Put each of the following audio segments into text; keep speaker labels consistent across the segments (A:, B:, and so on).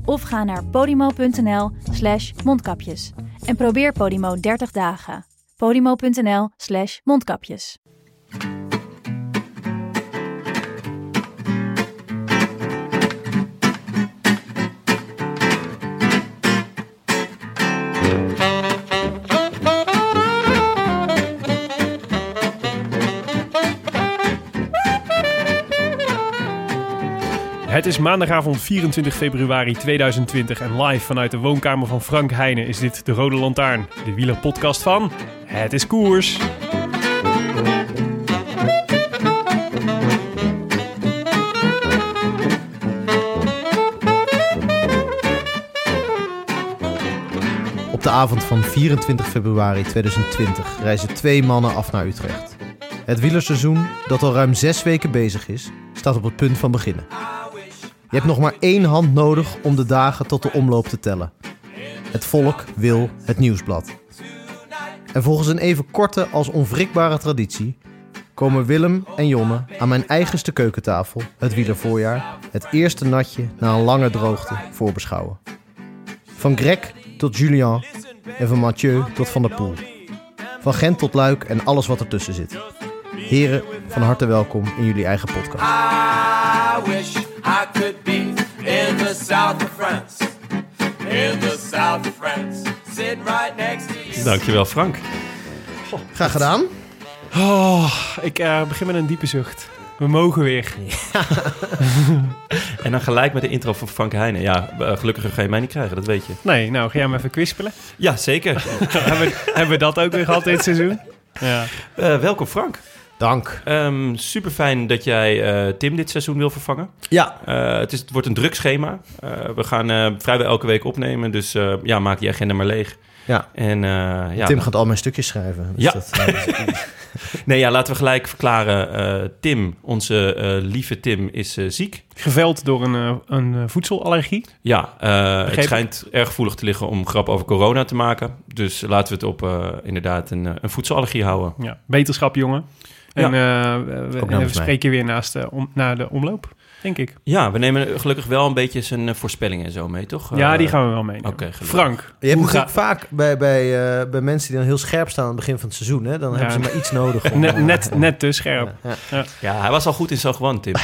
A: Of ga naar podimo.nl slash mondkapjes. En probeer Podimo 30 dagen. Podimo.nl slash mondkapjes.
B: Het is maandagavond 24 februari 2020 en live vanuit de woonkamer van Frank Heijnen is dit de Rode Lantaarn, de wielerpodcast van Het is Koers.
C: Op de avond van 24 februari 2020 reizen twee mannen af naar Utrecht. Het wielerseizoen, dat al ruim zes weken bezig is, staat op het punt van beginnen. Je hebt nog maar één hand nodig om de dagen tot de omloop te tellen. Het volk wil het nieuwsblad. En volgens een even korte als onwrikbare traditie komen Willem en Jonne aan mijn eigenste keukentafel het wielervoorjaar het eerste natje na een lange droogte voorbeschouwen. Van Greg tot Julian en van Mathieu tot Van der Poel. Van Gent tot Luik en alles wat ertussen zit. Heren, van harte welkom in jullie eigen podcast.
D: I wish I could be in the south of France. In the south of France. Sitting right next to you.
B: Dankjewel Frank.
C: Graag gedaan.
B: Oh, ik eh, begin met een diepe zucht. We mogen weer.
E: En dan gelijk met de intro van Frank Heijnen. Ja, eh, gelukkig ga je mij niet krijgen, dat weet je.
B: Nee, nou ga jij maar even kwispelen.
E: Ja, zeker.
B: hebben, we, hebben we dat ook weer gehad dit seizoen? Ja.
E: Eh, welkom Frank.
C: Dank.
E: Super fijn dat jij eh, Tim dit seizoen wil vervangen.
C: Ja.
E: Eh, het, is, het wordt een druk schema. Eh, we gaan eh, vrijwel elke week opnemen, dus eh, ja, maak die agenda maar leeg.
C: Ja.
E: En, eh, ja,
C: Tim gaat al mijn stukjes schrijven. Dus
E: Ja.
C: Dat, eh,
E: Nee, ja, laten we gelijk verklaren. eh, Tim, onze eh, lieve Tim, is eh, ziek.
B: Geveld door een, eh, een eh, voedselallergie.
E: Ja, eh,
B: Begreep
E: het
B: ik.
E: schijnt erg gevoelig te liggen om grap over corona te maken. Dus laten we het op eh, inderdaad een, eh, een voedselallergie houden.
B: Ja. Beterschap, jongen. En eh, we- we,
C: namens
B: we
C: mij. Eh,
B: spreken weer naast de, om, naar de omloop, denk ik.
E: Ja, we nemen gelukkig wel een beetje zijn eh, voorspellingen en zo mee, toch?
B: ja,
E: Eh,
B: die gaan we wel meenemen.
E: oké, gelukkig.
B: Frank,
C: je hebt
B: hoe
C: natuurlijk
B: ga-
C: vaak bij, bij, eh, bij mensen die dan heel scherp staan aan het begin van het seizoen. Hè? Dan
B: Ja.
C: hebben ze maar iets nodig. om,
B: net,
C: eh,
B: net, net te scherp.
C: Ja.
E: Ja, hij was al goed in San Juan, Tim. Dat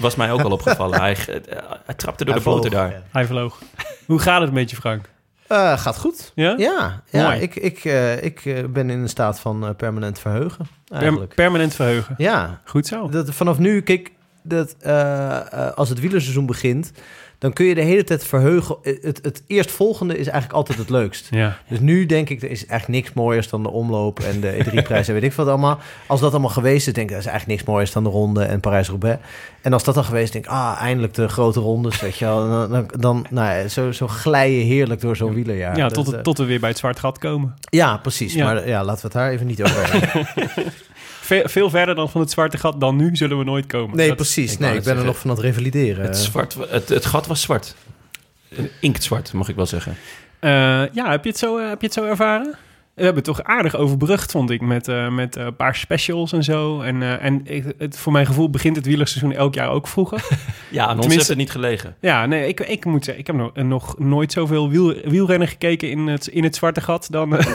E: was mij ook al opgevallen. Hij, eh, hij trapte door
C: Hij
E: de boten
C: vloog,
E: daar.
C: ja.
B: Hij vloog. Hoe gaat het met je, Frank?
C: Eh, gaat goed.
B: Ja?
C: Ja, ja
B: Mooi.
C: ik, ik, eh, ik eh, ben in een staat van eh, permanent verheugen.
B: Per-
C: Eigenlijk.
B: permanent verheugen.
C: ja,
B: Goed zo.
C: Oh. dat, vanaf nu, kijk, dat, eh, eh, als het wielerseizoen begint, dan kun je de hele tijd verheugen. Eh, Het, het eerstvolgende is eigenlijk altijd het leukst.
B: Ja.
C: Dus nu denk ik, er is echt niks mooiers dan de omloop en de E3-prijs en weet ik wat allemaal. Als dat allemaal geweest is, denk ik, er is eigenlijk niks mooiers dan de ronde en Parijs-Roubaix. En als dat dan geweest is, denk ik, ah, eindelijk de grote rondes, weet je wel. En Dan, dan, dan nou ja, zo, zo glij je heerlijk door zo'n wielerjaar.
B: Ja,
C: Dat,
B: tot,
C: eh,
B: tot we weer bij het zwart gat komen.
C: ja, precies.
B: Ja.
C: Maar ja, laten we het daar even niet over hebben.
B: Ve- veel verder dan van het zwarte gat dan nu zullen we nooit komen.
C: Nee,
B: Dat-
C: precies.
E: ik wou
C: nee,
E: net
C: ik ben er
E: zeggen.
C: nog van aan het revalideren.
E: Het, zwart, wa- het, het gat was zwart. Eh, Inktzwart, mag ik wel zeggen.
B: Eh, ja, heb je, het zo, eh, heb je het zo ervaren? We hebben het toch aardig overbrugd, vond ik, met, eh, met eh, een paar specials en zo. En, eh, en ik- het, voor mijn gevoel begint het wielerseizoen elk jaar ook vroeger.
E: Ja, aan ons
B: Tenminste-
E: heeft het niet gelegen.
B: ja, nee, ik, ik moet zeggen, ik heb nog, nog nooit zoveel wiel, wielrennen gekeken in het, in het zwarte gat dan, eh,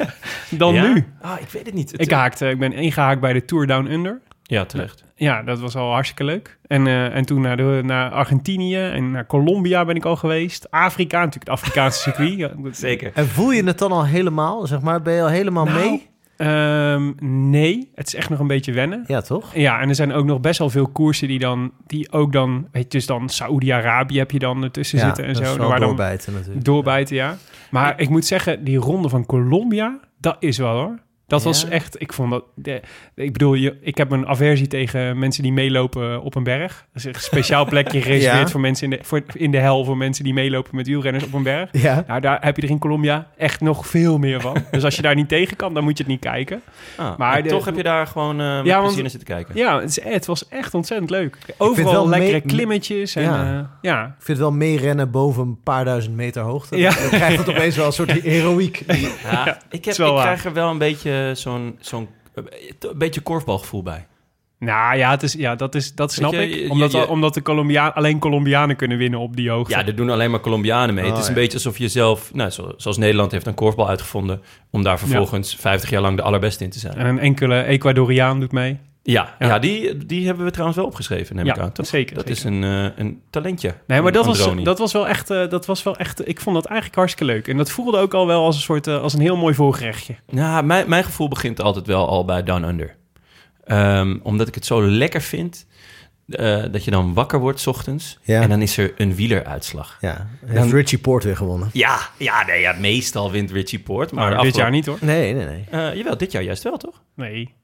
B: dan
E: Ja?
B: nu.
E: Ah, ik weet het niet. Het-
B: Ik, haakte, ik ben ingehaakt bij de Tour Down Under.
E: Ja, terecht.
B: Ja, dat was al hartstikke leuk. En, eh, en toen naar, de, naar Argentinië en naar Colombia ben ik al geweest. Afrika, natuurlijk het Afrikaanse circuit. Ja, dat-
E: Zeker.
C: En voel je het dan al helemaal? Zeg maar, ben je al helemaal
B: Nou,
C: mee?
B: Ehm, nee, het is echt nog een beetje wennen.
C: Ja, toch?
B: Ja, en er zijn ook nog best wel veel koersen die dan, die ook dan, weet je, dus dan Saoedi-Arabië heb je dan ertussen
C: ja,
B: zitten en
C: dat
B: zo.
C: is wel
B: waar dan
C: doorbijten natuurlijk.
B: doorbijten, ja. Maar ik moet zeggen, die ronde van Colombia, dat is wel hoor. Dat was
C: Ja.
B: echt, ik vond dat, de- ik bedoel, je, ik heb een aversie tegen mensen die meelopen op een berg. Dat is echt een speciaal plekje gereserveerd voor mensen in de, voor, in de hel, voor mensen die meelopen met wielrenners op een berg.
C: Ja.
B: Nou, daar heb je er in Colombia echt nog veel meer van. dus als je daar niet tegen kan, dan moet je het niet kijken.
E: Ah,
B: Maar
E: maar
B: de-
E: toch heb je daar gewoon eh met
B: Ja, want-
E: plezier naar zitten kijken.
B: Ja, het, is- eh, het was echt ontzettend leuk.
C: vind wel
B: Overal
C: mee-
B: lekkere klimmetjes en
C: Ja.
B: ja. ja.
C: Ik vind het wel meerennen boven een paar duizend meter hoogte.
B: Ja.
C: Dan krijgt het opeens wel een soort heroïek.
E: Ja, ik, heb,
B: is wel
E: ik
B: waar.
E: krijg er wel een beetje zo'n zo'n eh, een beetje korfbalgevoel bij.
B: Nou ja, het is, ja dat, is, dat snap
E: je, je-
B: ik. Omdat,
E: je-
B: omdat de Colombia, alleen Colombianen kunnen winnen op die hoogte.
E: Ja, er doen alleen maar Colombianen mee.
C: Oh,
E: het is een
C: ja.
E: beetje alsof je zelf, nou, zo- zoals Nederland heeft een korfbal uitgevonden, om daar vervolgens 50 jaar lang de allerbeste in te zijn.
B: En een enkele Ecuadoriaan doet mee.
E: Ja, ja.
B: Ja.
E: die, die hebben we trouwens wel opgeschreven, neem
B: Ja,
E: ik aan. toch?
B: zeker,
E: Dat
B: zeker.
E: is een, eh, een talentje.
B: Nee, maar
E: van
B: dat was,
E: Androni.
B: dat was wel echt, eh, dat was wel echt, ik vond dat eigenlijk hartstikke leuk. En dat voelde ook al wel als een soort, eh, als een heel mooi voorgerechtje.
E: Ja, mijn, mijn gevoel begint altijd wel al bij Down Under. Ehm, omdat ik het zo lekker vind eh, dat je dan wakker wordt 's ochtends
C: Ja.
E: en dan is er een wieleruitslag.
C: Ja, heeft Richie Poort weer gewonnen.
E: Ja, ja, nee, ja, meestal wint Richie Poort. Maar
B: Maar Nou, dit jaar niet hoor.
C: Nee, nee, nee.
E: niet. jawel, dit jaar juist wel, toch?
B: Nee.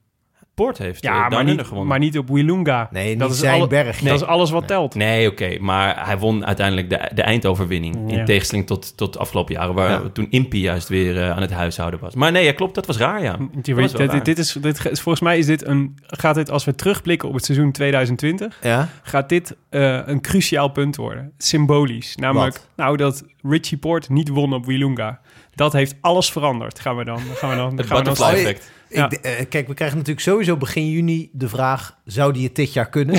E: Poort heeft eh,
B: Ja,
E: Down
B: maar
E: Under
B: niet,
E: gewonnen.
B: maar niet op Wilunga.
C: Nee, niet zijn berg. Nee.
B: Dat is alles wat telt.
E: Nee, oké, maar hij won uiteindelijk de, de eindoverwinning.
B: Ja.
E: In tegenstelling tot, tot de afgelopen jaren, waar
C: Ja.
E: toen Impie juist weer eh, aan het huishouden was. Maar nee, ja, klopt, dat was raar, ja.
B: Want je
E: Dat was
B: weet,
E: wel
B: dit,
E: raar.
B: dit is, dit, ge- volgens mij is dit een, gaat dit, als we terugblikken op het seizoen 2020,
C: Ja?
B: gaat dit eh, een cruciaal punt worden. Symbolisch. Namelijk,
C: Wat?
B: nou, dat Richie Poort niet won op Wilunga. Dat heeft alles veranderd. Gaan we dan, gaan we dan,
E: het
B: gaan we dan
E: butterfly
C: Oh,
E: effect.
C: Ik,
B: Ja.
C: eh, kijk, we krijgen natuurlijk sowieso begin juni de vraag... zou die het dit jaar kunnen?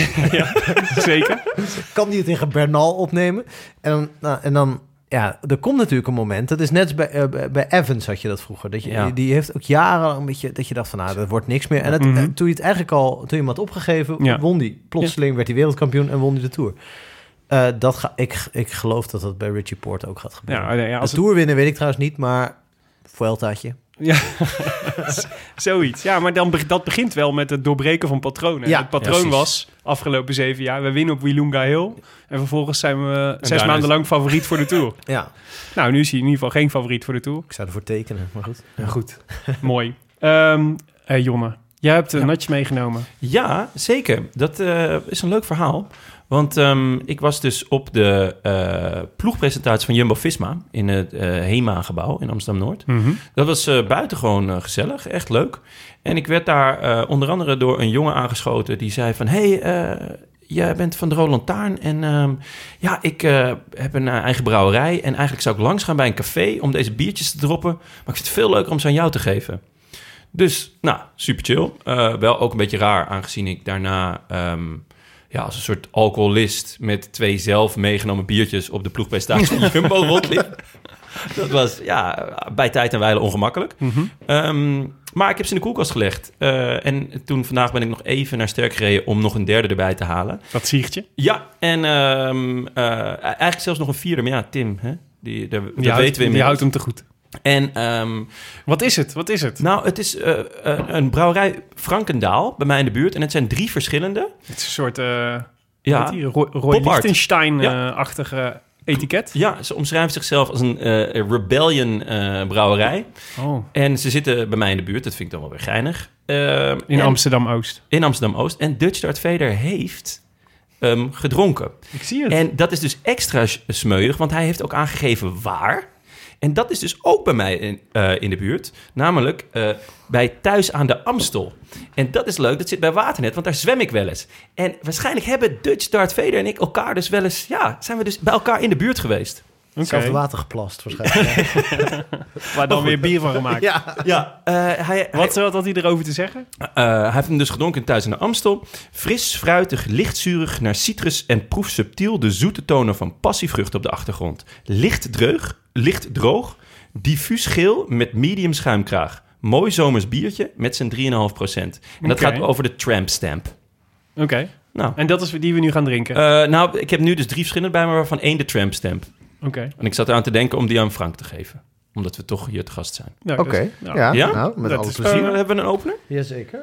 B: zeker.
C: kan die het tegen Bernal opnemen? En dan, nou, en dan ja, er komt natuurlijk een moment... dat is net als bij, eh, bij- bij Evans had je dat vroeger. Dat je,
E: Ja.
C: Die heeft ook jarenlang een beetje... dat je dacht van, nou, dat wordt niks meer. En het,
B: Mhm.
C: eh, toen je het eigenlijk al... toen je hem had opgegeven,
B: Ja.
C: won die. Plotseling werd hij wereldkampioen en won hij de Tour. Eh, dat ga, ik, ik geloof dat dat bij Richie Poort ook gaat gebeuren.
B: Ja, nee, ja, als
C: de
B: het,
C: Tour winnen weet ik trouwens niet, maar... Vueltaatje.
B: zoiets. Ja, maar dan, be- dat begint wel met het doorbreken van patronen.
C: Ja,
B: het patroon
E: precies.
B: was afgelopen zeven jaar, we winnen op Wilunga Hill. En vervolgens zijn we zes
E: daarna
B: maanden
E: is-
B: lang favoriet voor de Tour.
C: Ja,
B: Nou, nu is hij in ieder geval geen favoriet voor de Tour.
C: ik zou ervoor tekenen, maar goed.
B: Ja, goed. Mooi. Ehm eh, Jonne, jij hebt een natje meegenomen.
E: Ja, zeker. Dat eh, is een leuk verhaal. Want ehm, ik was dus op de eh, ploegpresentatie van Jumbo-Visma in het eh, HEMA-gebouw in Amsterdam-Noord. Dat was eh, buitengewoon eh, gezellig, echt leuk. En ik werd daar eh, onder andere door een jongen aangeschoten die zei van... hey, eh, jij bent van de Roland Taarn en ehm, ja, ik eh, heb een eh, eigen brouwerij... en eigenlijk zou ik langs gaan bij een café om deze biertjes te droppen... maar ik vind het veel leuker om ze aan jou te geven. Dus, nou, super chill. Eh, wel ook een beetje raar, aangezien ik daarna... ehm, ja, als een soort alcoholist met twee zelf meegenomen biertjes... op de ploegpresentatie van Jumbo rondliep. Dat was ja, bij tijd en wijle ongemakkelijk.
B: Mhm.
E: Ehm, maar ik heb ze in de koelkast gelegd. Eh, en toen vandaag ben ik nog even naar Sterk gereden om nog een derde erbij te halen.
B: Dat ziegertje.
E: Ja, en ehm, eh, eigenlijk zelfs nog een vierde. Maar ja, Tim, hè? Die, daar- dat
B: Die houdt,
E: weten we
B: die houdt
E: inmiddels.
B: hem te goed.
E: En ehm,
B: Wat is het? Wat is het?
E: nou, het is eh, eh, een brouwerij Frankendaal bij mij in de buurt. En het zijn drie verschillende.
B: Het is een soort eh
E: Ja,
B: ja, Roy, Roy
E: Pop art.
B: Lichtenstein-achtige etiket.
E: ja ze omschrijven zichzelf als een eh, rebellion eh, brouwerij.
B: Oh.
E: En ze zitten bij mij in de buurt. Dat vind ik dan wel weer geinig. Ehm,
B: In
E: en-
B: Amsterdam-Oost.
E: in Amsterdam-Oost. En Dutch Dart Vader heeft ehm, gedronken.
B: Ik zie het.
E: En dat is dus extra s- smeuïg, want hij heeft ook aangegeven waar. En dat is dus ook bij mij in, eh, in de buurt. Namelijk eh, bij Thuis aan de Amstel. En dat is leuk, dat zit bij Waternet, want daar zwem ik wel eens. En waarschijnlijk hebben Dutch Dart Vader en ik elkaar dus wel eens... Ja, zijn we dus bij elkaar in de buurt geweest.
B: Oké.
C: Hetzelfde water geplast waarschijnlijk.
B: Waar dan weer bier van gemaakt.
C: ja.
E: Ja. Eh, hij,
B: Wat wat had hij erover te zeggen?
E: Eh, hij heeft hem dus gedronken thuis in de Amstel. Fris, fruitig, lichtzurig naar citrus en proef subtiel de zoete tonen van passievrucht op de achtergrond. Licht dreug, licht droog, diffuus geel met medium schuimkraag. Mooi zomers biertje met zijn 3,5%. En dat
B: Oké.
E: gaat over de tramp stamp.
B: Oké.
E: Nou,
B: En dat is die we nu gaan drinken.
E: eh, nou, ik heb nu dus drie verschillende bij me, waarvan één de tramp stamp.
B: Oké.
E: En ik zat eraan te denken om die aan Frank te geven. Omdat we toch hier te gast zijn.
B: Nou,
C: Oké,
B: dat- nou,
C: ja,
E: Ja?
C: nou, met
B: Dat
C: alle
B: is
C: plezier.
B: Eh.
E: hebben we een opener?
C: Jazeker.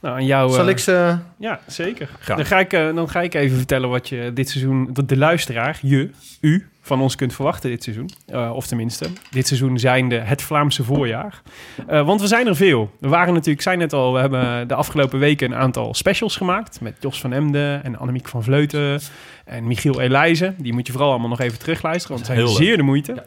B: Nou, aan jou. eh,
C: Zal ik ze...
B: Ja, zeker.
E: Graag.
B: Dan ga, ik, eh, dan ga ik even vertellen wat je dit seizoen, dat de luisteraar, je, u, van ons kunt verwachten dit seizoen. Eh, of tenminste, dit seizoen zijnde het Vlaamse voorjaar. Eh, want we zijn er veel. We waren natuurlijk, ik zei net al, we hebben de afgelopen weken een aantal specials gemaakt. Met Jos van Emden en Annemiek van Vleuten en Michiel Elijzen. Die moet je vooral allemaal nog even terugluisteren, want het zijn
E: Heel leuk.
B: zeer de moeite.
E: Ja.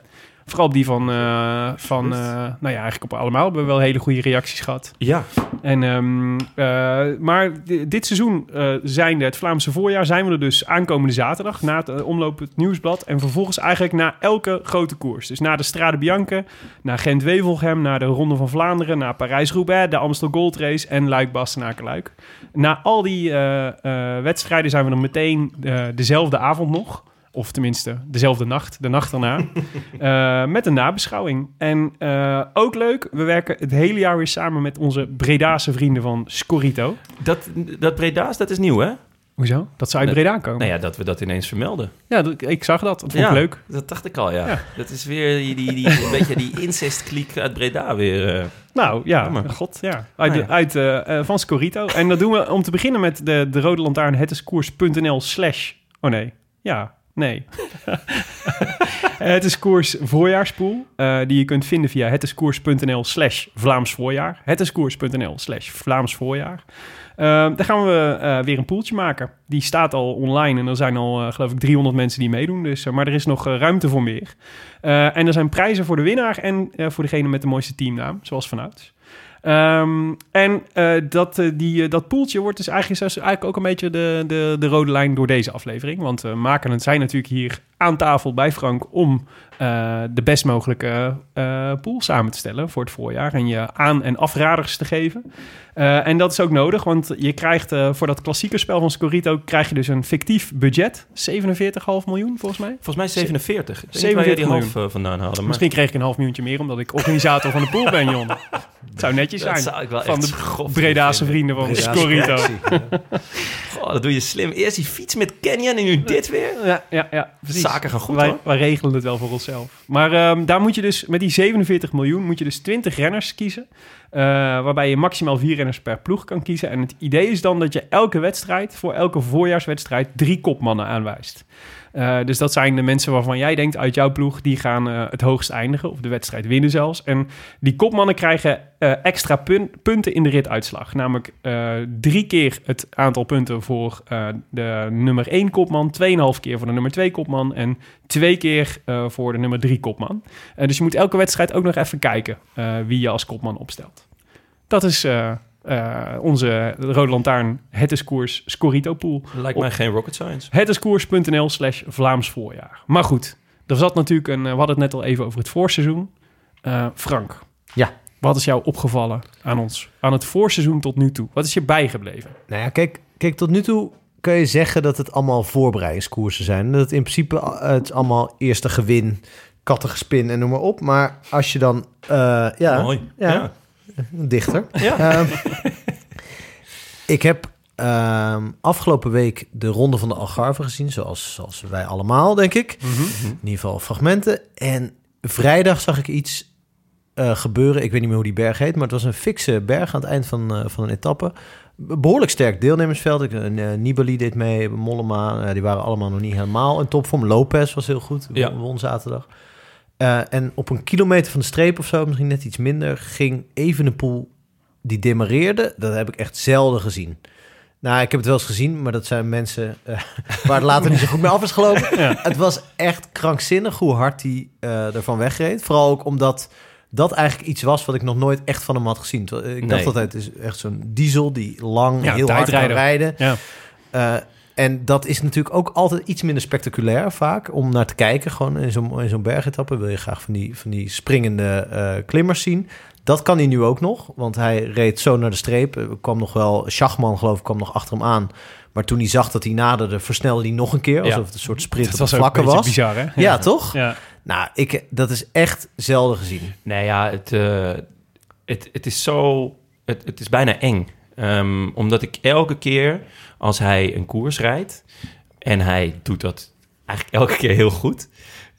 B: Vooral op die van, eh, van eh, nou ja, eigenlijk op allemaal hebben we wel hele goede reacties gehad.
E: Ja.
B: En, ehm, eh, maar di- dit seizoen eh zijnde het Vlaamse voorjaar zijn we er dus aankomende zaterdag na het eh, omloop het nieuwsblad. En vervolgens eigenlijk na elke grote koers. Dus na de Strade Bianca, naar Gent-Wevelgem, naar de Ronde van Vlaanderen, naar Parijs-Roubaix, de Amstel Gold Race en Luik-Bastenaken-Luik. Na al die eh, eh, wedstrijden zijn we er meteen eh, dezelfde avond nog. Of tenminste, dezelfde nacht, de nacht erna. Eh, met een nabeschouwing. En eh, ook leuk, we werken het hele jaar weer samen met onze Bredase vrienden van Scorito.
E: Dat, dat Breda's, dat is nieuw, hè?
B: Hoezo? Dat ze uit
E: Nee.
B: Breda komen.
E: Nou ja, dat we dat ineens vermelden.
B: Ja, dat- ik zag dat. Dat vond
E: ja,
B: ik leuk.
E: Dat dacht ik al, ja.
B: Ja.
E: Dat is weer die, die, die, een beetje die incestkliek uit Breda weer. eh.
B: Nou ja,
E: Jammer.
B: god ja. Uit,
E: Nou ja.
B: uit, eh, eh, van Scorito. En dat doen we om te beginnen met de, de rode lantaarn hetiskoers.nl slash... Oh nee, ja, nee. het is koers voorjaarspool, eh, die je kunt vinden via hetiskoers.nl slash Vlaams voorjaar. Hetiskoers.nl slash Vlaams voorjaar. Eh, daar gaan we eh, weer een poeltje maken. Die staat al online en er zijn al, eh, geloof ik, 300 mensen die meedoen. Dus, eh, maar er is nog eh, ruimte voor meer. Eh, en er zijn prijzen voor de winnaar en eh, voor degene met de mooiste teamnaam, zoals vanouds. Ehm, en eh, dat, eh, die, eh, dat poeltje wordt dus eigenlijk, is eigenlijk ook een beetje de, de, de rode lijn door deze aflevering. Want we maken het zijn natuurlijk hier aan tafel bij Frank om eh, de best mogelijke eh, pool samen te stellen voor het voorjaar. En je aan- en afraders te geven. Eh, en dat is ook nodig, want je krijgt eh, voor dat klassieke spel van Scorito krijg je dus een fictief budget. 47,5 miljoen volgens mij.
E: volgens mij 47. Ik weet niet waar jij
B: 47
E: die half eh, vandaan haalde. Maar
B: Misschien kreeg ik een half miljoentje meer omdat ik organisator van de pool ben, Jon. Het zou netjes
E: dat
B: zijn.
E: zou ik wel
B: Van
E: echt
B: de
E: grof
B: Bredaanse
E: vinden.
B: vrienden van
C: Bredaanse
B: Scorito.
E: Goh, dat doe je slim. Eerst die fiets met Canyon en nu dit weer.
B: Ja, ja, ja, precies.
E: Zaken gaan goed,
B: wij,
E: hoor.
B: wij regelen het wel voor onszelf. Maar ehm, daar moet je dus, met die 47 miljoen, moet je dus 20 renners kiezen. eh, waarbij je maximaal vier renners per ploeg kan kiezen. En het idee is dan dat je elke wedstrijd, voor elke voorjaarswedstrijd, drie kopmannen aanwijst. Eh, dus dat zijn de mensen waarvan jij denkt uit jouw ploeg, die gaan eh, het hoogst eindigen of de wedstrijd winnen zelfs. En die kopmannen krijgen eh, extra pun- punten in de rituitslag. Namelijk eh, drie keer het aantal punten voor eh, de nummer 1 kopman, 2,5 keer voor de nummer 2 kopman en twee keer eh, voor de nummer 3 kopman. Eh, dus je moet elke wedstrijd ook nog even kijken eh, wie je als kopman opstelt. Dat is eh, eh, onze Rode Lantaarn Het is Koers Scorito Pool.
E: Lijkt mij geen rocket science.
B: Hetdiscours.nl slash Vlaams voorjaar. Maar goed, er zat natuurlijk een... eh, We hadden het net al even over het voorseizoen. Eh, Frank.
C: Ja.
B: Wat is jou opgevallen aan ons? Aan het voorseizoen tot nu toe. Wat is je bijgebleven?
C: Nou ja, kijk, kijk, tot nu toe kan je zeggen dat het allemaal voorbereidingskoersen zijn. Dat het in principe eh, het is allemaal eerste gewin, kattengespin en noem maar op. Maar als je dan... eh, ja,
E: Mooi.
C: ja.
E: ja.
C: dichter.
E: Ja.
C: Ehm, ik heb ehm, afgelopen week de Ronde van de Algarve gezien, zoals, zoals wij allemaal, denk ik.
E: Mhm,
C: In ieder geval fragmenten. En vrijdag zag ik iets eh, gebeuren. Ik weet niet meer hoe die berg heet, maar het was een fikse berg aan het eind van, eh, van een etappe. Be- Behoorlijk sterk deelnemersveld. Ik, eh, Nibali deed mee, Mollema. eh, die waren allemaal nog niet helemaal in topvorm. Lopez was heel goed,
E: Ja.
C: won, won zaterdag. Eh, en op een kilometer van de streep of zo, misschien net iets minder, ging Evenepoel, die demareerde. Dat heb ik echt zelden gezien. Nou, ik heb het wel eens gezien, maar dat zijn mensen eh, waar het later niet zo goed mee af is gelopen. Het was echt krankzinnig hoe hard hij eh ervan wegreed. Vooral ook omdat dat eigenlijk iets was wat ik nog nooit echt van hem had gezien. Terwijl, eh, Ik
E: Nee.
C: dacht altijd, het is echt zo'n diesel die lang
B: Ja,
C: heel hard kan
B: tijdrijder.
C: rijden.
B: Ja.
C: Eh, en dat is natuurlijk ook altijd iets minder spectaculair vaak om naar te kijken. Gewoon in zo'n, in zo'n bergetappe wil je graag van die, van die springende eh, klimmers zien. Dat kan hij nu ook nog, want hij reed zo naar de streep. Er kwam nog wel, Schachman geloof ik kwam nog achter hem aan. Maar toen hij zag dat hij naderde, versnelde hij nog een keer. Alsof het een soort sprint
B: Dat
C: op
B: was
C: de
B: ook een
C: vlakken
B: beetje
C: was.
B: bizar, hè?
C: Ja, toch?
B: Ja.
C: Nou, ik, dat is echt zelden gezien.
E: Nou ja, het, eh, het, het is zo... Het, het is bijna eng. Ehm, omdat ik elke keer als hij een koers rijdt, en hij doet dat eigenlijk elke keer heel goed,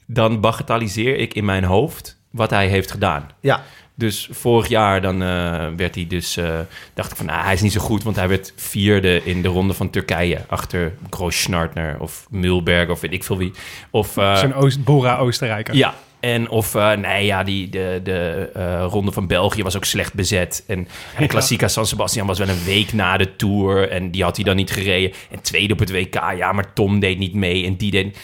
E: dan bagatelliseer ik in mijn hoofd wat hij heeft gedaan.
C: Ja.
E: Dus vorig jaar dan eh, werd hij dus, eh, dacht ik van, nou, hij is niet zo goed, want hij werd vierde in de ronde van Turkije achter Großschartner of Mulberg of weet ik veel wie. Of, eh,
B: Zo'n Oost, Bora Oostenrijker.
E: ja, en of eh, nee, ja, die, de, de eh, ronde van België was ook slecht bezet. En de Klassica San Sebastian was wel een week na de Tour. En die had hij dan niet gereden. En tweede op het WK, ja, maar Tom deed niet mee en die deed...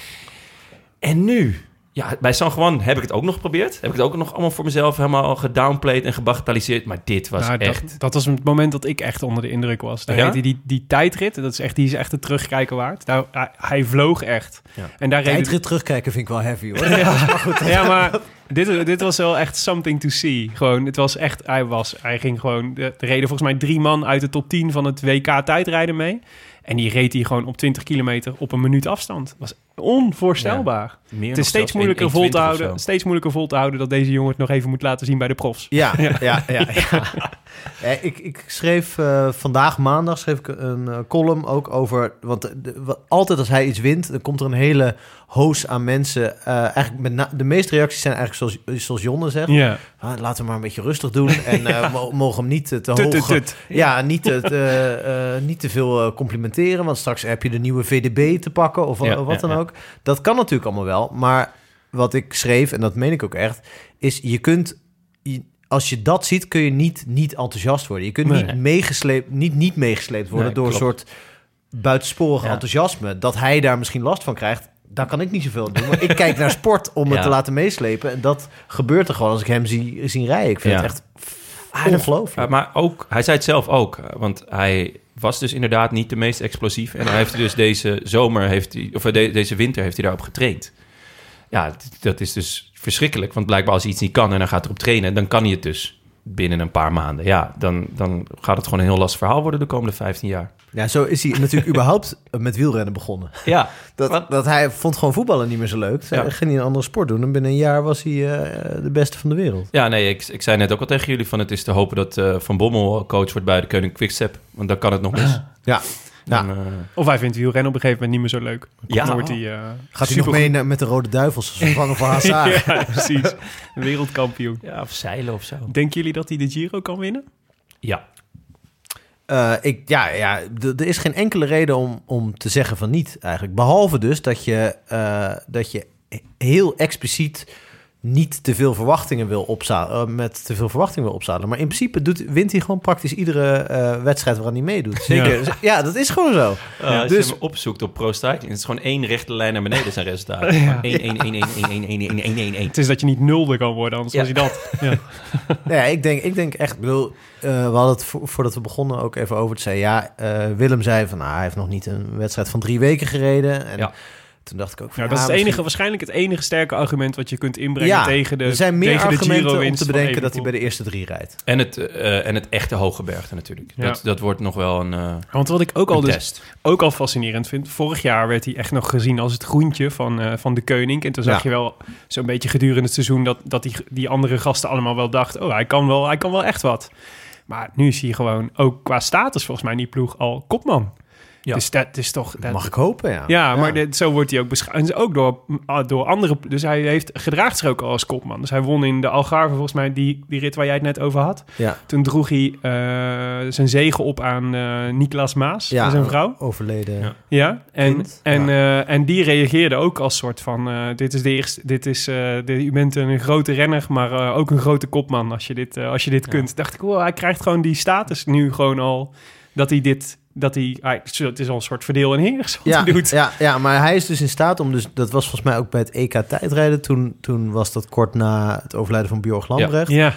E: En nu? Ja, bij San Juan heb ik het ook nog geprobeerd. Heb ik het ook nog allemaal voor mezelf helemaal gedownplayed en gebagatelliseerd. Maar dit was
B: Nou,
E: echt...
B: Dat, dat was het moment dat ik echt onder de indruk was. Daar
E: Ja?
B: reed hij die, die tijdrit, dat is echt, die is echt het terugkijken waard. Daar, hij, hij vloog echt.
E: Ja.
B: En daar reed
C: Tijdrit terugkijken vind ik wel heavy hoor.
B: Ja, maar dit, dit was wel echt something to see. Gewoon, het was echt, hij was, hij ging gewoon, er reden volgens mij drie man uit de top 10 van het WK tijdrijden mee. En die reed hij gewoon op 20 kilometer op een minuut afstand. Dat was onvoorstelbaar.
E: meer
B: het
E: nog
B: is steeds
E: zelfs,
B: moeilijker,
E: 1,20
B: vol te
E: of
B: houden,
E: zo.
B: steeds moeilijker vol te houden dat deze jongen het nog even moet laten zien bij de profs.
C: Ja, ja, ja. ja, Eh, ik, ik schreef eh, vandaag maandag schreef ik een eh, column ook over. Want de- de- wa- altijd als hij iets wint, dan komt er een hele hoos aan mensen. eh, eigenlijk met na- de meeste reacties zijn eigenlijk zoals, zoals Jonne zegt.
B: Ja.
C: Ah, laten we maar een beetje rustig doen. En eh, mo- mogen hem niet eh, te
B: Tut,
C: hoog.
B: tut, tut.
C: Ja, niet te, te, eh, niet te veel eh, complimenteren. Want straks heb je de nieuwe VDB te pakken of wa-
E: Ja,
C: wat
E: ja,
C: dan
E: ja.
C: ook. Dat kan natuurlijk allemaal wel. Maar wat ik schreef, en dat meen ik ook echt, is je kunt. je- als je dat ziet, kun je niet, niet enthousiast worden. Je kunt niet,
E: Nee.
C: meegesleept, niet, niet meegesleept worden
E: Nee,
C: door een
E: klopt.
C: soort buitensporig
E: Ja.
C: enthousiasme. Dat hij daar misschien last van krijgt, daar kan ik niet zoveel aan doen. Maar ik kijk naar sport om het
E: Ja.
C: te laten meeslepen. En dat gebeurt er gewoon als ik hem zie, zie rijden. Ik vind
E: Ja.
C: het echt ongelooflijk.
E: Ja, Eh, maar ook, hij zei het zelf ook, eh, want hij was dus inderdaad niet de meest explosief. En hij heeft dus deze zomer, heeft hij, of eh, de- deze winter heeft hij daarop getraind. Ja, d- dat is dus verschrikkelijk, want blijkbaar als hij iets niet kan en hij gaat erop trainen, dan kan hij het dus binnen een paar maanden. Ja, dan, dan gaat het gewoon een heel lastig verhaal worden de komende 15 jaar.
C: Ja, zo is hij natuurlijk überhaupt met wielrennen begonnen.
E: Ja,
C: Dat,
E: Wat?
C: dat hij vond gewoon voetballen niet meer zo leuk. Hij
E: Ja.
C: ging hij een andere sport doen. En binnen een jaar was hij eh, de beste van de wereld.
E: ja nee, ik, ik zei net ook al tegen jullie van het is te hopen dat eh, Van Bommel coach wordt bij de Koning Quickstep, want dan kan het nog mis.
C: Ja. Ja.
E: Dan, eh,
B: Of hij vindt wielrennen op een gegeven moment niet meer zo leuk. Dan
E: Ja.
B: wordt hij, eh,
C: Gaat hij nog
B: supergoed.
C: mee naar- met de Rode Duivels als vervanger van Hazard?
B: Ja, precies. Wereldkampioen.
E: ja, of zeilen of zo.
B: Denken jullie dat hij de Giro kan winnen?
E: Ja,
C: Eh, ik, ja, ja, d- er is geen enkele reden om, om te zeggen van niet eigenlijk. Behalve dus dat je, eh, dat je heel expliciet niet te veel verwachtingen wil opzadelen. met te veel verwachtingen wil opzadelen. Maar in principe doet, wint hij gewoon praktisch iedere eh, wedstrijd waaraan hij meedoet. Zeker. Ja. dat is gewoon zo.
E: Eh, als
C: dus-
E: je hem opzoekt op Pro Cycling, is het gewoon één rechte lijn naar beneden zijn resultaat. 1 1 1 1 1 1 1 1 1 1 1
B: Het is dat je niet nulde kan worden, anders
E: Ja.
B: was hij dat. Ja.
C: Nou ja, ik denk, ik denk echt, ik bedoel, eh, we hadden het vo- voordat we begonnen ook even over te zeggen. Ja, eh, Willem zei van, nou, hij heeft nog niet een wedstrijd van drie weken gereden. En
E: Ja.
C: toen dacht ik ook van,
B: Ja, dat is het
C: misschien-
B: enige, waarschijnlijk het enige sterke argument wat je kunt inbrengen
C: Ja,
B: tegen de
C: er zijn meer
B: tegen de
C: argumenten om
B: Giro-winst
C: te
B: van
C: bedenken dat hij bij
B: Evenepoel.
C: de eerste drie rijdt.
E: En het, eh, en het echte Hogebergte natuurlijk.
B: Ja.
E: Dat, dat wordt nog wel een, eh,
B: Want wat ik ook al,
E: een
B: dus,
E: test.
B: ook al fascinerend vind, vorig jaar werd hij echt nog gezien als het groentje van, eh, van de koning. En toen zag
C: Ja.
B: je wel zo'n beetje gedurende het seizoen dat, dat die, die andere gasten allemaal wel dachten, oh, hij kan wel, hij kan wel echt wat. Maar nu is hij gewoon, ook qua status volgens mij, in die ploeg al kopman.
E: Ja.
B: Dus dat is toch... dat-
C: Mag ik hopen, ja.
B: Ja, maar dit- zo wordt hij ook beschouwd. En Ook door, ah, door andere. Dus hij heeft gedraagt zich ook al als kopman. Dus hij won in de Algarve, volgens mij, die, die rit waar jij het net over had.
C: Ja.
B: Toen droeg hij eh, zijn zegen op aan eh Niklas Maas,
C: Ja.
B: zijn vrouw.
C: Overleden.
E: Ja.
B: Ja. En,
C: Kind.
B: en, eh, en die reageerde ook als soort van: eh, Dit is de eerste. Dit is, eh, de- u bent een grote renner, maar eh, ook een grote kopman als je dit, eh, als je dit kunt. Dacht ik, wow, hij krijgt gewoon die status nu gewoon al. Dat hij dit. Dat hij, hij- het is al een soort verdeel en heers wat
C: Ja,
B: hij doet.
C: ja, ja, maar hij is dus in staat om, dus, dat was volgens mij ook bij het EK tijdrijden, toen, toen was dat kort na het overlijden van Björg Lambrecht,
B: ja.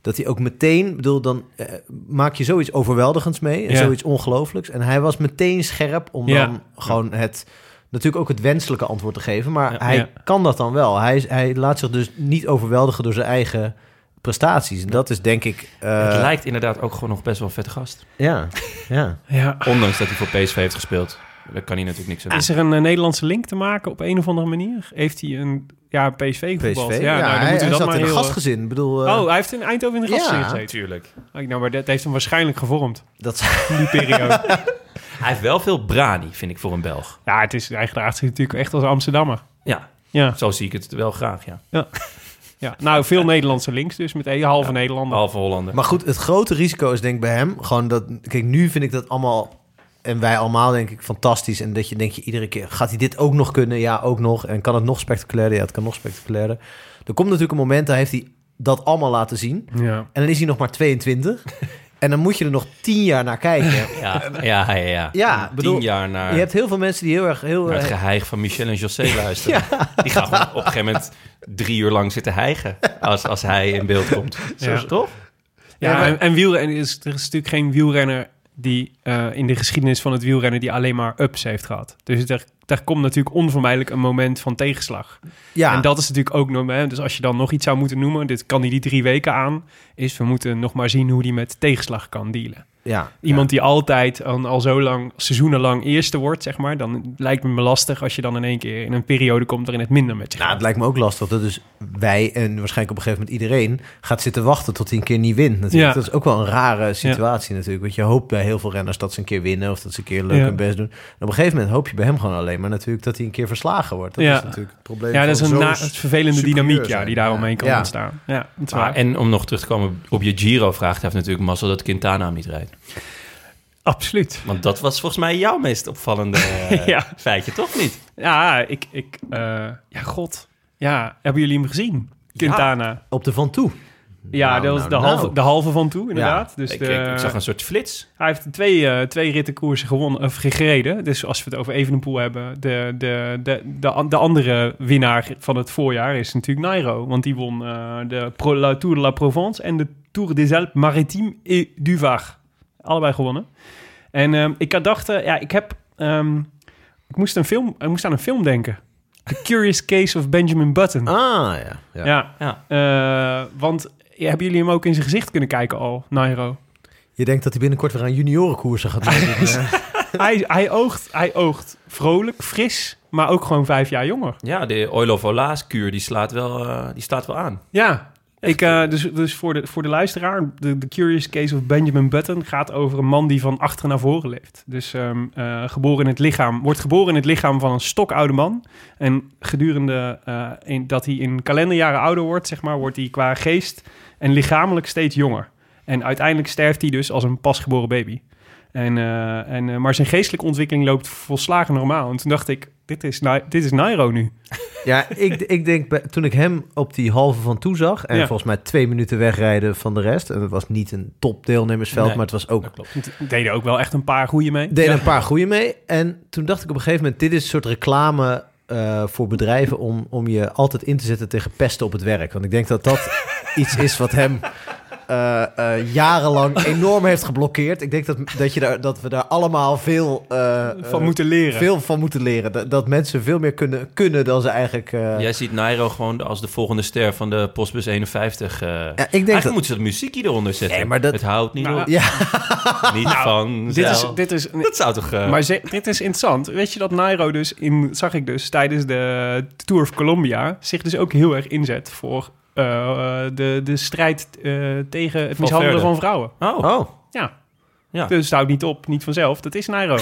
C: dat hij ook meteen, bedoel, dan eh, maak je zoiets overweldigends mee, en
B: Ja.
C: zoiets ongelooflijks. En hij was meteen scherp om
B: Ja.
C: dan gewoon het, natuurlijk ook het wenselijke antwoord te geven, maar
E: Ja.
C: hij
B: Ja.
C: kan dat dan wel. Hij, is- hij laat zich dus niet overweldigen door zijn eigen prestaties. En dat is denk ik... eh,
E: het lijkt inderdaad ook gewoon nog best wel een vette gast.
C: Ja, ja.
B: Ja,
E: Ondanks dat hij voor PSV heeft gespeeld. daar kan hij natuurlijk niks aan doen.
B: Is er een eh, Nederlandse link te maken op een of andere manier? Heeft hij een ja, PSV voetbal?
C: PSV.
B: Ja, nou, dan
C: hij,
B: moeten
C: hij
B: we dat
C: zat
B: maar
C: in een
B: heel, eh,
C: gastgezin. Ik bedoel, eh,
B: Oh, hij heeft in Eindhoven in de gastgezin
C: Ja.
B: gezeten.
E: Natuurlijk.
B: Oh, Nou, maar dat heeft hem waarschijnlijk gevormd,
C: dat,
B: die periode.
E: Hij heeft wel veel brani, vind ik, voor een Belg.
B: ja, het is eigenlijk zich natuurlijk echt als Amsterdammer.
E: Ja,
B: Ja,
E: zo zie ik het wel graag, ja.
B: ja. nou, veel Nederlandse links dus, met een halve Nederlander.
E: Behalve Hollander.
C: maar goed, het grote risico is denk ik bij hem gewoon dat... Kijk, nu vind ik dat allemaal... En wij allemaal denk ik fantastisch. En dat je denk je iedere keer, gaat hij dit ook nog kunnen? Ja, ook nog. En kan het nog spectaculairder? Ja, het kan nog spectaculairder. Er komt natuurlijk een moment, daar heeft hij dat allemaal laten zien.
B: Ja.
C: En dan is hij nog maar 22. en dan moet je er nog 10 jaar naar kijken.
E: Ja, ja, ja. ja.
C: Ja,
E: Tien
C: bedoel,
E: jaar naar,
C: Je hebt heel veel mensen die heel erg... Heel,
E: naar het
C: erg-
E: geheig van Michel en José luisteren. Die gaan gewoon op een gegeven moment drie uur lang zitten hijgen als, als hij in beeld komt.
B: Zo is het
E: toch?
B: Ja,
C: Ja, maar-
B: en, en wielrennen is, er is natuurlijk geen wielrenner die eh, in de geschiedenis van het wielrennen die alleen maar ups heeft gehad. Dus daar, daar komt natuurlijk onvermijdelijk een moment van tegenslag.
C: ja,
B: En dat is natuurlijk ook nog. hè, Dus als je dan nog iets zou moeten noemen, dit kan hij die drie weken aan, is we moeten nog maar zien hoe die met tegenslag kan dealen.
C: ja,
B: Iemand die altijd al, al zo lang, seizoenenlang eerste wordt, zeg maar, dan lijkt me lastig als je dan in één keer in een periode komt waarin het minder met je
C: Nou,
B: gaat.
C: het lijkt me ook lastig dat dus wij en waarschijnlijk op een gegeven moment iedereen gaat zitten wachten tot hij een keer niet wint. Natuurlijk.
B: Ja.
C: Dat is ook wel een rare situatie natuurlijk. Want je hoopt bij heel veel renners dat ze een keer winnen of dat ze een keer leuk
B: Ja.
C: hun best doen. En op een gegeven moment hoop je bij hem gewoon alleen maar natuurlijk dat hij een keer verslagen wordt. Dat
B: Ja.
C: is natuurlijk het probleem.
B: ja, dat is
C: van
B: een
C: zo'n
B: na- vervelende
C: superieur
B: dynamiek ja,
C: zijn.
B: die daar omheen kan
C: Ja.
B: ontstaan. Ja, dat is
E: Maar,
B: waar.
E: en om nog terug te komen op je Giro-vraag, hij heeft natuurlijk mazzel dat Quintana hem niet rijdt.
B: Absoluut.
E: Want dat was volgens mij jouw meest opvallende eh,
B: Ja.
E: feitje, toch niet?
B: Ja, ik... ik eh, ja, god. Ja, hebben jullie hem gezien? Quintana.
C: op de van toe.
B: Ja,
C: Nou,
B: dat was
C: nou,
B: de, halve,
C: nou.
B: de halve van toe, inderdaad. dus
E: ik,
B: de,
E: ik, ik zag een soort flits.
B: Hij heeft twee, eh, twee rittenkoersen gewonnen, of gereden. Dus als we het over Evenepoel hebben, de, de, de, de, an- de andere winnaar van het voorjaar is natuurlijk Nairo. Want die won eh, de Pro, la Tour de la Provence en de Tour des Alpes Maritimes et du Var. Allebei gewonnen. En ehm, ik had dacht, eh, ja, ik heb... ehm, ik, moest een film, ik moest aan een film denken. The Curious Case of Benjamin Button.
C: Ah ja. ja. ja.
B: Ja, eh, want ja, hebben jullie hem ook in zijn gezicht kunnen kijken al, Nairo?
C: Je denkt dat hij binnenkort weer aan juniorenkoersen gaat doen.
B: hij, hij, oogt, hij oogt vrolijk, fris, maar ook gewoon vijf jaar jonger.
E: Ja, de Oilo Olaas-kuur, die, slaat wel, eh, die slaat wel aan.
B: Ja. Ik, eh, dus dus voor, de, voor de luisteraar, de, de Curious Case of Benjamin Button gaat over een man die van achter naar voren leeft. Dus ehm, eh, geboren in het lichaam, wordt geboren in het lichaam van een stokoude man. En gedurende eh, in, dat hij in kalenderjaren ouder wordt, zeg maar, wordt hij qua geest en lichamelijk steeds jonger. En uiteindelijk sterft hij dus als een pasgeboren baby. En, eh, en, eh, maar zijn geestelijke ontwikkeling loopt volslagen normaal. En toen dacht ik, dit is, Nai- dit is Nairo nu.
C: Ja, ik, ik denk bij- toen ik hem op die halve van toe zag... en
B: Ja.
C: volgens mij twee minuten wegrijden van de rest... en het was niet een topdeelnemersveld,
E: Nee.
C: maar het was ook...
E: Dat klopt.
B: Want er Deden ook wel echt een paar goede mee.
C: deden een paar goede mee. En toen dacht ik op een gegeven moment... dit is een soort reclame eh, voor bedrijven... Om, om je altijd in te zetten tegen pesten op het werk. Want ik denk dat dat iets is wat hem... eh, eh, jarenlang enorm heeft geblokkeerd. Ik denk dat, dat, je daar, dat we daar allemaal veel, eh,
B: van
C: eh,
B: moeten leren.
C: veel van moeten leren. Dat, dat mensen veel meer kunnen, kunnen dan ze eigenlijk... eh,
E: Jij ziet Nairo gewoon als de volgende ster van de Postbus 51. eh.
C: ja, ik denk
E: Eigenlijk
C: dat,
E: moeten ze dat muziekje eronder zetten.
C: Nee, maar dat-
E: Het houdt niet
B: Nou,
E: op.
C: ja.
E: Niet van
B: Dit is,
E: zelf.
B: dit is,
E: Dat zou toch... eh,
B: maar ze- dit is interessant. Weet je dat Nairo dus, in, zag ik dus tijdens de Tour of Colombia, zich dus ook heel erg inzet voor eh, eh, de, de strijd eh, tegen het mishandelen
E: verder.
B: van vrouwen.
E: Oh,
C: Oh,
B: Ja.
E: Ja.
B: Dus het houdt niet op, niet vanzelf. Dat is Nairo.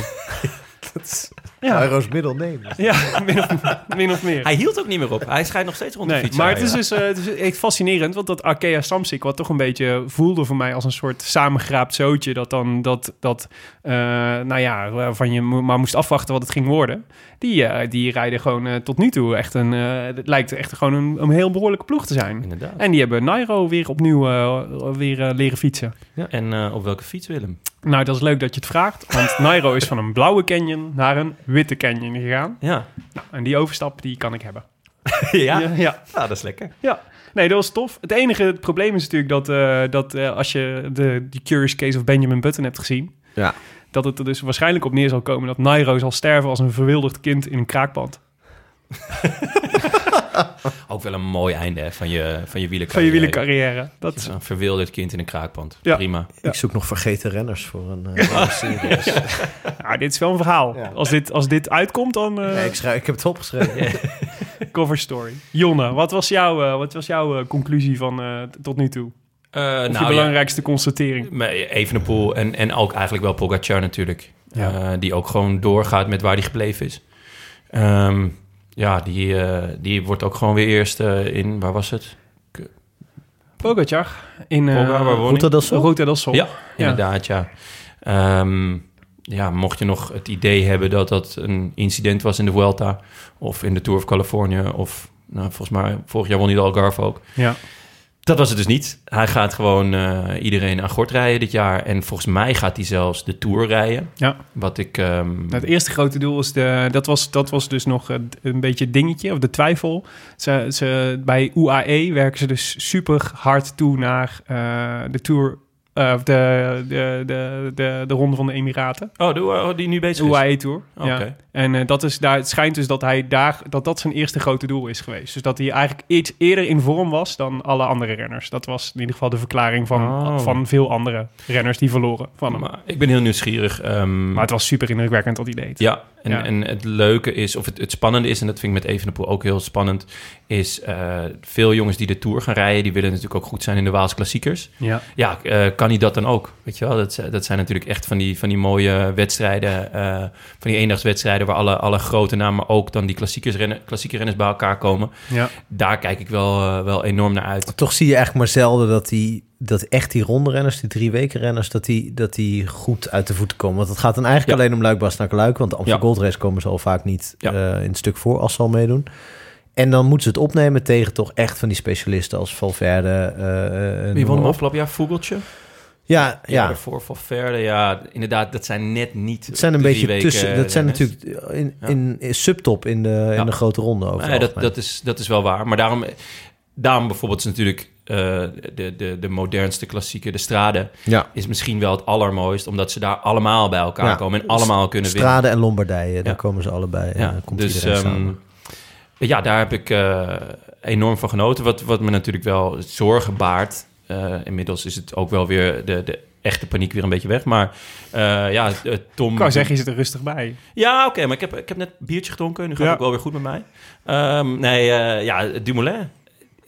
B: Ja.
C: Nairo's middelneem.
B: ja, min of, min of meer.
E: hij hield ook niet meer op. Hij schijnt nog steeds rond de
B: Nee,
E: fiets.
B: maar het is dus eh, het is echt fascinerend, want dat Arkea Samsic, wat toch een beetje voelde voor mij als een soort samengeraapt zootje, dat dan dat, dat eh, nou ja, waarvan je mo- maar moest afwachten wat het ging worden, die, eh, die rijden gewoon eh, tot nu toe echt een, eh, het lijkt echt gewoon een, een heel behoorlijke ploeg te zijn.
E: Inderdaad.
B: En die hebben Nairo weer opnieuw eh, weer eh, leren fietsen.
E: En eh, op welke fiets, Willem?
B: Nou, dat is leuk dat je het vraagt, want Nairo is van een blauwe canyon naar een witte canyon gegaan.
E: Ja.
B: Nou, en die overstap, die kan ik hebben.
E: ja.
B: ja.
E: ja.
B: ja.
E: dat is lekker.
B: Ja, nee, dat was tof. Het enige het probleem is natuurlijk dat, eh, dat eh, als je de, die Curious Case of Benjamin Button hebt gezien...
C: Ja.
B: dat het er dus waarschijnlijk op neer zal komen dat Nairo zal sterven als een verwilderd kind in een kraakpand.
E: Ook wel een mooi einde hè, van je, van je wielencarrière.
B: Van je wielencarrière.
E: Het is
B: Dat,
E: Een verwilderd kind in een kraakpand.
B: Ja.
E: Prima.
B: Ja.
C: Ik zoek nog vergeten renners voor een eh, serie.
B: nou, dit is wel een verhaal.
C: Ja.
B: Als, dit, als dit uitkomt, dan eh,
C: Nee, ik, schrijf, ik heb het opgeschreven.
B: cover story. Jonne, wat was jouw, eh, wat was jouw eh, conclusie van eh, t- tot nu toe?
E: Eh,
B: Of
E: nou,
B: je
E: ja.
B: belangrijkste constatering?
E: Maar Evenepoel en, en ook eigenlijk wel Pogacar natuurlijk.
B: Ja.
E: Eh, die ook gewoon doorgaat met waar hij gebleven is. Ehm, ja, die, eh, die wordt ook gewoon weer eerst eh, in... Waar was het?
B: Pogacar in eh,
E: Pogacar, waar won
C: Moet dat dan zo?
B: Ruta del Sol.
E: Ja, inderdaad, ja. Ehm, ja, mocht je nog het idee hebben dat dat een incident was in de Vuelta... of in de Tour of California of... Nou, volgens mij, vorig jaar won hij de Algarve ook.
B: Ja.
E: Dat was het dus niet. Hij gaat gewoon eh, iedereen aan gort rijden dit jaar. En volgens mij gaat hij zelfs de Tour rijden.
B: Ja.
E: Wat ik... ehm,
B: Nou, het eerste grote doel is de, dat, was, dat was dus nog eh, een beetje het dingetje, of de twijfel. Ze, ze, bij UAE werken ze dus super hard toe naar eh, de Tour, eh, of de, de, de, de, de Ronde van de Emiraten.
E: Oh, de, oh, die nu
B: De
E: bezig is.
B: UAE Tour.
E: Oké.
B: Ja. En eh, dat is, daar, het schijnt dus dat, hij daar, dat dat zijn eerste grote doel is geweest. Dus dat hij eigenlijk iets eerder in vorm was dan alle andere renners. Dat was in ieder geval de verklaring van,
E: Oh.
B: van veel andere renners die verloren van hem. Maar,
E: Maar ik ben heel nieuwsgierig. ehm,
B: het was super indrukwekkend dat hij deed.
E: ja, en,
B: Ja.
E: en het leuke is, of het, het spannende is, en dat vind ik met Evenepoel ook heel spannend, is eh, veel jongens die de Tour gaan rijden, die willen natuurlijk ook goed zijn in de Waals klassiekers.
B: ja.
E: Ja, eh, kan hij dat dan ook? Weet je wel, dat, dat zijn natuurlijk echt van die, van die mooie wedstrijden, eh, van die eendagswedstrijden waar alle, alle grote namen, maar ook dan die klassiekers rennen, klassieke renners bij elkaar komen.
B: ja.
E: Daar kijk ik wel, eh, wel enorm naar uit.
C: Toch zie je eigenlijk maar zelden dat, die, dat echt die rondrenners, die drie weken renners, dat die, dat die goed uit de voeten komen. Want het gaat dan eigenlijk
E: Ja.
C: alleen om Luik Bas naar Luik, want de Amsterdam
E: Ja.
C: Gold Race komen ze al vaak niet
E: Ja.
C: eh, in het stuk voor als ze al meedoen. En dan moeten ze het opnemen tegen toch echt van die specialisten als Valverde. eh, eh,
E: Wie won
C: noem
E: hem
C: maar op.
E: afgelopen jaar? Vogeltje?
C: Ja,
E: Ja,
C: ja.
E: daarvoor van Verde, ja, inderdaad, dat zijn net niet.
C: Het zijn een
E: drie
C: beetje
E: weken
C: tussen. Dat zijn
E: renners.
C: natuurlijk in, in, in subtop in de,
E: Ja.
C: in de grote ronde over.
E: Nee,
C: het
E: dat,
C: algemeen.
E: dat, is, dat is wel waar. Maar daarom, eh, daarom bijvoorbeeld is natuurlijk eh, de, de, de modernste klassieke, de Strade,
C: ja.
E: is misschien wel het allermooist, omdat ze daar allemaal bij elkaar
C: Ja.
E: komen en allemaal kunnen winnen.
C: Strade en Lombardije, daar
E: Ja.
C: komen ze allebei. en
E: Ja,
C: dan komt
E: dus
C: iedereen
E: ehm,
C: samen.
E: ja, daar heb ik eh, enorm van genoten. Wat, wat me natuurlijk wel zorgen baart. eh, inmiddels is het ook wel weer de, de echte paniek weer een beetje weg. Maar eh, ja, eh, Tom.
B: Ik wou zeggen, je zit er rustig bij.
E: Ja, oké, maar ik heb, ik heb net een biertje gedronken. Nu gaat
B: Ja.
E: het ook wel weer goed met mij. Ehm, nee, eh, ja, Dumoulin.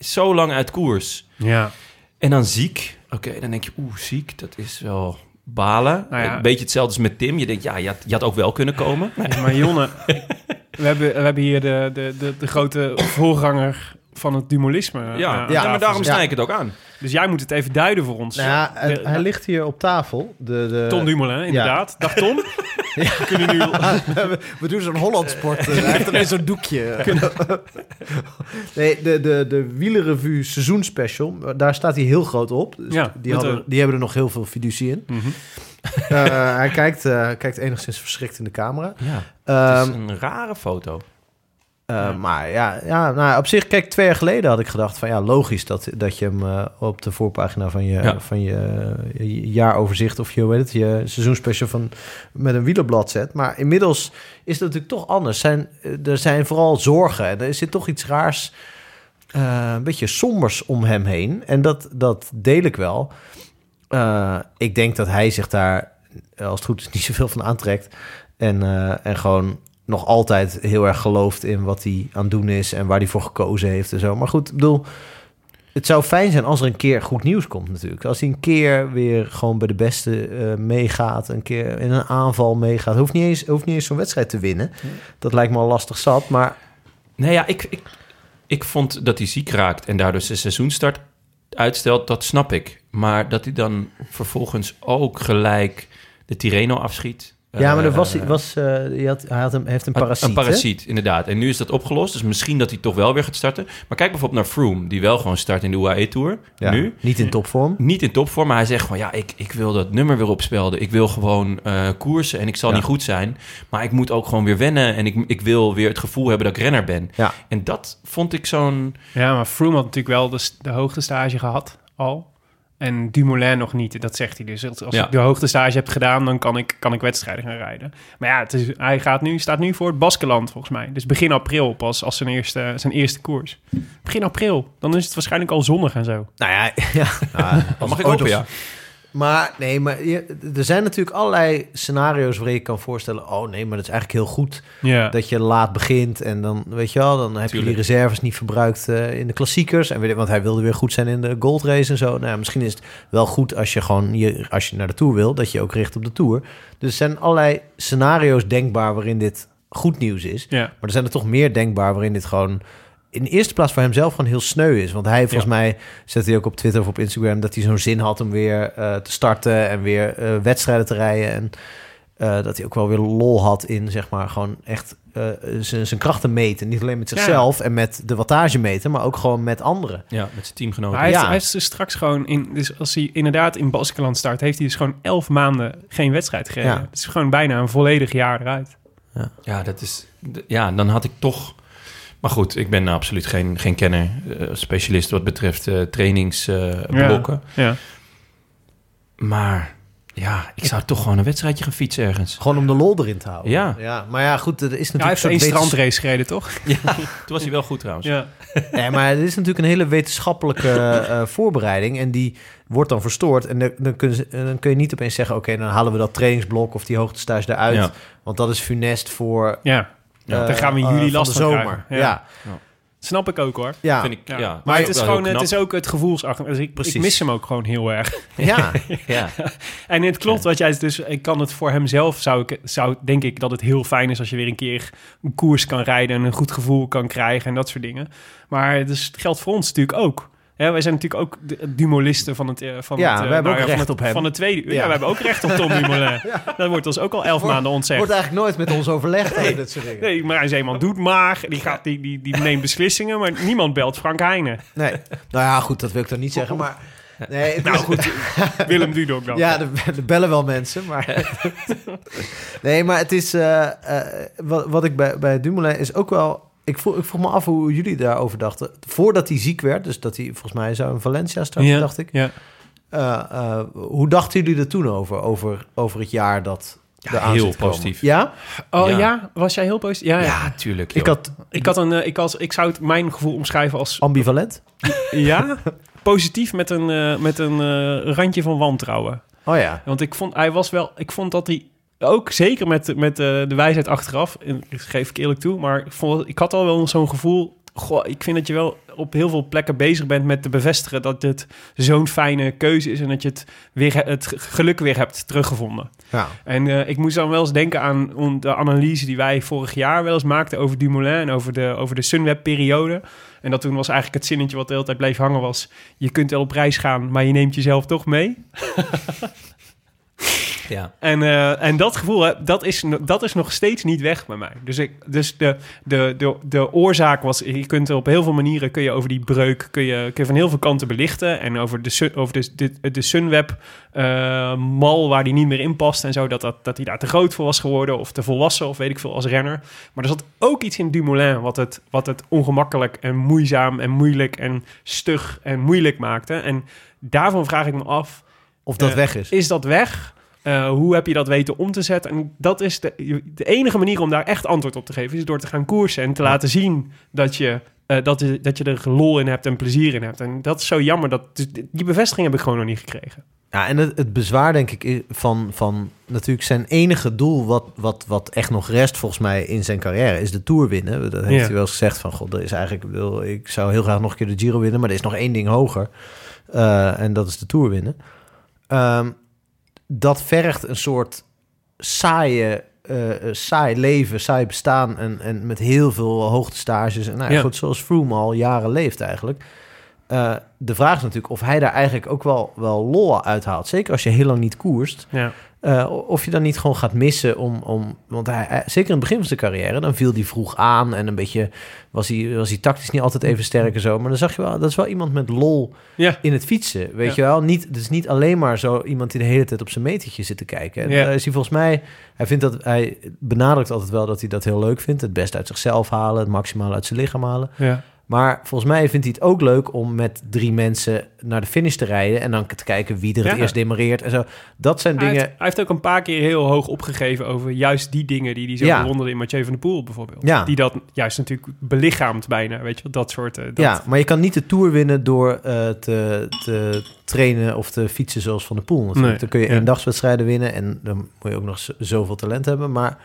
E: Zo lang uit koers.
B: Ja.
E: En dan ziek. Oké, dan denk je, oeh, ziek, dat is wel balen.
B: Nou ja.
E: Een beetje hetzelfde als met Tim. Je denkt, ja, je had, je had ook wel kunnen komen.
B: Maar Jonne, we hebben, we hebben hier de, de, de, de grote voorganger van het dualisme. eh, aan
E: ja,
B: tafel
E: maar daarom
B: zitten.
E: snij ik het ook aan.
B: Dus jij moet het even duiden voor ons.
C: Nou eh, ja, hij,
B: de-
C: hij ligt hier op tafel. De, de,
B: Tom Dumoulin, inderdaad. Dag Tom. We kunnen nu...
C: we, we doen zo'n Hollandsport. eh, Hij heeft alleen zo'n doekje. nee, de, de, de wielerrevue seizoensspecial, daar staat hij heel groot op. Dus
B: Ja,
C: die,
B: met
C: hadden,
B: de-
C: die hebben er nog heel veel fiducie in.
B: Mhm.
C: Eh, hij kijkt, eh, hij kijkt enigszins verschrikt in de camera.
E: Ja,
C: Ehm,
E: het is een rare foto.
C: Eh, Maar ja, ja nou, op zich, kijk, twee jaar geleden had ik gedacht van ja, logisch dat, dat je hem eh, op de voorpagina van je,
E: Ja.
C: van je, eh, je jaaroverzicht of je, hoe heet het, je seizoensspecial van, met een wielerblad zet. Maar inmiddels is dat natuurlijk toch anders. Zijn, eh, er zijn vooral zorgen en er zit toch iets raars, eh, een beetje sombers om hem heen. En dat, dat deel ik wel. Eh, ik denk dat hij zich daar, eh, als het goed is, niet zoveel van aantrekt. En, eh, en gewoon nog altijd heel erg gelooft in wat hij aan het doen is en waar hij voor gekozen heeft en zo. Maar goed, ik bedoel, het zou fijn zijn als er een keer goed nieuws komt natuurlijk. Als hij een keer weer gewoon bij de beste eh, meegaat, een keer in een aanval meegaat. Hoeft niet eens, hoeft niet eens zo'n wedstrijd te winnen. Dat lijkt me al lastig zat, maar
E: Nee, ja, ik, ik, ik vond dat hij ziek raakt en daardoor zijn seizoenstart uitstelt, dat snap ik. Maar dat hij dan vervolgens ook gelijk de Tireno afschiet.
C: ja, maar er
E: eh,
C: was, was, eh, hij, had, hij had hem, heeft een
E: had-
C: parasiet.
E: Een
C: hè?
E: parasiet, inderdaad. En nu is dat opgelost, dus misschien dat hij toch wel weer gaat starten. Maar kijk bijvoorbeeld naar Froome, die wel gewoon start in de UAE-tour.
C: Ja,
E: Nu.
C: Niet in topvorm.
E: Niet in topvorm, maar hij zegt gewoon... ja, ik, ik wil dat nummer weer opspelden. Ik wil gewoon eh, koersen en ik zal
C: Ja.
E: niet goed zijn. Maar ik moet ook gewoon weer wennen... en ik, ik wil weer het gevoel hebben dat ik renner ben.
C: Ja.
E: En dat vond ik zo'n...
B: Ja, maar Froome had natuurlijk wel de, s- de hoogtestage gehad al. En Dumoulin nog niet, dat zegt hij dus. Als als
E: Ja.
B: ik de hoogtestage heb gedaan, dan kan ik, kan ik wedstrijden gaan rijden. Maar ja, het is, hij gaat nu, staat nu voor het Baskeland volgens mij. Dus begin april pas als zijn eerste, zijn eerste koers. Begin april, dan is het waarschijnlijk al zonnig en zo.
C: Nou ja, ja.
E: Dat mag ik hopen, ja.
C: Maar nee, maar je- er zijn natuurlijk allerlei scenario's waarin je kan voorstellen... oh nee, maar dat is eigenlijk heel goed
B: Ja,
C: dat je laat begint... en dan, weet je wel, dan heb je
E: Tuurlijk.
C: die reserves niet verbruikt eh, in de klassiekers. En weet ik- want hij wilde weer goed zijn in de goldrace en zo. Nou, ja, misschien is het wel goed als je gewoon je, als je naar de Tour wil... dat je je ook richt op de Tour. Dus er zijn allerlei scenario's denkbaar waarin dit goed nieuws is.
B: ja.
C: Maar er zijn er toch meer denkbaar waarin dit gewoon... in de eerste plaats voor hemzelf gewoon heel sneu is. Want hij, volgens mij, zette hij ook op Twitter of op Instagram... dat hij zo'n zin had om weer eh, te starten en weer eh, wedstrijden te rijden. En eh, dat hij ook wel weer lol had in, zeg maar, gewoon echt eh, zijn zijn krachten meten. Niet alleen met zichzelf en met de wattage meten... maar ook gewoon met anderen.
E: Ja, met zijn teamgenoten.
B: Maar hij,
C: Ja.
B: heeft, hij heeft dus straks gewoon, in, dus als hij inderdaad in Baskeland start, heeft hij dus gewoon elf maanden geen wedstrijd gereden.
C: Ja.
B: Het is gewoon bijna een volledig jaar eruit.
E: Ja, dat is, d- ja, dan had ik toch... Maar goed, ik ben absoluut geen, geen kenner, eh, specialist wat betreft eh, trainingsblokken.
B: Ja.
E: Maar ja, ik zou toch gewoon een wedstrijdje gaan fietsen ergens.
C: Gewoon om de lol erin te houden.
E: Ja.
C: ja maar ja, goed, er is natuurlijk
B: Hij heeft
C: een
B: één
C: soort wetens-
B: strandrace gereden, toch?
E: Toen was hij wel goed trouwens.
B: Ja.
C: Nee, maar het is natuurlijk een hele wetenschappelijke eh, voorbereiding. En die wordt dan verstoord. En dan, dan, kun, je, dan kun je niet opeens zeggen... oké, dan halen we dat trainingsblok of die hoogtestage eruit.
E: Ja.
C: Want dat is funest voor...
B: ja.
C: eh,
B: daar gaan we in
C: eh,
B: juli
C: van
B: last
C: de
B: van
C: zomer.
B: krijgen.
C: Ja,
B: Ja.
C: ja.
B: Snap ik ook hoor.
C: ja.
E: Vind ik, ja.
B: Maar, het, is gewoon, het is
E: ook...
B: ook het gevoelsachtig. Dus ik, ik
C: Precies.
B: mis hem ook gewoon heel erg.
E: Ja.
B: En het klopt wat jij dus... Ik kan het voor hemzelf, zou ik, zou, denk ik, dat het heel fijn is... als je weer een keer een koers kan rijden... en een goed gevoel kan krijgen en dat soort dingen. Maar het is- het geldt voor ons natuurlijk ook. Hè, wij zijn natuurlijk ook de- dumolisten van het... eh, Van
C: Ja,
B: het, eh,
C: wij hebben ook
B: van
C: recht
B: het-
C: op hem.
B: Van het tweede uur.
C: Ja.
B: Ja, wij hebben ook recht op Tom Dumoulin. Dat wordt ons ook al elf
C: Wordt-
B: maanden ontzegd.
C: Wordt eigenlijk nooit met ons overlegd over dit soort dingen.
B: Nee, maar als iemand doet maar, die, gaat, die, die, die neemt beslissingen, maar niemand belt Frank Heijnen.
C: Nee. Nou ja, goed, dat wil ik dan niet zeggen, maar... Nee,
B: Nou,
C: het is-
B: Willem Dudok dan.
C: Ja, er, er bellen wel mensen, maar... nee, maar het is... eh, eh, wat, wat ik bij, bij Dumoulin is ook wel... Ik vroeg, ik vroeg me af hoe jullie daarover dachten. Voordat hij ziek werd, dus dat hij volgens mij zou in Valencia starten, dacht ik.
B: Ja.
C: Eh, eh, hoe dachten jullie er toen over, over, over het jaar dat de aan
E: heel
C: zit te komen?
E: positief.
C: Ja?
B: Oh
E: Ja.
B: ja. was jij heel positief? Ja, ja.
E: Ja, tuurlijk.
C: Ik
E: joh.
C: had
B: Ik, had een, eh, ik, als, ik zou het mijn gevoel omschrijven als
C: ambivalent.
B: ja, positief met een, eh, met een eh, randje van wantrouwen.
C: Oh ja.
B: Want ik vond, hij was wel, ik vond dat hij ook zeker met, met eh, de wijsheid achteraf, en dat geef ik eerlijk toe, maar ik, vond, ik had al wel zo'n gevoel. Goh, ik vind dat je wel op heel veel plekken bezig bent met te bevestigen dat dit zo'n fijne keuze is en dat je het, weer, he- het geluk weer hebt teruggevonden.
C: Ja.
B: En eh, ik moest dan wel eens denken aan on- de analyse die wij vorig jaar wel eens maakten over Dumoulin en over de, over de Sunweb-periode. En dat toen was eigenlijk het zinnetje wat de hele tijd bleef hangen was... je kunt wel op reis gaan, maar je neemt jezelf toch mee.
E: Ja.
B: En, eh, en dat gevoel, hè, dat, is, no- dat is nog steeds niet weg bij mij. Dus, ik, dus de, de, de, de oorzaak was, je kunt er op heel veel manieren kun je over die breuk, kun je, kun je van heel veel kanten belichten. En over de, sun- over de, de, de Sunweb eh, mal waar die niet meer in past en zo, dat, dat, dat hij daar te groot voor was geworden of te volwassen of weet ik veel als renner. Maar er zat ook iets in Dumoulin wat het, wat het ongemakkelijk en moeizaam en moeilijk en stug en moeilijk maakte. En daarvan vraag ik me af,
C: Of dat
B: Eh,
C: weg is.
B: is dat weg? Eh, hoe heb je dat weten om te zetten? En dat is de, de enige manier om daar echt antwoord op te geven, is door te gaan koersen en te laten zien dat je, eh, dat, je- dat je er lol in hebt en plezier in hebt. En dat is zo jammer. Dat, dus die bevestiging heb ik gewoon nog niet gekregen.
C: Ja, en het, het bezwaar, denk ik, i- van, van natuurlijk zijn enige doel, wat, wat, wat echt nog rest volgens mij in zijn carrière, is de Tour winnen. Dat heeft
B: Ja.
C: hij wel eens gezegd van, god, dat is eigenlijk, ik, bedoel, ik zou heel graag nog een keer de Giro winnen, maar er is nog één ding hoger. Eh, en dat is de Tour winnen. Ehm, dat vergt een soort saaie, eh, eh, saai leven, saai bestaan en, en met heel veel hoogtestages. En nou, ja.
B: Ja.
C: goed, zoals Froome al jaren leeft eigenlijk. Eh, de vraag is natuurlijk of hij daar eigenlijk ook wel, wel lol uit haalt. Zeker als je heel lang niet koerst.
B: Ja.
C: Eh, of je dan niet gewoon gaat missen om... om want hij, hij- zeker in het begin van zijn carrière, dan viel hij vroeg aan... en een beetje was hij, was hij tactisch niet altijd even sterk en zo. Maar dan zag je wel, dat is wel iemand met lol
B: Ja.
C: in het fietsen, weet
B: Ja.
C: je wel. Niet, dus niet alleen maar zo iemand die de hele tijd op zijn metertje zit te kijken. En
B: Ja.
C: daar is hij volgens mij... Hij, vindt dat, hij benadrukt altijd wel dat hij dat heel leuk vindt. Het best uit zichzelf halen, het maximale uit zijn lichaam halen.
B: ja.
C: Maar volgens mij vindt hij het ook leuk om met drie mensen naar de finish te rijden. En dan te kijken wie er het
B: Ja.
C: eerst demareert en zo. Dat zijn
B: Hij,
C: dingen.
B: heeft, hij heeft ook een paar keer heel hoog opgegeven over juist die dingen die hij zo
C: Ja.
B: bewonderde in Mathieu van der Poel bijvoorbeeld.
C: Ja.
B: Die dat juist natuurlijk belichaamt bijna, weet je wel, dat soort... eh, dat,
C: Ja, maar je kan niet de Tour winnen door eh, te, te trainen of te fietsen zoals Van de Poel. natuurlijk.
B: Nee,
C: dan kun je
B: ja.
C: eendagswedstrijden winnen en dan moet je ook nog z- zoveel talent hebben. Maar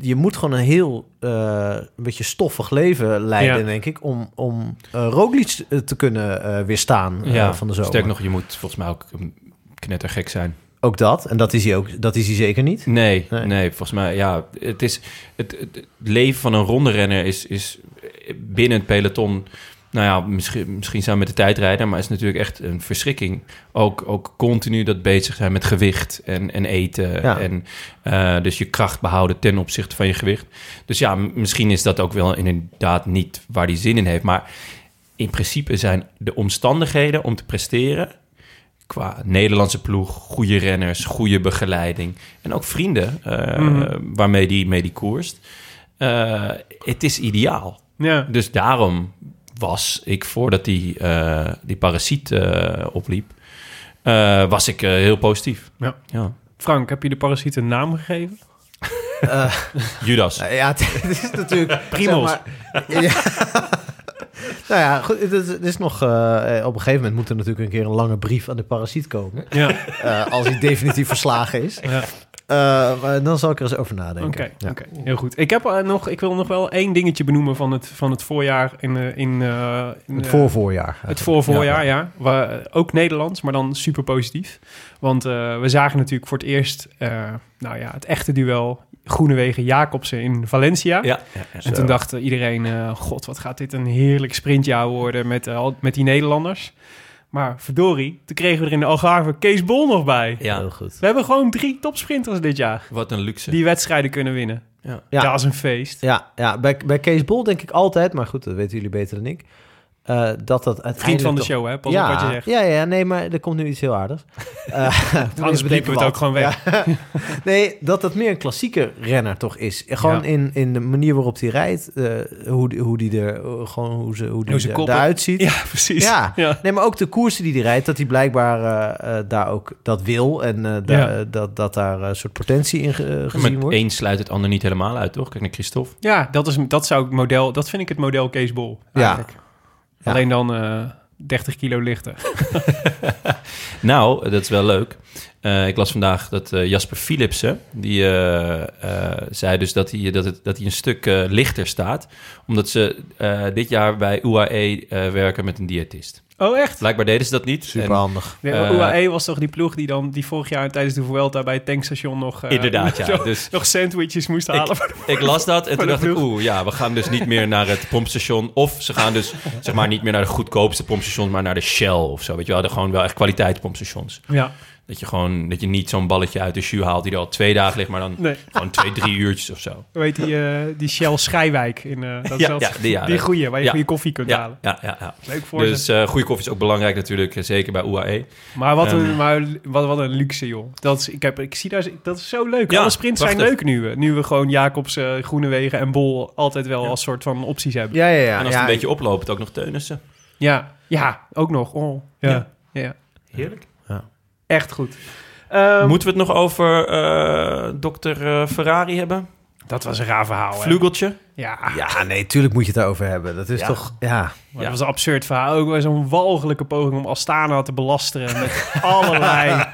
C: je moet gewoon een heel eh, een beetje stoffig leven leiden,
B: Ja.
C: denk ik, om, om eh, Roglic te kunnen eh, weerstaan eh, van de zomer.
E: Sterk nog, je moet volgens mij ook een knettergek zijn.
C: Ook dat, en dat is hij, ook, dat is hij zeker niet.
E: Nee,
C: Nee.
E: nee, volgens mij, ja, het is het, het- het leven van een ronderenner is, is binnen het peloton. Nou ja, misschien, misschien samen met de tijdrijder, maar is natuurlijk echt een verschrikking. Ook, ook continu dat bezig zijn met gewicht en, en eten.
C: Ja.
E: En eh, dus je kracht behouden ten opzichte van je gewicht. Dus ja, m- misschien is dat ook wel inderdaad niet waar hij zin in heeft. Maar in principe zijn de omstandigheden om te presteren qua Nederlandse ploeg, goede renners, goede begeleiding en ook vrienden eh,
B: Mhm.
E: waarmee die, mee die koerst. Eh, het is ideaal.
B: Ja.
E: Dus daarom was ik, voordat die, eh, die parasiet eh, opliep, eh, was ik eh, heel positief.
B: Ja.
E: Ja.
B: Frank, heb je de parasiet een naam gegeven?
E: Judas.
C: Nou ja, het is natuurlijk...
B: Primos.
C: zeg maar- ja. nou ja, goed, het is, het is nog... eh, op een gegeven moment moet er natuurlijk een keer een lange brief aan de parasiet komen.
B: Ja,
C: Eh, als hij definitief verslagen is.
B: Ja.
C: Eh, maar dan zal ik er eens over nadenken.
B: oké,
C: Ja.
B: oké. heel goed. Ik, heb, eh, nog, ik wil nog wel één dingetje benoemen van het, van het voorjaar in... eh, in, eh, in
C: Het
B: eh,
C: voorvoorjaar.
B: Het voorvoorjaar, ja. Wa- eh, ook Nederlands, maar dan super positief. Want eh, we zagen natuurlijk voor het eerst eh, nou ja, het echte duel Groenewegen-Jacobsen in Valencia.
E: Ja.
B: En toen dacht eh, iedereen, eh, god, wat gaat dit een heerlijk sprintjaar worden met, eh, al- met die Nederlanders. Maar verdorie, toen kregen we er in de Algarve Kees Bol nog bij.
C: Ja.
E: Ja,
C: Heel goed.
B: We hebben gewoon drie topsprinters dit jaar
E: wat een luxe.
B: die wedstrijden kunnen winnen.
E: Ja.
C: Ja.
B: Dat is een feest.
C: Ja, ja bij, bij Kees Bol denk ik altijd, maar goed, dat weten jullie beter dan ik, eh, dat dat uiteindelijk...
B: Vriend van de
C: toch-
B: show, hè? Pas op
C: ja,
B: wat je zegt.
C: ja, ja, nee, maar er komt nu iets heel aardigs. Eh,
B: Anders bliepen we het ook gewoon weg.
C: Nee, dat dat meer een klassieke renner toch is. Gewoon
B: Ja.
C: in, in de manier waarop hij rijdt, eh, hoe, die- hoe die er eh, gewoon hoe ze, hoe die
B: Hoe ze
C: er-
B: koppen.
C: eruit ziet.
B: Ja, precies.
C: Ja.
B: Ja.
C: Nee, maar ook de koersen die hij rijdt, dat hij blijkbaar eh, eh, daar ook dat wil en eh, da-
B: Ja.
C: dat, dat daar een soort potentie in ge- eh, gezien
E: maar
C: wordt.
E: één sluit het ander niet helemaal uit, toch? Kijk naar Christophe.
B: Ja, dat, is, dat zou ik model, dat vind ik het model Kees Bol.
C: Ja.
B: Eigenlijk.
C: Ja.
B: Alleen dan eh 30 kilo lichter.
E: Nou, dat is wel leuk. Eh, ik las vandaag dat eh, Jasper Philipsen, die eh, eh, zei dus dat hij, dat, het, dat hij een stuk eh, lichter staat. Omdat ze eh, dit jaar bij UAE eh, werken met een diëtist.
B: Oh, echt?
E: Blijkbaar deden ze dat niet.
C: Super
E: En-
C: handig.
B: De
E: Eh,
B: UAE was toch die ploeg die dan die vorig jaar tijdens de Vuelta bij het tankstation nog, eh,
E: Inderdaad, ja.
B: nog,
E: Dus-
B: nog sandwiches moest halen.
E: ik, ik las dat en
B: Voor
E: toen
B: de
E: dacht ik,
B: ploeg.
E: oeh, ja, we gaan dus niet meer naar het pompstation. Of ze gaan dus, zeg maar, niet meer naar de goedkoopste pompstation, maar naar de Shell of zo. Weet je wel, de- gewoon wel echt kwaliteitspompstations.
B: Ja,
E: Dat je gewoon, dat je niet zo'n balletje uit de shoe haalt die er al twee dagen ligt, maar dan
B: nee.
E: gewoon twee, drie uurtjes of zo.
B: Hoe heet die, eh, die Shell Schijwijk? In, eh, dat is
E: Ja,
B: dat-
E: ja, die, ja,
B: die
E: dat-
B: goeie, waar je
E: ja.
B: goede koffie kunt halen.
E: ja, ja, ja.
B: Leuk voor ze.
E: Dus eh, goede koffie is ook belangrijk natuurlijk, eh, zeker bij UAE.
B: Maar wat een,
E: Ehm.
B: maar wat, wat een luxe, joh. Dat is, ik, heb, ik zie daar, dat is zo leuk.
E: Ja,
B: Alle sprints zijn leuk
E: prachtig.
B: nu. eh, Nu we gewoon Jacobs, eh, Groenewegen en Bol altijd wel als soort van opties hebben.
C: Ja, ja, ja.
E: en als
C: ja,
E: het een beetje oploopt, ook nog Teunissen.
B: Ja, ja, ook nog. Oh, ja. Ja.
E: Ja. Heerlijk.
B: echt goed. Ehm,
E: Moeten we het nog over eh dokter eh, Ferrari hebben?
B: dat was een raar verhaal. hè?
E: Vlugeltje?
B: Ja,
C: Ja, nee, tuurlijk moet je het daarover hebben. Dat is
E: Ja.
C: toch, ja.
B: maar dat was een absurd verhaal. Ook weer zo'n walgelijke poging om Astana te belasteren met allerlei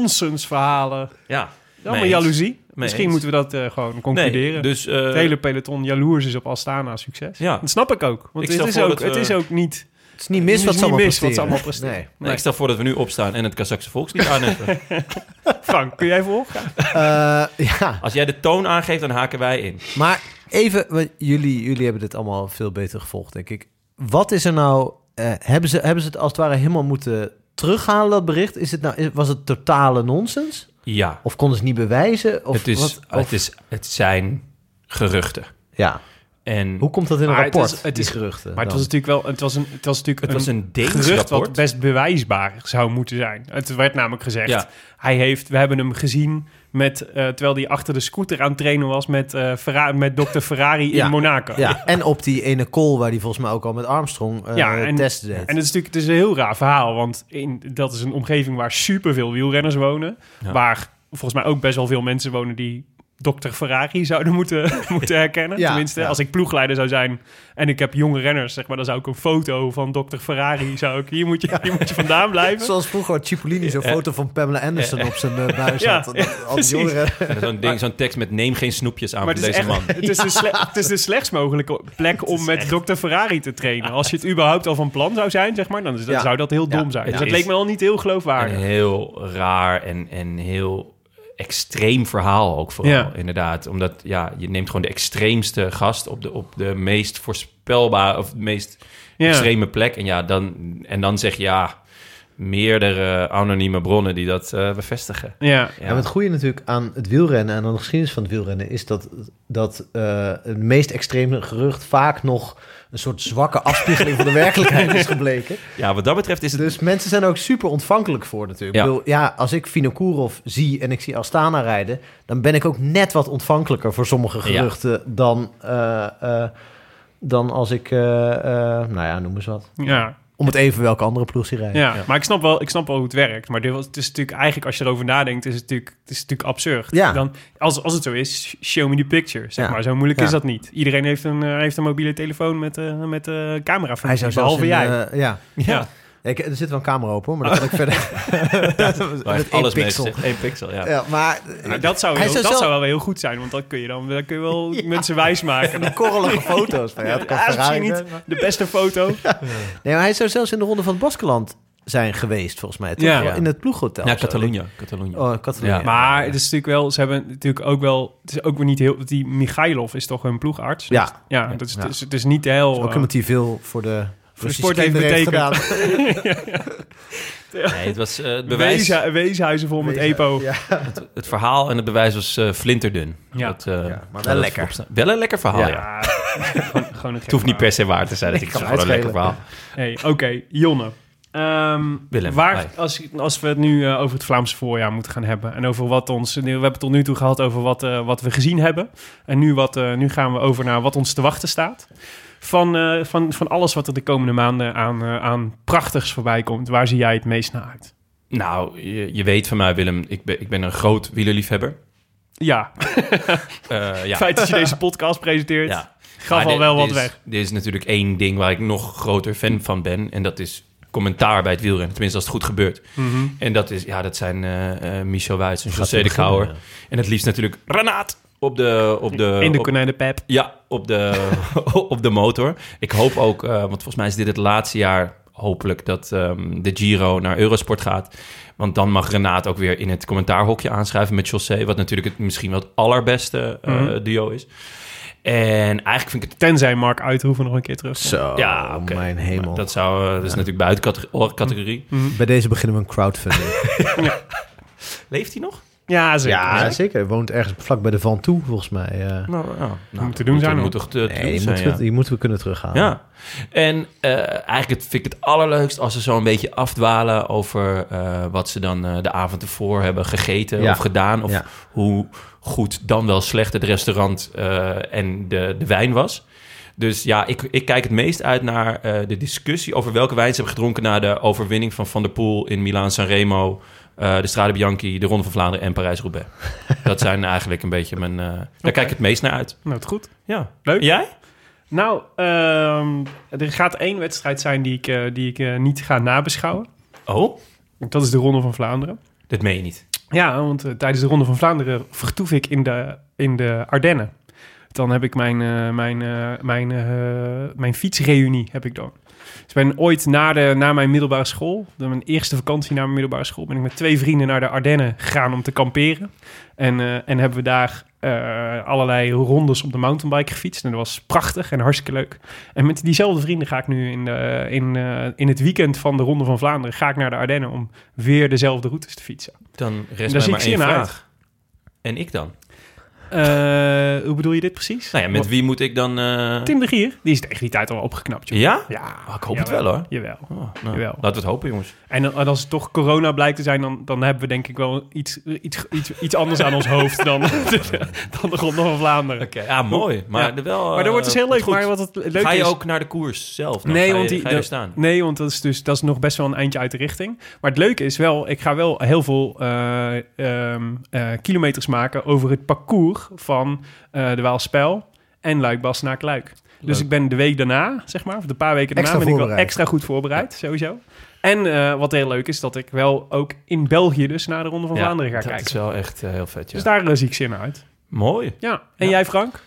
B: nonsensverhalen.
E: Ja.
B: Allemaal
E: Mee eens.
B: jaloezie. Misschien
E: eens.
B: moeten we dat eh, gewoon
E: Nee,
B: concluderen.
E: dus eh,
B: het hele peloton jaloers is op Astana succes.
E: Ja.
B: Dat snap ik ook. Want
E: Ik
B: het
E: stel
B: is
E: voor
B: ook,
E: dat we-
B: het is ook niet...
C: Het is niet mis
B: is
C: wat ze
B: niet
C: allemaal
B: mis wat ze allemaal
C: presteren.
B: presteren.
C: Nee.
E: nee, ik stel voor dat we nu opstaan en het Kazakse volkslied aanheffen.
B: Frank, kun jij volgen?
C: Eh, ja,
E: Als jij de toon aangeeft, dan haken wij in.
C: maar even, want jullie, jullie hebben dit allemaal veel beter gevolgd, denk ik. Wat is er nou, eh, hebben, ze, hebben ze het als het ware helemaal moeten terughalen, dat bericht? Is het nou, is- was het totale nonsens?
E: Ja,
C: Of konden ze het niet bewijzen? Of
E: het, is,
C: wat- of-
E: het, is, het zijn geruchten.
C: Ja,
E: En
C: Hoe komt dat in een
B: Maar het is-
C: rapport,
B: het
C: die
B: is-
C: geruchten?
B: Maar het
C: dan?
B: was natuurlijk wel het was een, het was natuurlijk
E: het was een Deens
B: gerucht
E: rapport.
B: wat best bewijsbaar zou moeten zijn. Het werd namelijk gezegd,
E: Ja.
B: hij heeft, we hebben hem gezien met, eh, terwijl hij achter de scooter aan het trainen was met, eh Ferra- met dokter Ferrari
C: Ja,
B: in Monaco.
C: Ja, en op die ene call waar hij volgens mij ook al met Armstrong eh
B: Ja, en-
C: testen deed.
B: En het is natuurlijk het is een heel raar verhaal, want in, dat is een omgeving waar superveel wielrenners wonen.
E: Ja.
B: Waar volgens mij ook best wel veel mensen wonen die dokter Ferrari zouden moeten, moeten herkennen.
C: Ja,
B: Tenminste,
C: ja.
B: als ik ploegleider zou zijn en ik heb jonge renners, zeg maar, dan zou ik een foto van dokter Ferrari, zou ik, hier moet je, hier moet je vandaan blijven.
C: Zoals vroeger Cipollini zo'n foto van Pamela Anderson op zijn eh, buis
B: Ja,
C: had. Dat al die
B: precies.
C: jongeren-
E: en zo'n, ding, zo'n tekst met neem geen snoepjes aan
B: Maar
E: voor
B: het is,
E: deze
B: echt,
E: man.
B: het, is de sle- het is de slechtst mogelijke plek om met Dr. Ferrari te trainen. Als je het überhaupt al van plan zou zijn, zeg maar, dan is dat,
C: Ja.
B: zou dat heel
C: Ja,
B: dom zijn.
E: het
B: Dus dat
E: is-
B: leek me al niet heel geloofwaardig.
E: Een heel raar en, en heel extreem verhaal ook vooral,
B: Ja.
E: inderdaad. Omdat ja, je neemt gewoon de extreemste gast op de, op de meest voorspelbare of meest
B: Ja.
E: extreme plek. En, ja, dan, en dan zeg je ja, meerdere anonieme bronnen die dat eh, bevestigen.
B: Ja.
E: Ja.
C: Ja. maar het goede natuurlijk aan het wielrennen en aan de geschiedenis van het wielrennen is dat, dat eh, het meest extreme gerucht vaak nog een soort zwakke afspiegeling van de werkelijkheid is gebleken.
E: ja, wat dat betreft is het...
C: Dus mensen zijn er ook super ontvankelijk voor natuurlijk.
E: Ja.
C: Ik bedoel, ja, als ik Vinokourov zie en ik zie Astana rijden, dan ben ik ook net wat ontvankelijker voor sommige geruchten dan, eh, eh, dan als ik, eh, eh, nou ja, noem eens wat.
B: Ja.
C: Om het even welke andere ploeg ze rijden.
B: Ja, maar ik snap, wel, ik snap wel hoe het werkt. Maar dit was, het is natuurlijk eigenlijk, als je erover nadenkt, is het natuurlijk, het is natuurlijk absurd.
C: Ja.
B: Dan, als, als het zo is, sh- show me the picture. Zeg
C: Ja.
B: maar. Zo moeilijk
C: Ja.
B: is dat niet. Iedereen heeft een, eh, heeft een mobiele telefoon met, eh met eh camera
C: Hij zou zelfs
B: behalve
C: in,
B: jij.
C: eh, ja.
B: ja.
C: Ja, ik- er zit wel een camera open, hoor, maar dat kan ik verder.
E: Waar
C: Met
E: heeft
C: één
E: alles mee
C: pixel.
E: gezegd. Eén pixel, ja.
C: Ja, maar
B: Nou, dat zou,
C: Hij
B: heel,
C: zou
B: dat
C: zelf-
B: zou wel weer heel goed zijn, want dan kun je, dan, dan kun je wel mensen wijsmaken.
C: die korrelige foto's. Van, ja, het kan
B: Ja, dat is
C: Ferrari
B: misschien niet
C: zijn.
B: de beste foto.
C: Nee, maar hij zou zelfs in de ronde van het Baskeland zijn geweest, volgens mij. Toch?
B: Ja.
C: In het ploeghotel.
E: Ja,
C: of zo.
E: Catalonië. Catalonië.
C: Oh, Catalonia.
E: Ja.
B: Maar het is natuurlijk wel, ze hebben natuurlijk ook wel, het is ook weer niet heel, want die Michailov is toch een ploegarts?
C: Ja.
B: Ja, dat is,
C: Ja.
B: Het, is, het is niet heel...
C: Ook
B: eh,
C: iemand die veel voor de... Voor
B: sport heeft betekend.
C: Gedaan.
E: Nee, het was eh, het bewijs...
B: wezen- weeshuizen vol met
C: Wezen,
B: EPO.
C: ja.
E: Het verhaal en het bewijs was eh, flinterdun.
B: Ja.
E: Dat, eh,
C: maar wel
E: dat
C: lekker.
E: opsta- Wel een lekker verhaal, ja.
B: Ja, gewoon, gewoon een
E: Ah. Het hoeft niet per se waar te zijn.
C: Nee,
E: dat ik
C: kan
E: het gewoon een lekker
C: uitschelen.
E: verhaal.
B: Hey, Oké, Jonne. Ehm,
E: Willem,
B: waar,
E: hi.
B: als, als we het nu eh, over het Vlaamse voorjaar moeten gaan hebben. En over wat ons. We hebben het tot nu toe gehad over wat, eh, wat we gezien hebben. En nu, wat, eh, nu gaan we over naar wat ons te wachten staat. Van, eh, van, van alles wat er de komende maanden aan, eh, aan prachtigs voorbij komt. Waar zie jij het meest naar uit?
E: Nou, je, je weet van mij, Willem. Ik ben, ik ben een groot wielerliefhebber.
B: Ja,
E: Eh ja.
B: het feit dat je deze podcast presenteert.
E: ja.
B: Gaf
E: Maar
B: al
E: er-
B: wel
E: er
B: wat
E: is-
B: weg.
E: Er is natuurlijk één ding waar ik nog groter fan van ben. En dat is commentaar bij het wielrennen. Tenminste, als het goed gebeurt.
B: Mhm.
E: En dat, is, ja, dat zijn eh, eh, Michel Wijs en José de Kouwer. En het liefst natuurlijk Renaat op de... Op de
B: In de
E: eh, op-
B: konijnenpep.
E: Ja, op de, op de motor. Ik hoop ook, eh, want volgens mij is dit het laatste jaar hopelijk dat ehm, de Giro naar Eurosport gaat. Want dan mag Renaat ook weer in het commentaarhokje aanschuiven met José. Wat natuurlijk het, misschien wel het allerbeste eh,
B: Mhm.
E: duo is. En eigenlijk vind ik het...
B: Tenzij Mark Uithoeven nog een keer terug.
C: Zo,
E: Ja, oké.
C: mijn hemel.
E: Dat, zou, eh, dat is natuurlijk buiten categorie. categorie.
B: Mhm.
C: Bij deze beginnen we een crowdfunding.
E: Leeft hij nog?
B: Ja, zeker.
C: ja, zeker. Hij woont ergens vlak bij de Van Toe, volgens mij. eh.
E: Nou, ja. nou,
B: doen
E: dat
B: zijn
E: moet-
B: hoor.
E: moet toch te, te doen
C: nee, die
E: zijn,
C: moeten,
E: ja.
C: we, die moeten we kunnen terughalen.
E: Ja. En eh, eigenlijk het- vind ik het allerleukst als ze zo een beetje afdwalen over eh, wat ze dan eh, de avond ervoor hebben gegeten
C: Ja.
E: of gedaan. Of
C: Ja.
E: hoe goed dan wel slecht het restaurant eh, en de, de wijn was. Dus ja, ik, ik kijk het meest uit naar eh, de discussie over welke wijn ze hebben gedronken na de overwinning van Van der Poel in Milaan Sanremo, eh, de Strade Bianchi, de Ronde van Vlaanderen en Parijs-Roubaix. Dat zijn eigenlijk een beetje mijn... eh, Daar kijk ik het meest naar uit.
B: Nou, het goed.
E: Ja.
B: Leuk.
E: Jij?
B: Nou, ehm, er gaat één wedstrijd zijn die ik, eh, die ik eh, niet ga nabeschouwen.
E: Oh,
B: Dat is de Ronde van Vlaanderen.
E: dat meen je niet.
B: Ja, want eh, tijdens de Ronde van Vlaanderen vertoef ik in de, in de Ardennen. Dan heb ik mijn, eh, mijn, eh, mijn, eh, mijn fietsreunie heb ik dan. Dus ik ben ooit na, de, na mijn middelbare school, dan mijn eerste vakantie na mijn middelbare school, ben ik met twee vrienden naar de Ardennen gegaan om te kamperen. En, eh, en hebben we daar eh, allerlei rondes op de mountainbike gefietst. En dat was prachtig en hartstikke leuk. En met diezelfde vrienden ga ik nu in, de, in, eh, in het weekend van de Ronde van Vlaanderen ga ik naar de Ardennen om weer dezelfde routes te fietsen.
E: Dan rest
B: Daar
E: mij
B: zie
E: maar
B: ik
E: één
B: zin
E: vraag.
B: uit.
E: En ik dan?
B: Eh, hoe bedoel je dit precies?
E: Nou ja, met
B: Wat-
E: wie moet ik dan... eh,
B: Tim de Gier, die is tegen die tijd al opgeknapt. joh.
E: Ja?
B: Ja,
E: Ah, ik hoop het wel, hoor.
B: Jawel.
E: Oh, nou,
B: Jawel.
E: laten we het hopen, jongens.
B: En dan- en als het toch corona blijkt te zijn, dan, dan hebben we denk ik wel iets, iets, iets, iets anders aan ons hoofd dan, dan de Ronde van Vlaanderen.
E: Ja, ah, mooi. Maar
B: Ja.
E: wel...
B: Maar dan wordt het dus
E: eh,
B: heel leuk.
E: goed.
B: Maar wat het leuk
E: ga je
B: is,
E: ook naar de koers zelf? Dan
B: nee,
E: ga je,
B: want die,
E: ga je er
B: dat-
E: staan.
B: Nee, want dat is dus dat is nog best wel een eindje uit de richting. Maar het leuke is wel, ik ga wel heel veel eh, ehm, eh, kilometers maken over het parcours van eh, de Waalspel en Luikbas naar Kluik. Dus
E: Leuk.
B: ik ben de week daarna, zeg maar, of de paar weken daarna,
C: Extra
B: ben ik wel
C: voorbereid.
B: extra goed voorbereid, sowieso. En eh, wat heel leuk is, dat ik wel ook in België dus naar de Ronde van
E: Ja,
B: Vlaanderen ga
E: dat
B: kijken.
E: is wel echt eh, heel vet, ja.
B: Dus daar eh, zie ik zin uit.
E: Mooi.
B: Ja. En
E: Ja.
B: jij, Frank?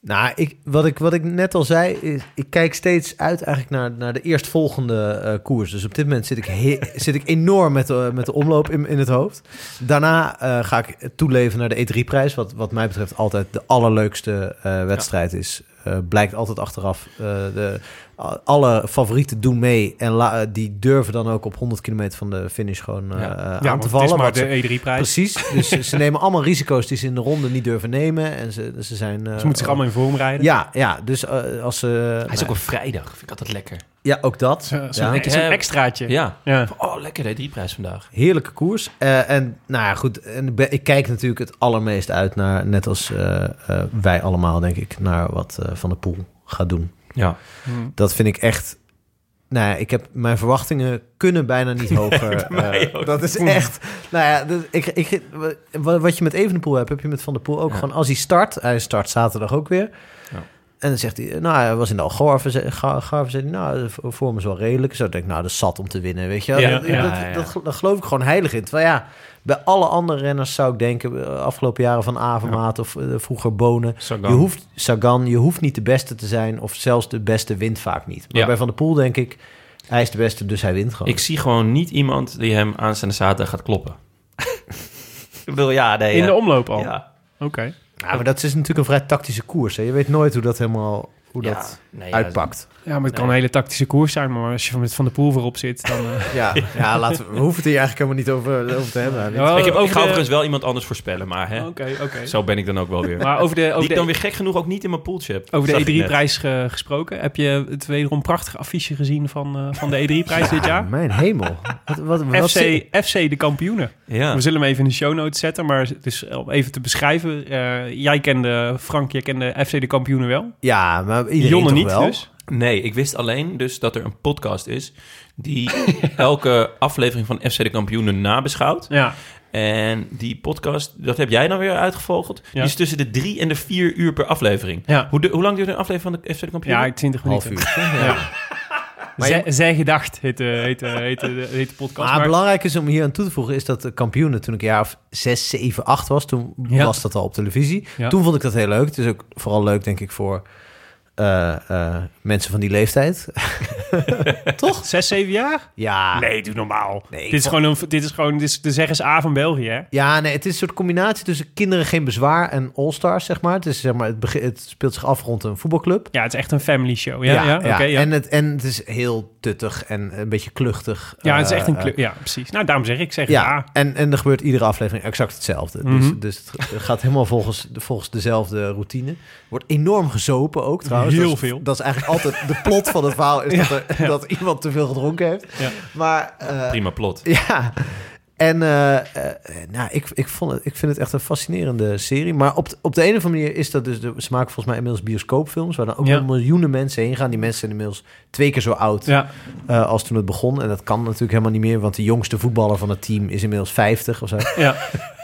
C: Nou, ik, wat, ik, wat ik net al zei, is, ik kijk steeds uit eigenlijk naar, naar de eerstvolgende eh, koers. Dus op dit moment zit ik, he- zit ik enorm met de, met de omloop in, in het hoofd. Daarna eh, ga ik toeleven naar de E3-prijs, wat, wat mij betreft altijd de allerleukste eh, wedstrijd is. Eh, blijkt altijd achteraf. eh, de, a- alle favorieten doen mee en la- eh, die durven dan ook op 100 kilometer van de finish gewoon eh,
E: Ja.
C: eh,
B: ja,
C: aan te
B: want
C: vallen.
B: Het is maar
C: wat ze-
B: de E E3-prijs. Ze
C: Precies, dus ze- ze nemen allemaal risico's die ze in de ronde niet durven nemen. En ze, ze zijn... eh,
B: moeten zich allemaal in vorm rijden.
C: ja, ja, dus eh, als ze...
E: Hij is ook op vrijdag. Vind ik altijd lekker.
C: Ja, ook dat.
B: Zo- Zo'n
C: Ja.
B: zo'n
E: Ik heb-
B: extraatje.
E: Ja.
B: ja.
E: Oh, lekker de drieprijs vandaag.
C: Heerlijke koers. Eh, en nou ja, goed. En ik ben- ik kijk natuurlijk het allermeest uit naar, net als eh, eh, wij allemaal, denk ik, naar wat eh, Van der Poel gaat doen.
E: Ja.
C: Dat vind ik echt... Nou ja, ik heb mijn verwachtingen kunnen bijna niet hoger.
E: mij
C: eh,
E: ook
C: dat is echt. Nou ja, dat- ik, ik, wa- wat je met Evenepoel hebt, heb je met Van der Poel ook
E: Ja.
C: gewoon. Als hij start, hij start zaterdag ook weer.
E: Ja.
C: En dan zegt hij, nou, hij was in de Algarve, ze- Ga- Garve, zei hij, nou, de v- vorm is wel redelijk. Zo denk ik, nou, dat is zat om te winnen, weet je. wel.
E: Ja,
C: dat,
E: ja,
C: dat,
E: ja.
C: dat gel- daar geloof ik gewoon heilig in. Terwijl ja, bij alle andere renners zou ik denken, eh, afgelopen jaren van Avermaat of eh, vroeger Bonen,
E: Sagan.
C: je hoeft, Sagan, je hoeft niet de beste te zijn of zelfs de beste wint vaak niet. Maar
E: Ja.
C: bij Van der Poel denk ik, hij is de beste, dus hij wint gewoon.
E: Ik zie gewoon niet iemand die hem aanstaande zaterdag gaat kloppen. ik wil ja, nee.
B: In
E: ja.
B: de omloop al.
E: Ja.
B: Oké.
C: Ja, maar dat is natuurlijk een vrij tactische koers. Hè. Je weet nooit hoe dat helemaal hoe
E: Ja.
C: dat
E: Nee, ja,
C: uitpakt.
B: Ja, maar het kan een hele tactische koers zijn, maar als je met Van de Poel voorop zit, dan... eh,
C: Ja, ja laten we, we hoeven het hier eigenlijk helemaal niet over, over te hebben.
B: Ja,
E: ik, heb, ik
B: Oh, Nou, over
E: ga
B: de- Oh,
E: overigens wel iemand anders voorspellen, maar hè,
B: Oké, oké.
E: zo ben ik dan ook wel weer.
B: Maar over de,
E: die
B: over
E: ik dan
B: de,
E: weer gek genoeg ook niet in mijn poeltje heb.
B: over
E: Zag ik
B: de E
E: net.
B: E3-prijs ge- gesproken, heb je het wederom prachtig affiche gezien van, eh, van de E3-prijs dit jaar?
C: Mijn hemel. Wat, wat, wat
B: FC, FC de kampioenen.
E: Ja.
B: We zullen hem even in de show notes zetten, maar het is om even te beschrijven. eh, jij kende, Frank, jij kende FC de kampioenen wel.
C: Ja, maar iedereen
B: Jonne
C: toch
B: niet,
C: wel?
B: dus.
E: Nee, ik wist alleen dus dat er een podcast is die elke aflevering van FC de Kampioenen nabeschouwt.
B: Ja,
E: En die podcast, dat heb jij dan weer uitgevogeld, die
B: Ja.
E: is tussen de drie en de vier uur per aflevering.
B: ja.
E: Hoe, de- hoe lang duurt een aflevering van de FC de Kampioenen?
B: ja 20
C: Half
B: minuten.
C: uur.
B: Maar Zij, Zij gedacht heet, de- heet, de- heet, de- heet de podcast.
C: Maar belangrijk is om hier aan toe te voegen... is dat de kampioenen toen ik een jaar of 6, 7, 8 was... toen
B: Ja.
C: was dat al op televisie.
B: Ja.
C: Toen vond ik dat heel leuk. Het is ook vooral leuk, denk ik, voor eh, eh, mensen van die leeftijd.
B: toch? Zes, zeven jaar?
C: Ja.
B: Nee, doe normaal.
C: Ah. Nee, ik
B: dit, is
C: vond-
B: gewoon een, dit is gewoon dit is de zeggers A van België, hè?
C: Ja, nee, het is een soort combinatie tussen kinderen geen bezwaar en all-stars, zeg maar. Het, is, zeg maar het, begin, het speelt zich af rond een voetbalclub.
B: Ja, het is echt een family show. Ja, ja, ja. oké, ja.
C: En, het, en het is heel tuttig en een beetje kluchtig.
B: ja het is
C: Eh,
B: echt een...
C: eh,
B: kle- ja, precies. Nou, daarom zeg ik zeg ja.
C: ja, en, en er gebeurt iedere aflevering exact hetzelfde.
B: Mhm.
C: dus, dus het gaat helemaal volgens, volgens dezelfde routine. Wordt enorm gezopen ook trouwens.
B: Heel
C: dat is,
B: veel.
C: Dat is eigenlijk altijd de plot van het verhaal, is dat, er, dat iemand te veel gedronken heeft.
B: Ja.
C: Maar eh,
E: Prima plot.
C: Ja. En eh, eh, nou, ik, ik, vond het, ik vind het echt een fascinerende serie. Maar op, de- op de een of andere manier is dat dus... De, ze maken volgens mij inmiddels bioscoopfilms... waar dan ook
B: Ja.
C: wel miljoenen mensen heen gaan. Die mensen zijn inmiddels twee keer zo oud
B: Ja,
C: eh, als toen het begon. En dat kan natuurlijk helemaal niet meer... want de jongste voetballer van het team is inmiddels 50 of zo.
B: ja.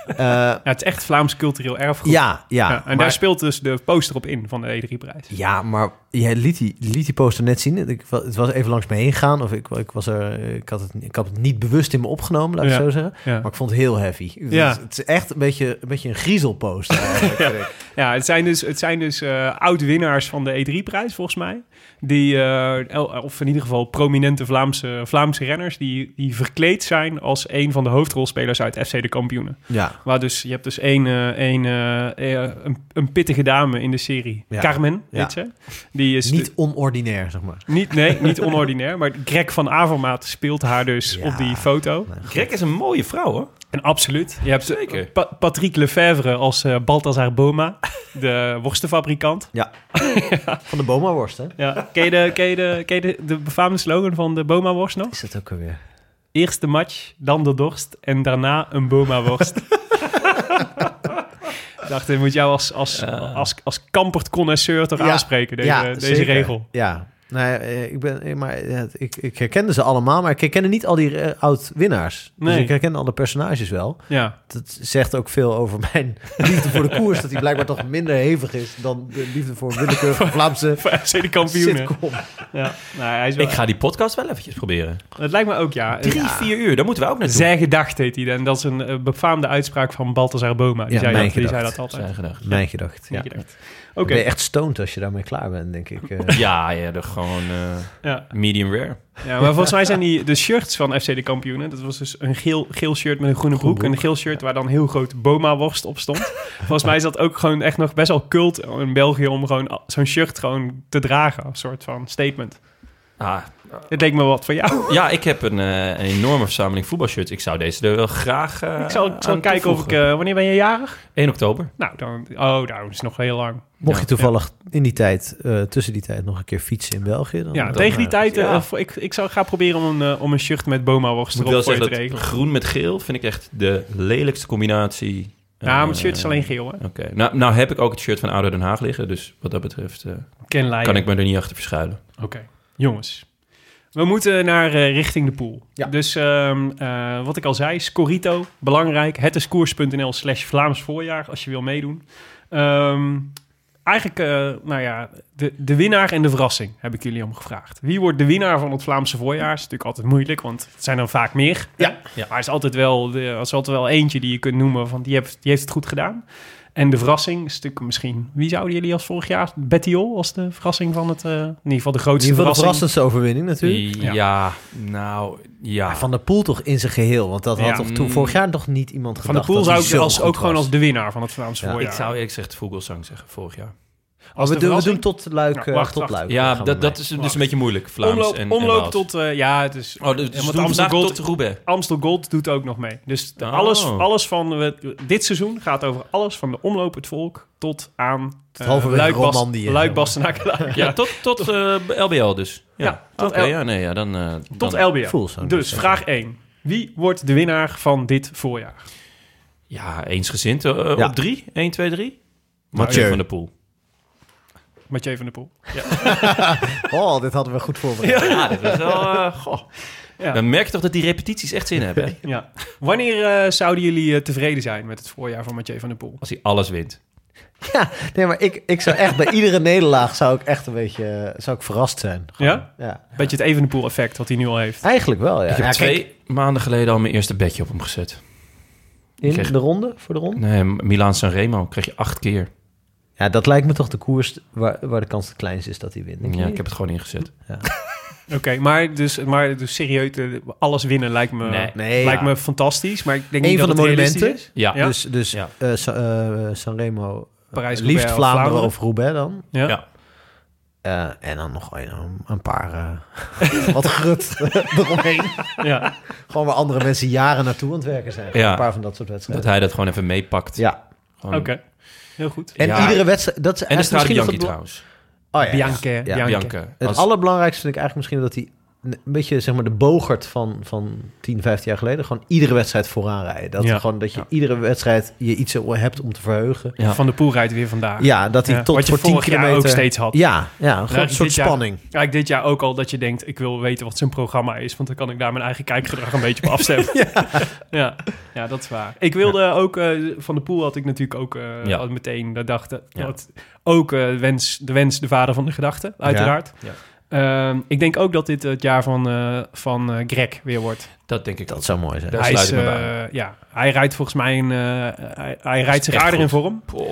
C: Eh,
B: ja, het is echt Vlaams cultureel erfgoed.
C: ja, ja.
B: Ja, en
C: maar,
B: daar speelt dus de poster op in van de E E3-prijs.
C: ja, maar jij liet die, liet die poster net zien. Ik, wa- het was even langs me heen gaan. Of ik, ik, was er, ik, had het, ik had het niet bewust in me opgenomen, laat ik het
B: Ja.
C: zo zeggen.
B: Ja.
C: Maar ik vond het heel heavy. Het is-
B: Ja.
C: Het is echt een beetje een, beetje een griezelpost. eigenlijk, vind ik.
B: Ja, het zijn dus, het zijn dus eh, oud-winnaars van de E3-prijs, volgens mij. Die, eh, el- of in ieder geval prominente Vlaamse, Vlaamse renners... Die, die verkleed zijn als een van de hoofdrolspelers uit FC De Kampioenen.
C: Ja.
B: Waar dus, je hebt dus één, eh, één, eh, eh, een, een pittige dame in de serie.
C: Ja.
B: Carmen,
C: Ja.
B: heet ze. Die is
C: Niet onordinair, zeg maar.
B: niet, nee, niet onordinair. Maar Greg van Avermaat speelt haar dus
C: Ja.
B: op die foto.
E: Greg is een mooie vrouw, hoor.
B: En absoluut. Je hebt eh,
E: Zeker.
B: Pa- Patrick Lefevre als eh Balthazar Boma, de worstenfabrikant.
C: Van de Boma-worst, hè?
B: Ja. Ken je, de, ken je, de, ken je de, de befaamde slogan van de Boma-worst nog?
C: Is dat ook alweer?
B: Eerst de match, dan de dorst en daarna een Boma-worst. Ik dacht, ik moet jou als, als, als, als kampert-connoisseur toch
C: Ja.
B: aanspreken, deze,
C: Ja,
B: deze
C: zeker.
B: regel.
C: Ja. Nou, ja, eh, ik, ben, eh, maar, eh, ik, ik herkende ze allemaal, maar ik herkende niet al die eh, oud-winnaars.
B: Nee.
C: Dus ik herkende alle personages wel.
B: Ja.
C: Dat zegt ook veel over mijn liefde voor de koers. dat die blijkbaar toch minder hevig is dan de liefde voor een willekeurige Vlaamse
B: Voor FC de kampioenen.
C: sitcom.
B: Ja. Nou, hij is wel-
E: Ik ga die podcast wel eventjes proberen.
B: Het lijkt me ook, ja.
E: Drie, vier uur, daar moeten we ook naartoe.
B: Zijn gedacht heet hij. En dat is een eh, befaamde uitspraak van Balthazar Boma. Die,
C: Ja,
B: zei,
C: mijn
B: dat, die zei
C: gedacht.
B: dat altijd.
E: Zijn gedacht.
C: Mijn gedacht.
B: Mijn
C: Ja.
B: gedacht. Oké,
C: Ben je echt stoned als je daarmee klaar bent, denk ik. eh.
E: Ja, ja, de gewoon eh,
B: ja.
E: medium rare.
B: ja, maar volgens mij zijn die de shirts van FC de kampioenen. Dat was dus een geel, geel shirt met een groene broek. En een geel shirt waar dan heel groot Boma-worst op stond. volgens mij is dat ook gewoon echt nog best wel cult in België om gewoon a- zo'n shirt gewoon te dragen. Een soort van statement.
E: Ah,
B: Het leek me wat voor jou.
E: ja, ik heb een, eh, een enorme verzameling voetbalshirts. Ik zou deze er wel graag eh
B: ik zal, ik zal
E: aan
B: kijken of ik...
E: toevoegen.
B: eh, wanneer ben je jarig?
E: 1 oktober.
B: Nou, dan... Oh, nou, is nog heel lang.
C: Mocht je toevallig in die tijd, eh, tussen die tijd, nog een keer fietsen in België. Dan,
B: Ja,
C: dan,
B: tegen die
C: eh,
B: tijd... eh,
E: ja.
B: voor- ik, ik zou gaan proberen om een, eh, om een shirt met Boma-worst
E: Ik moet
B: erop
E: wel
B: voor je te
E: zeggen dat
B: regelen.
E: groen met geel vind ik echt de lelijkste combinatie.
B: Ja, Nou, maar
E: Eh,
B: het shirt is alleen geel, hè?
E: Oké, nou, nou heb ik ook het shirt van Ouder Den Haag liggen. Dus wat dat betreft
B: Ah,
E: eh,
B: Ken
E: kan ik me er niet achter verschuilen.
B: Oké, jongens. We moeten naar eh, richting de pool.
C: Ja.
B: Dus ehm, eh, wat ik al zei, Scorito, belangrijk. Het is koers.nl slash Vlaams voorjaar als je wil meedoen. Ehm, eigenlijk, eh, nou ja, de, de winnaar en de verrassing heb ik jullie om gevraagd. Wie wordt de winnaar van het Vlaamse voorjaar? Is natuurlijk altijd moeilijk, want het zijn er vaak meer.
C: Ja.
B: hè? Maar er is altijd wel, de, er is altijd wel eentje die je kunt noemen van die heeft, die heeft het goed gedaan. En de verrassing is natuurlijk misschien... Wie zouden jullie als vorig jaar... Betty Ol als de verrassing van het... eh, in ieder geval de
C: In
B: grootste
C: ieder geval de
B: verrassing.
C: verrassendste overwinning natuurlijk.
E: Ja, nou, ja.
C: Maar Van der Poel toch in zijn geheel. Want dat had
B: Ah, Ja.
C: toch toen, vorig jaar nog niet iemand
B: Van de
C: gedacht
B: Poel
C: dat
B: zou
C: hij
B: ik
C: zo
B: als,
C: goed
B: ook gewoon
C: was.
B: als de winnaar van het Vlaamse
C: Ja.
B: voorjaar.
E: Ik zou eerlijk gezegd Vogelsang zeggen, vorig jaar.
B: als
C: we,
B: de
C: doen, we
B: verrassing-
C: doen tot Luik.
B: Nou,
C: eh,
B: wacht,
C: tot
B: wacht.
C: Luik.
E: Ja,
C: Daar gaan we
E: dat, dat
C: mee.
E: is dus een beetje moeilijk. Vlaams
B: omloop,
E: en, en
B: omloop
E: Waals.
B: tot... eh, ja, het is...
E: Oh, dus ja,
B: Ja, want
E: want Amsterdam
B: Amsterdam-
E: tot Roubaix.
B: Amstel Gold doet ook nog mee. Dus de-
E: Oh.
B: alles, alles van... We, dit seizoen gaat over alles van de omloop het volk tot aan... eh,
C: halverwege
B: Luik-Bas-
C: Romandie, eh,
B: Luik-Bas en Akelaar.
E: Ja, tot, tot eh, LBL dus. Ja,
B: Ja,
E: oké.
B: tot L-
E: ja, nee, ja, dan, eh,
B: Tot
E: dan-
B: LBR.
C: Voel zo. eh,
B: Dus vraag 1. Wie wordt de winnaar van dit voorjaar?
E: Ja, eensgezind eh,
C: Ja. Nou,
E: op drie. 1, 2, 3.
C: Mathieu.
E: Mathieu van der Poel.
B: Mathieu van der Poel.
C: Oh, dit hadden we goed voorbereid.
E: Ja, dat is wel... eh, goh.
B: Ja.
E: Dan merk je toch dat die repetities echt zin hebben, hè?
B: Ja. Wanneer eh, zouden jullie eh, tevreden zijn met het voorjaar van Mathieu van der Poel?
E: Als hij alles wint.
C: Ja, nee, maar ik, ik zou echt bij iedere nederlaag zou ik echt een beetje eh, zou ik verrast zijn. Gewoon.
B: Ja? Beetje het even de Poel effect wat hij nu al heeft.
C: Eigenlijk wel, ja.
E: Ik heb
C: ja,
E: twee
C: kijk,
E: maanden geleden al mijn eerste bedje op hem gezet.
C: in
E: kreeg-
C: de ronde, voor de ronde.
E: Nee, Milaan Sanremo kreeg je acht keer.
C: Ja, dat lijkt me toch de koers waar, waar de kans het kleinst is dat hij wint. denk je
E: Ja,
C: niet?
E: ik heb het gewoon ingezet.
B: Oké, maar, dus, maar dus serieus, eh, alles winnen lijkt me,
E: Nee.
C: Nee,
B: lijkt
C: ja.
B: me fantastisch. Maar ik denk
C: Eén
B: niet
C: van
B: dat
C: de
B: het realistisch
C: monumenten.
E: Ja,
B: Ja.
C: Dus, dus
E: Ja.
C: eh, Sa- eh, Sanremo,
B: Parijs,
C: liefst
B: Roubaix of
C: Vlaanderen,
B: Vlaanderen.
C: of Roubaix dan.
B: is. Ja.
E: Ja.
C: Eh, en dan nog een, een paar eh, wat grut eromheen.
B: Ja.
C: Gewoon waar andere mensen jaren naartoe aan het werken zijn.
E: Ja.
C: Een paar van dat soort wedstrijden.
E: dat hij dat gewoon even meepakt.
C: Ja.
E: Gewoon-
B: Oké, heel goed.
C: En
E: Ja.
C: iedere wedstrijd... Dat is
E: En de
C: eigenlijk
E: Strade
C: misschien
E: Bianchi
C: nog het
E: trouwens.
C: bel- Oh, ja, ja.
B: Bianca,
C: Ja.
B: Bianca.
E: Bianca.
C: Het
E: Als-
C: allerbelangrijkste vind ik eigenlijk misschien dat hij een- een beetje zeg maar de bogert van, van 10, 15 jaar geleden gewoon iedere wedstrijd vooraan rijden. Dat,
B: Ja.
C: gewoon, dat je
E: Ja.
C: iedere wedstrijd je iets hebt om te verheugen.
E: Ja.
B: Van de Poel rijdt weer vandaag.
C: Ja, dat hij
B: Ja,
C: tot
B: wat je
C: voor 10
B: vorig jaar
C: kilometer...
B: ook steeds had. Nou,
C: Ja, ja een groot
B: dit
C: soort
B: jaar-
C: spanning.
B: Kijk, dit jaar ook al dat je denkt, ik wil weten wat zijn programma is, want dan kan ik daar mijn eigen kijkgedrag een beetje op afstemmen. ja. Ja. dat is waar. Ik wilde ook, eh, van de pool had ik natuurlijk ook eh,
E: Ja.
B: al meteen de dachte,
E: Ja.
B: wat, ook eh, wens, de wens de vader van de gedachte, uiteraard.
E: Ja.
B: Ehm, ik denk ook dat dit het jaar van, eh, van eh, Greg weer wordt.
E: Dat denk ik ook.
C: Dat zou mooi zijn.
E: Daar
B: hij,
E: sluit ik me
B: eh,
E: bij.
B: ja, hij rijdt volgens mij een, eh, hij, hij rijdt zich
E: echt
B: aardig in
E: goed.
B: vorm.
E: Poh.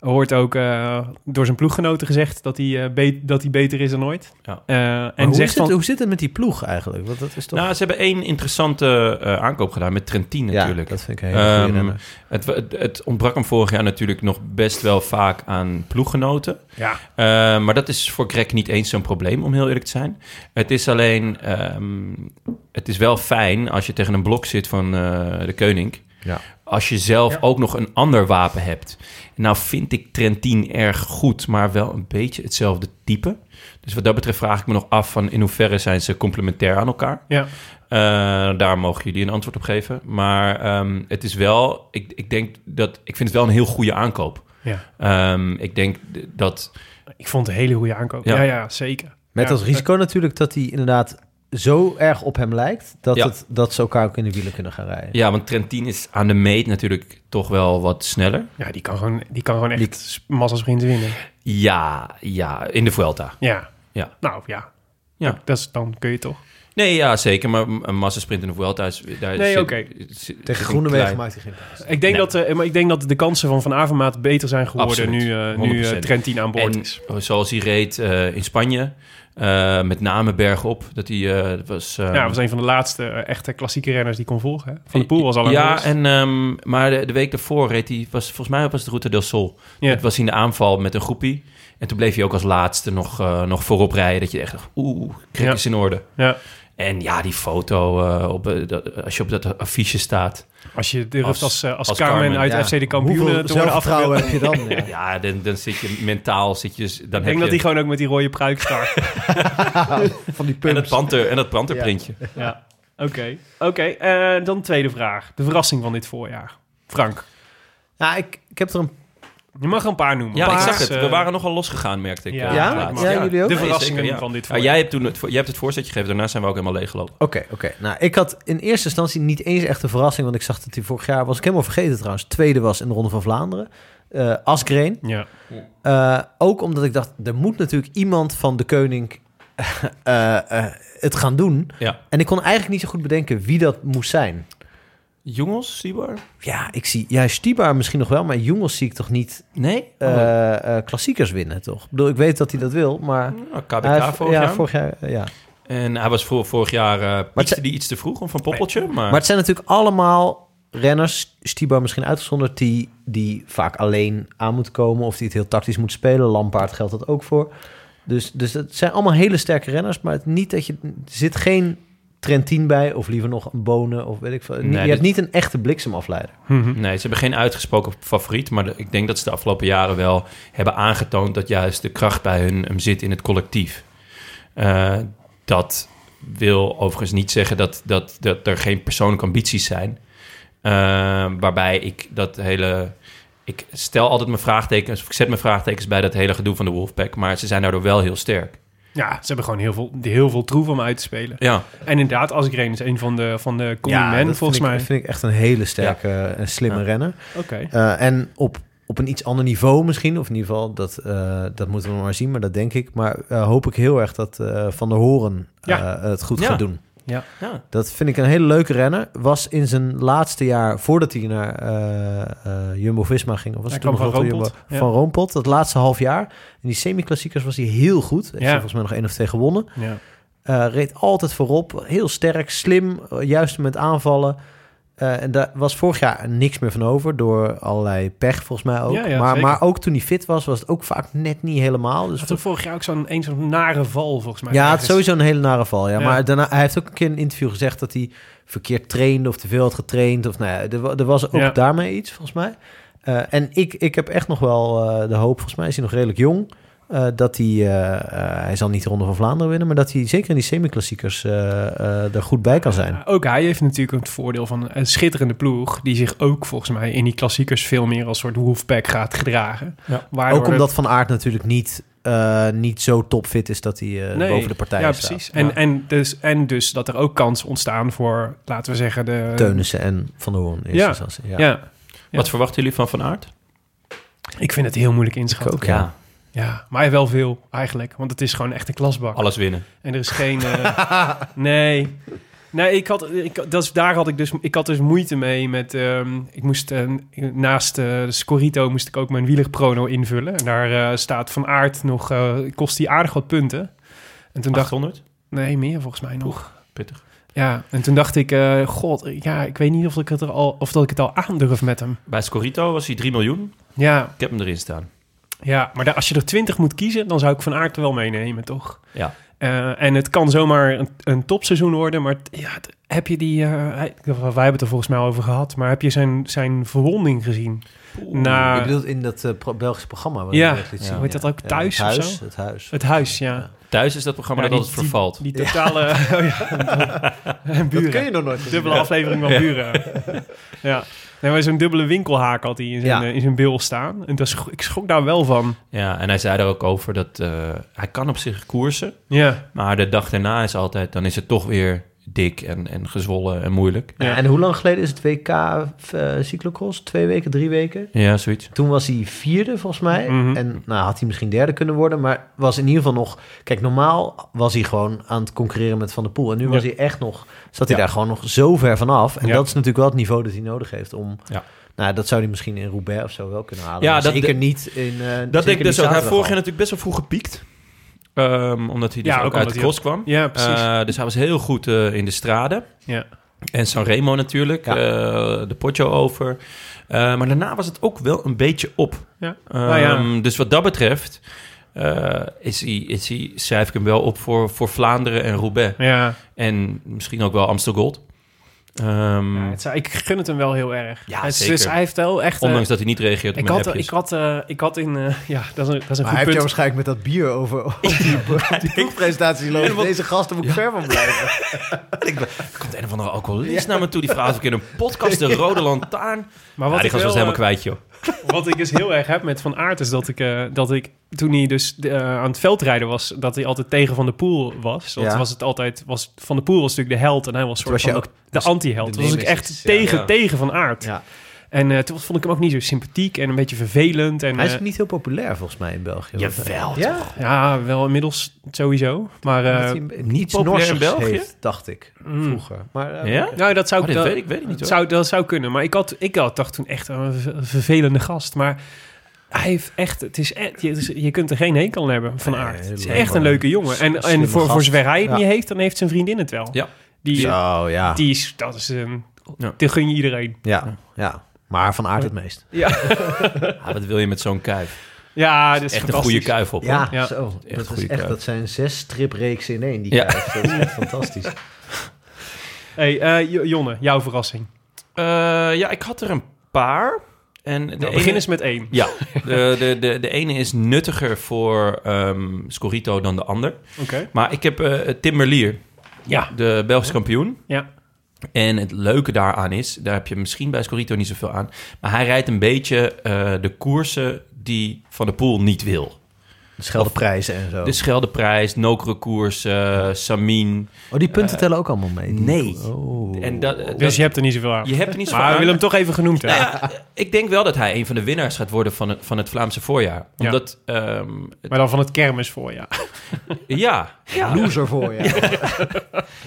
B: hoort ook eh, door zijn ploeggenoten gezegd dat hij, eh, be- dat hij beter is dan ooit.
E: Ja.
B: Eh,
C: En
B: en
C: hoe,
B: zegt
C: zit, het-
B: van,
C: hoe zit het met die ploeg eigenlijk? Want dat is toch...
E: Nou, ze hebben één interessante eh, aankoop gedaan met Trentin natuurlijk.
C: Ja, dat vind ik een hele goede
E: Ehm,
C: renner.
E: het, het, het ontbrak hem vorig jaar natuurlijk nog best wel vaak aan ploeggenoten.
B: ja,
E: Eh, maar dat is voor Greg niet eens zo'n probleem, om heel eerlijk te zijn. Het is alleen, ehm, het is wel fijn als je tegen een blok zit van eh, de koning.
C: Ja.
E: Als je zelf ook nog een ander wapen hebt. Nou vind ik Trentin erg goed, maar wel een beetje hetzelfde type. Dus wat dat betreft vraag ik me nog af van in hoeverre zijn ze complementair aan elkaar.
B: ja.
E: Eh, daar mogen jullie een antwoord op geven. Maar ehm, het is wel, ik, ik denk dat, ik vind het wel een heel goede aankoop.
B: ja.
E: Ehm, ik denk d- dat
B: Ik vond het een hele goede aankoop. Ja,
E: Ja.
B: ja, zeker.
C: Met
B: Ja.
C: als risico natuurlijk dat hij inderdaad zo erg op hem lijkt... dat,
E: Ja.
C: het, dat ze elkaar ook in de wielen kunnen gaan rijden.
E: Ja, want Trentin is aan de meet natuurlijk toch wel wat sneller.
B: Ja, die kan gewoon, die kan gewoon echt s- massa's sprints winnen.
E: Ja, ja, in de Vuelta.
B: Ja.
E: Ja.
B: Nou ja.
E: Ja.
B: Dat is, dan kun je toch.
E: Nee, ja, zeker. Maar een massasprint in de Vuelta is... Daar
B: Nee,
E: zit-
B: oké.
E: zit- zit
C: Tegen
E: een
C: Groenewegen
E: klein-
C: maakt hij geen pas.
B: Ik denk,
E: Nee.
B: dat, eh, maar ik denk dat de kansen van Van Avermaat beter zijn geworden
E: Absoluut.
B: nu, eh nu eh,
E: 100%.
B: Trentin aan boord
E: En oh,
B: is.
E: zoals hij reed eh, in Spanje, eh, met name bergop, dat hij eh, dat was... eh,
B: Ja, hij was een van de laatste eh, echte klassieke renners die kon volgen. hè. Van de Poel was al aan de
E: Ja,
B: rust.
E: en, ehm, maar de, de week daarvoor reed hij... Was, volgens mij was het Route del Sol.
B: Ja.
E: Het was in de aanval met een groepie. En toen bleef hij ook als laatste nog, eh, nog voorop rijden. Dat je echt dacht, oeh, krek
B: Ja.
E: is in orde.
B: Ja.
E: En ja, die foto, eh, op, eh, dat- als je op dat affiche staat.
B: Als je durft als,
E: Als-
B: als, eh, als,
E: als
B: Carmen,
E: Carmen,
B: uit
C: Ja.
B: FC de kampioenen
C: Hoeveel
B: te worden
C: zelfvertrouwen
B: afgebeeld.
C: heb je dan? Oh, Ja.
E: Ja, dan, dan zit je mentaal, zit je, dan
B: Ik
E: heb
B: denk dat
E: je...
B: hij gewoon ook met die rode pruik start.
C: Van die
E: en dat
C: pumps.
E: panter, en dat panterprintje.
B: ja. Oké, oké. eh, dan tweede vraag. De verrassing van dit voorjaar. Frank,
C: Ja, Nou, ik, ik heb er een...
B: je mag er een paar noemen.
E: Ja,
B: Een
E: ik
B: paar,
E: zag het.
B: eh,
E: We waren nogal losgegaan, merkte ik.
B: Ja,
E: eh,
C: Ja?
E: laatst.
C: Ja, jullie ook?
B: De
E: Nee,
B: verrassingen
E: zeker, ja.
B: van dit
E: Ah,
B: voorjaar.
E: jij, hebt toen het, voor- jij hebt het voorzetje gegeven, daarna zijn we ook helemaal leeggelopen.
C: Oké, oké. Nou, ik had in eerste instantie niet eens echt een verrassing... want ik zag dat hij vorig jaar, was ik helemaal vergeten trouwens... tweede was in de Ronde van Vlaanderen. eh Asgreen.
B: Ja.
C: Eh, ook omdat ik dacht, er moet natuurlijk iemand van de koning eh, eh, het gaan doen.
E: Ja.
C: En ik kon eigenlijk niet zo goed bedenken wie dat moest zijn.
E: Jongens, Sibar?
C: Ja, ik zie... Ja, Stibar misschien nog wel, maar jongens zie ik toch niet
E: Nee?
C: eh,
E: Oh,
C: eh, klassiekers winnen, toch? Ik bedoel, ik weet dat hij dat wil, maar...
E: nou, KBK
C: hij heeft-
E: vorig
C: ja,
E: jaar.
C: vorig jaar, eh, ja.
E: En hij was voor, vorig jaar, eh
C: het
E: piekste
C: zijn-
E: die iets te vroeg, om van Poppeltje. Maar,
C: Maar het zijn natuurlijk allemaal renners, Stibar misschien uitgezonderd, die, die vaak alleen aan moeten komen of die het heel tactisch moet spelen. Lampaard geldt dat ook voor. Dus, dus het zijn allemaal hele sterke renners, maar het niet dat je er zit geen Trentin bij of liever nog een Bonen of weet ik veel. Niet-
E: Nee,
C: je
E: dit-
C: hebt niet een echte bliksemafleider.
E: nee, ze hebben geen uitgesproken favoriet. Maar de- ik denk dat ze de afgelopen jaren wel hebben aangetoond... dat juist de kracht bij hun hem zit in het collectief. Eh, dat wil overigens niet zeggen dat, dat, dat er geen persoonlijke ambities zijn. Eh, waarbij ik dat hele... Ik stel altijd mijn vraagtekens... of ik zet mijn vraagtekens bij dat hele gedoe van de Wolfpack... maar ze zijn daardoor wel heel sterk.
B: ja, ze hebben gewoon heel veel, heel veel troeven om uit te spelen.
E: Ja,
B: En inderdaad, Asgreen is een van de, van de comedy men,
C: dat
B: volgens
C: vind
B: mij.
C: Ik, vind ik echt een hele sterke en slimme
E: Ja.
C: renner.
B: Oké.
C: Eh, en op, op een iets ander niveau misschien, of in ieder geval, dat, eh, dat moeten we maar zien, maar dat denk ik. Maar eh, hoop ik heel erg dat eh, Van der Horen eh,
B: Ja.
C: het goed
E: Ja.
C: gaat doen.
E: ja.
C: Dat vind ik een hele leuke renner. Was in zijn laatste jaar, voordat hij naar eh, eh, Jumbo-Visma ging... Of was
B: Hij
C: het toen
B: kwam
C: nog
B: van
C: Lotto
B: Roompot,
C: Jumbo?
B: ja.
C: Van Roompot, dat laatste half jaar. In die semi-klassiekers was hij heel goed. Heeft hij volgens mij nog één of twee gewonnen.
B: Ja.
C: Eh, reed altijd voorop, heel sterk, slim, eh, juist met aanvallen. Eh, en daar was vorig jaar niks meer van over, door allerlei pech volgens mij ook.
B: Ja, ja,
C: maar,
B: zeker.
C: maar ook toen hij fit was, was het ook vaak net niet helemaal. Dus
B: Had er vorig jaar ook zo'n eens zo'n nare val, volgens mij.
C: ja, het
B: ergens.
C: is sowieso een hele nare val. Ja.
B: Ja.
C: Maar daarna, hij heeft ook een keer in een interview gezegd dat hij verkeerd trainde of te veel had getraind. Of, nou ja, er, wa- er was ook
B: Ja.
C: daarmee iets, volgens mij. Eh, en ik, ik heb echt nog wel eh, de hoop, volgens mij is hij nog redelijk jong, eh, dat hij, eh, eh, hij zal niet de Ronde van Vlaanderen winnen, maar dat hij zeker in die semi-klassiekers eh, eh, er goed bij kan zijn.
B: Ja, Ook hij heeft natuurlijk het voordeel van een schitterende ploeg... die zich ook volgens mij in die klassiekers veel meer als soort wolfpack gaat gedragen.
E: Ja.
B: Waardoor
C: ook
B: het-
C: omdat Van Aert natuurlijk niet, eh, niet zo topfit is dat hij eh,
B: Nee.
C: boven de partijen
B: Ja,
C: staat.
B: precies. En,
E: Ja.
B: En, dus, en dus dat er ook kansen ontstaan voor, laten we zeggen, de...
C: Teunissen en Van der Hoorn in eerste
B: Ja.
C: instantie. Ja.
B: Ja.
E: Wat verwachten jullie van Van Aert?
B: ik vind het heel moeilijk inschatten.
C: ook, ja.
B: Ja, maar wel veel eigenlijk, want het is gewoon echt een klasbak.
E: Alles winnen.
B: En er is geen... eh, nee. Nee, ik had, ik, dat is, daar had ik dus, ik had dus moeite mee met, ehm, ik moest eh, naast eh, de Scorito moest ik ook mijn wielerprono invullen. En daar eh, staat Van Aert nog, eh, kost die aardig wat punten. En toen dacht ik,
E: 800?
B: nee, meer volgens mij nog.
E: Pittig.
B: Ja, en toen dacht ik, eh, god, ja, ik weet niet of ik het er al, of dat ik het al aandurf met hem.
E: Bij Scorito was hij 3 miljoen.
B: Ja,
E: Ik heb hem erin staan.
B: ja, maar daar- als je er 20 moet kiezen, dan zou ik Van Aert wel meenemen, toch?
E: Ja.
B: Eh, en het kan zomaar een, een topseizoen worden, maar t- ja, t- heb je die... eh, hij- wij hebben het er volgens mij over gehad, maar heb je zijn, zijn verwonding gezien? Na,
C: Ik bedoel, in dat eh, pro- Belgische programma. waar
B: Ja,
C: je dat liet
E: ja.
C: zien,
E: Hoe
B: heet dat ook? Thuis
C: het
B: of
C: huis,
B: zo?
C: Het huis.
B: het huis, ja.
E: Thuis is dat programma
B: Ja,
E: dat
B: die-
E: altijd vervalt.
B: Die totale... oh ja, en buren.
C: Dat kun je nog nooit
B: Dubbele aflevering van buren. ja. Nee, maar zo'n dubbele winkelhaak had hij in zijn,
C: Ja.
B: eh, in zijn bil staan. En dat schro- ik schrok daar wel van.
E: Ja, en hij zei er ook over dat eh, hij kan op zich koersen.
B: Ja.
E: Maar de dag daarna is altijd, dan is het toch weer dik en, en gezwollen en moeilijk.
B: Ja.
C: En hoe lang geleden is het WK eh, cyclocross? Twee weken, drie weken?
E: Ja, zoiets.
C: Toen was hij vierde, volgens mij.
B: Mhm.
C: En nou, had hij misschien derde kunnen worden. Maar was in ieder geval nog... Kijk, normaal was hij gewoon aan het concurreren met Van der Poel. En nu
B: Ja.
C: was hij echt nog... Zat hij
B: Ja.
C: daar gewoon nog zo ver vanaf. En
B: Ja.
C: dat is natuurlijk wel het niveau dat hij nodig heeft om...
E: Ja.
C: Nou, dat zou hij misschien in Roubaix of zo wel kunnen halen.
E: Ja,
C: Ja, dat
E: dat-
C: zeker niet in... eh,
E: Dat
C: zeker
E: denk ik
C: niet
E: dus ook. Hij
C: zaterdag
E: vorig jaar
C: al.
E: natuurlijk best wel vroeg gepiekt. Ehm, omdat hij dus
B: Ja,
E: ook,
B: ook
E: uit
B: omdat
E: de
B: hij-
E: cross kwam.
B: Ja, precies.
E: Eh, dus hij was heel goed eh, in de straden.
B: Ja.
E: En Sanremo natuurlijk,
C: Ja.
E: eh, de Poggio over. Eh, maar daarna was het ook wel een beetje op.
B: Ja.
E: Ehm,
B: Nou ja.
E: Dus wat dat betreft eh, is hij, is hij, schrijf ik hem wel op voor, voor Vlaanderen en Roubaix.
B: Ja.
E: En misschien ook wel Amstel Gold. Ehm,
B: Ja, het zou- ik gun het hem wel heel erg.
E: Ja,
B: het, is-
E: zeker.
B: Dus hij heeft wel echt... eh,
E: ondanks dat hij niet reageert op
B: ik
E: mijn
B: had,
E: appjes.
B: ik, had, eh, ik had in... eh, ja, dat is een, dat is
C: Maar hij
B: een goed
C: heeft jou
B: punt.
C: waarschijnlijk met dat bier over op die, op die proefpresentatie lopen.
E: Helemaal-
C: Deze gasten moet ik ver van blijven.
E: Er komt een of andere alcoholist naar me toe. Die vraagt of ik in een podcast de Rode Lantaarn...
B: Maar
E: Ja,
B: wat
E: die
B: ik
E: gast
B: wel,
E: was helemaal
B: eh,
E: kwijt, joh.
B: Wat ik dus heel erg heb met Van Aert is dat ik, eh, dat ik toen hij dus eh, aan het veldrijden was, dat hij altijd tegen Van der Poel was. Want
C: Ja.
B: was het altijd, was, Van der Poel was natuurlijk de held en hij was, soort
C: was
B: van
C: jij
B: de- de anti-held.
C: de
B: Toen was ik
C: nemesis,
B: echt
C: ja.
B: tegen,
E: Ja.
B: tegen Van Aert.
C: Ja.
B: En eh, toen vond ik hem ook niet zo sympathiek en een beetje vervelend. En,
C: Hij is
B: eh,
C: ook niet heel populair volgens mij in België. eh,
E: Jawel,
C: Ja?
B: ja, wel inmiddels sowieso. Maar eh,
C: Dat hij
E: niet
C: iets
E: populair in
C: Norsigs
E: België?
C: heeft, dacht ik,
B: Mm.
C: vroeger. Maar, eh,
E: Ja?
B: nou, dat zou
E: Oh,
B: ik
E: dit
B: wel-
E: weet ik, weet ik niet, hoor.
B: zou, dat zou kunnen. Maar ik had, ik had dacht toen echt aan een ver- vervelende gast. Maar hij heeft echt, het is echt je, je kunt er geen hekel aan hebben van
C: Nee,
B: aard. Het is
C: helemaal
B: echt een
C: niet.
B: leuke jongen. En,
C: Slimme
B: en voor, voor
C: gast.
B: zover hij het
C: Ja.
B: niet heeft, dan heeft zijn vriendin het wel.
E: Ja.
B: Die,
C: Zo, Oh, ja.
B: die is, dat is een,
E: Ja.
B: die gun je iedereen.
C: Ja, ja. Maar van aard het meest.
B: Ja,
E: Ah, wat wil je met zo'n kuif?
B: ja dat is
E: Echt een goede
B: fantastisch.
E: kuif op,
C: Ja,
B: Ja.
C: zo.
E: Echt
C: dat,
E: goede
C: is echt,
E: kaart.
C: dat zijn zes stripreeksen in één. Die
E: Ja.
C: ja. Dat is echt fantastisch.
B: Hey, eh, Jo- Jonne, jouw verrassing.
E: hoor. Eh, ja, ik had er een paar. En de
B: Nou, begin
E: ene-
B: eens met één.
E: Ja, de, de, de, de ene is nuttiger voor ehm, Scorito dan de ander.
B: Oké.
E: Maar ik heb eh Tim Merlier,
B: Ja.
E: de Belgische kampioen.
B: Ja.
E: En het leuke daaraan is, daar heb je misschien bij Scorito niet zoveel aan... maar hij rijdt een beetje eh, de koersen die Van der Poel niet wil.
C: De Scheldeprijzen en zo.
E: De Scheldeprijs, Nokere Koers, eh, Samin.
C: oh, die punten tellen ook allemaal mee?
E: Eh, nee.
C: Oh.
E: En dat, dat-
B: Dus je hebt er niet zoveel aan.
E: je hebt er niet zoveel
B: maar we
E: aan. Nou
B: willen hem toch even genoemd hebben.
E: Ik denk wel dat hij een van de winnaars gaat worden van het, van het Vlaamse voorjaar.
B: Ja.
E: Omdat, ehm, het-
B: Maar dan van het kermis voor, ja.
E: ja. ja.
C: Loser voor je.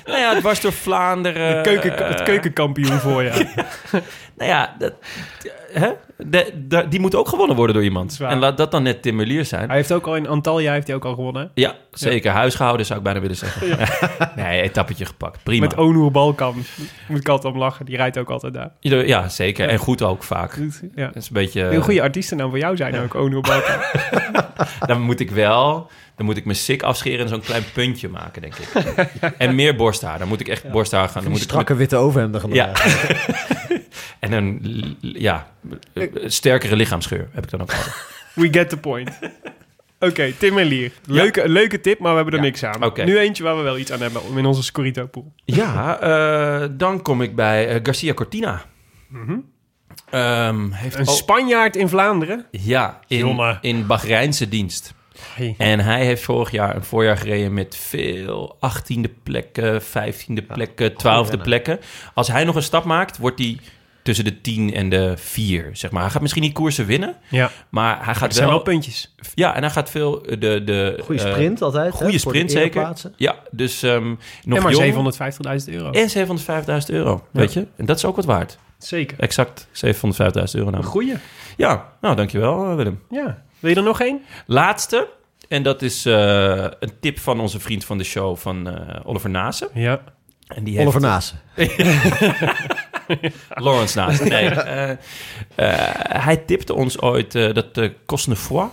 E: Nou ja, het was door Vlaanderen.
B: De keuken, het
E: eh,
B: keukenkampioen voor, ja.
E: Nou ja, dat, hè? De- de- die moet ook gewonnen worden door iemand.
B: is waar.
E: En laat dat dan net Tim Merlier zijn.
B: Hij heeft ook al in Antalya heeft hij ook al gewonnen. hè?
E: Ja, zeker. Huisgehouden zou ik bijna willen zeggen. nee, etappetje gepakt. Prima.
B: Met Onur Balkan. Moet ik altijd om lachen. Die rijdt ook altijd daar.
E: Ieder- Ja, zeker. En goed ook vaak. Dat
B: Ja.
E: is een beetje...
B: Heel goede artiestennaam voor jou zijn ook, Onur Balkan.
E: Dan moet ik wel... Dan moet ik mijn sik afscheren en zo'n klein puntje maken, denk ik. en meer borsthaar. Dan moet ik echt borsthaar gaan. Dan
C: Die
E: moet ik
C: strakke witte overhemden gaan
E: Ja.
C: dragen.
E: En een l- l- ja, eh, sterkere lichaamsgeur heb ik dan ook altijd.
B: We get the point. Oké, Tim en Lier. Leuke, leuke tip, maar we hebben er
E: Ja.
B: niks aan.
E: Oké.
B: Nu eentje waar we wel iets aan hebben om in onze Scorito pool.
E: Ja, eh, dan kom ik bij eh, Garcia Cortina. Ehm, heeft
B: Een
E: ook-
B: Spanjaard in Vlaanderen.
E: ja, in,
B: Jongen.
E: in Bahreinse dienst. En hij heeft vorig jaar een voorjaar gereden met veel 18e plekken, 15e plekken, 12e plekken. Als hij nog een stap maakt, wordt hij tussen de 10 en de 4, zeg maar. Hij gaat misschien niet koersen winnen,
B: Ja,
E: maar hij
B: het
E: gaat
B: zijn
E: wel...
B: wel puntjes.
E: ja, en hij gaat veel eh, de... de
C: Goede
E: eh,
C: sprint altijd. hè,
E: goede
C: voor de
E: sprint, zeker.
C: ereplaatsen.
E: Ja, dus ehm nog
B: En maar
E: jong
B: 750.000 euro.
E: en 705.000 euro, weet je. En dat is ook wat waard.
B: Zeker.
E: Exact 705.000 euro
B: Een
E: namelijk.
B: goeie.
E: Ja, nou dankjewel eh, Willem.
B: Ja. Wil je er nog één?
E: Laatste, en dat is eh, een tip van onze vriend van de show, van eh, Oliver Nase.
B: Ja.
E: En die
C: Oliver Naassen.
E: heeft Lawrence Nase. Nee, eh, eh, hij tipte ons ooit eh, dat eh Cosnefroy,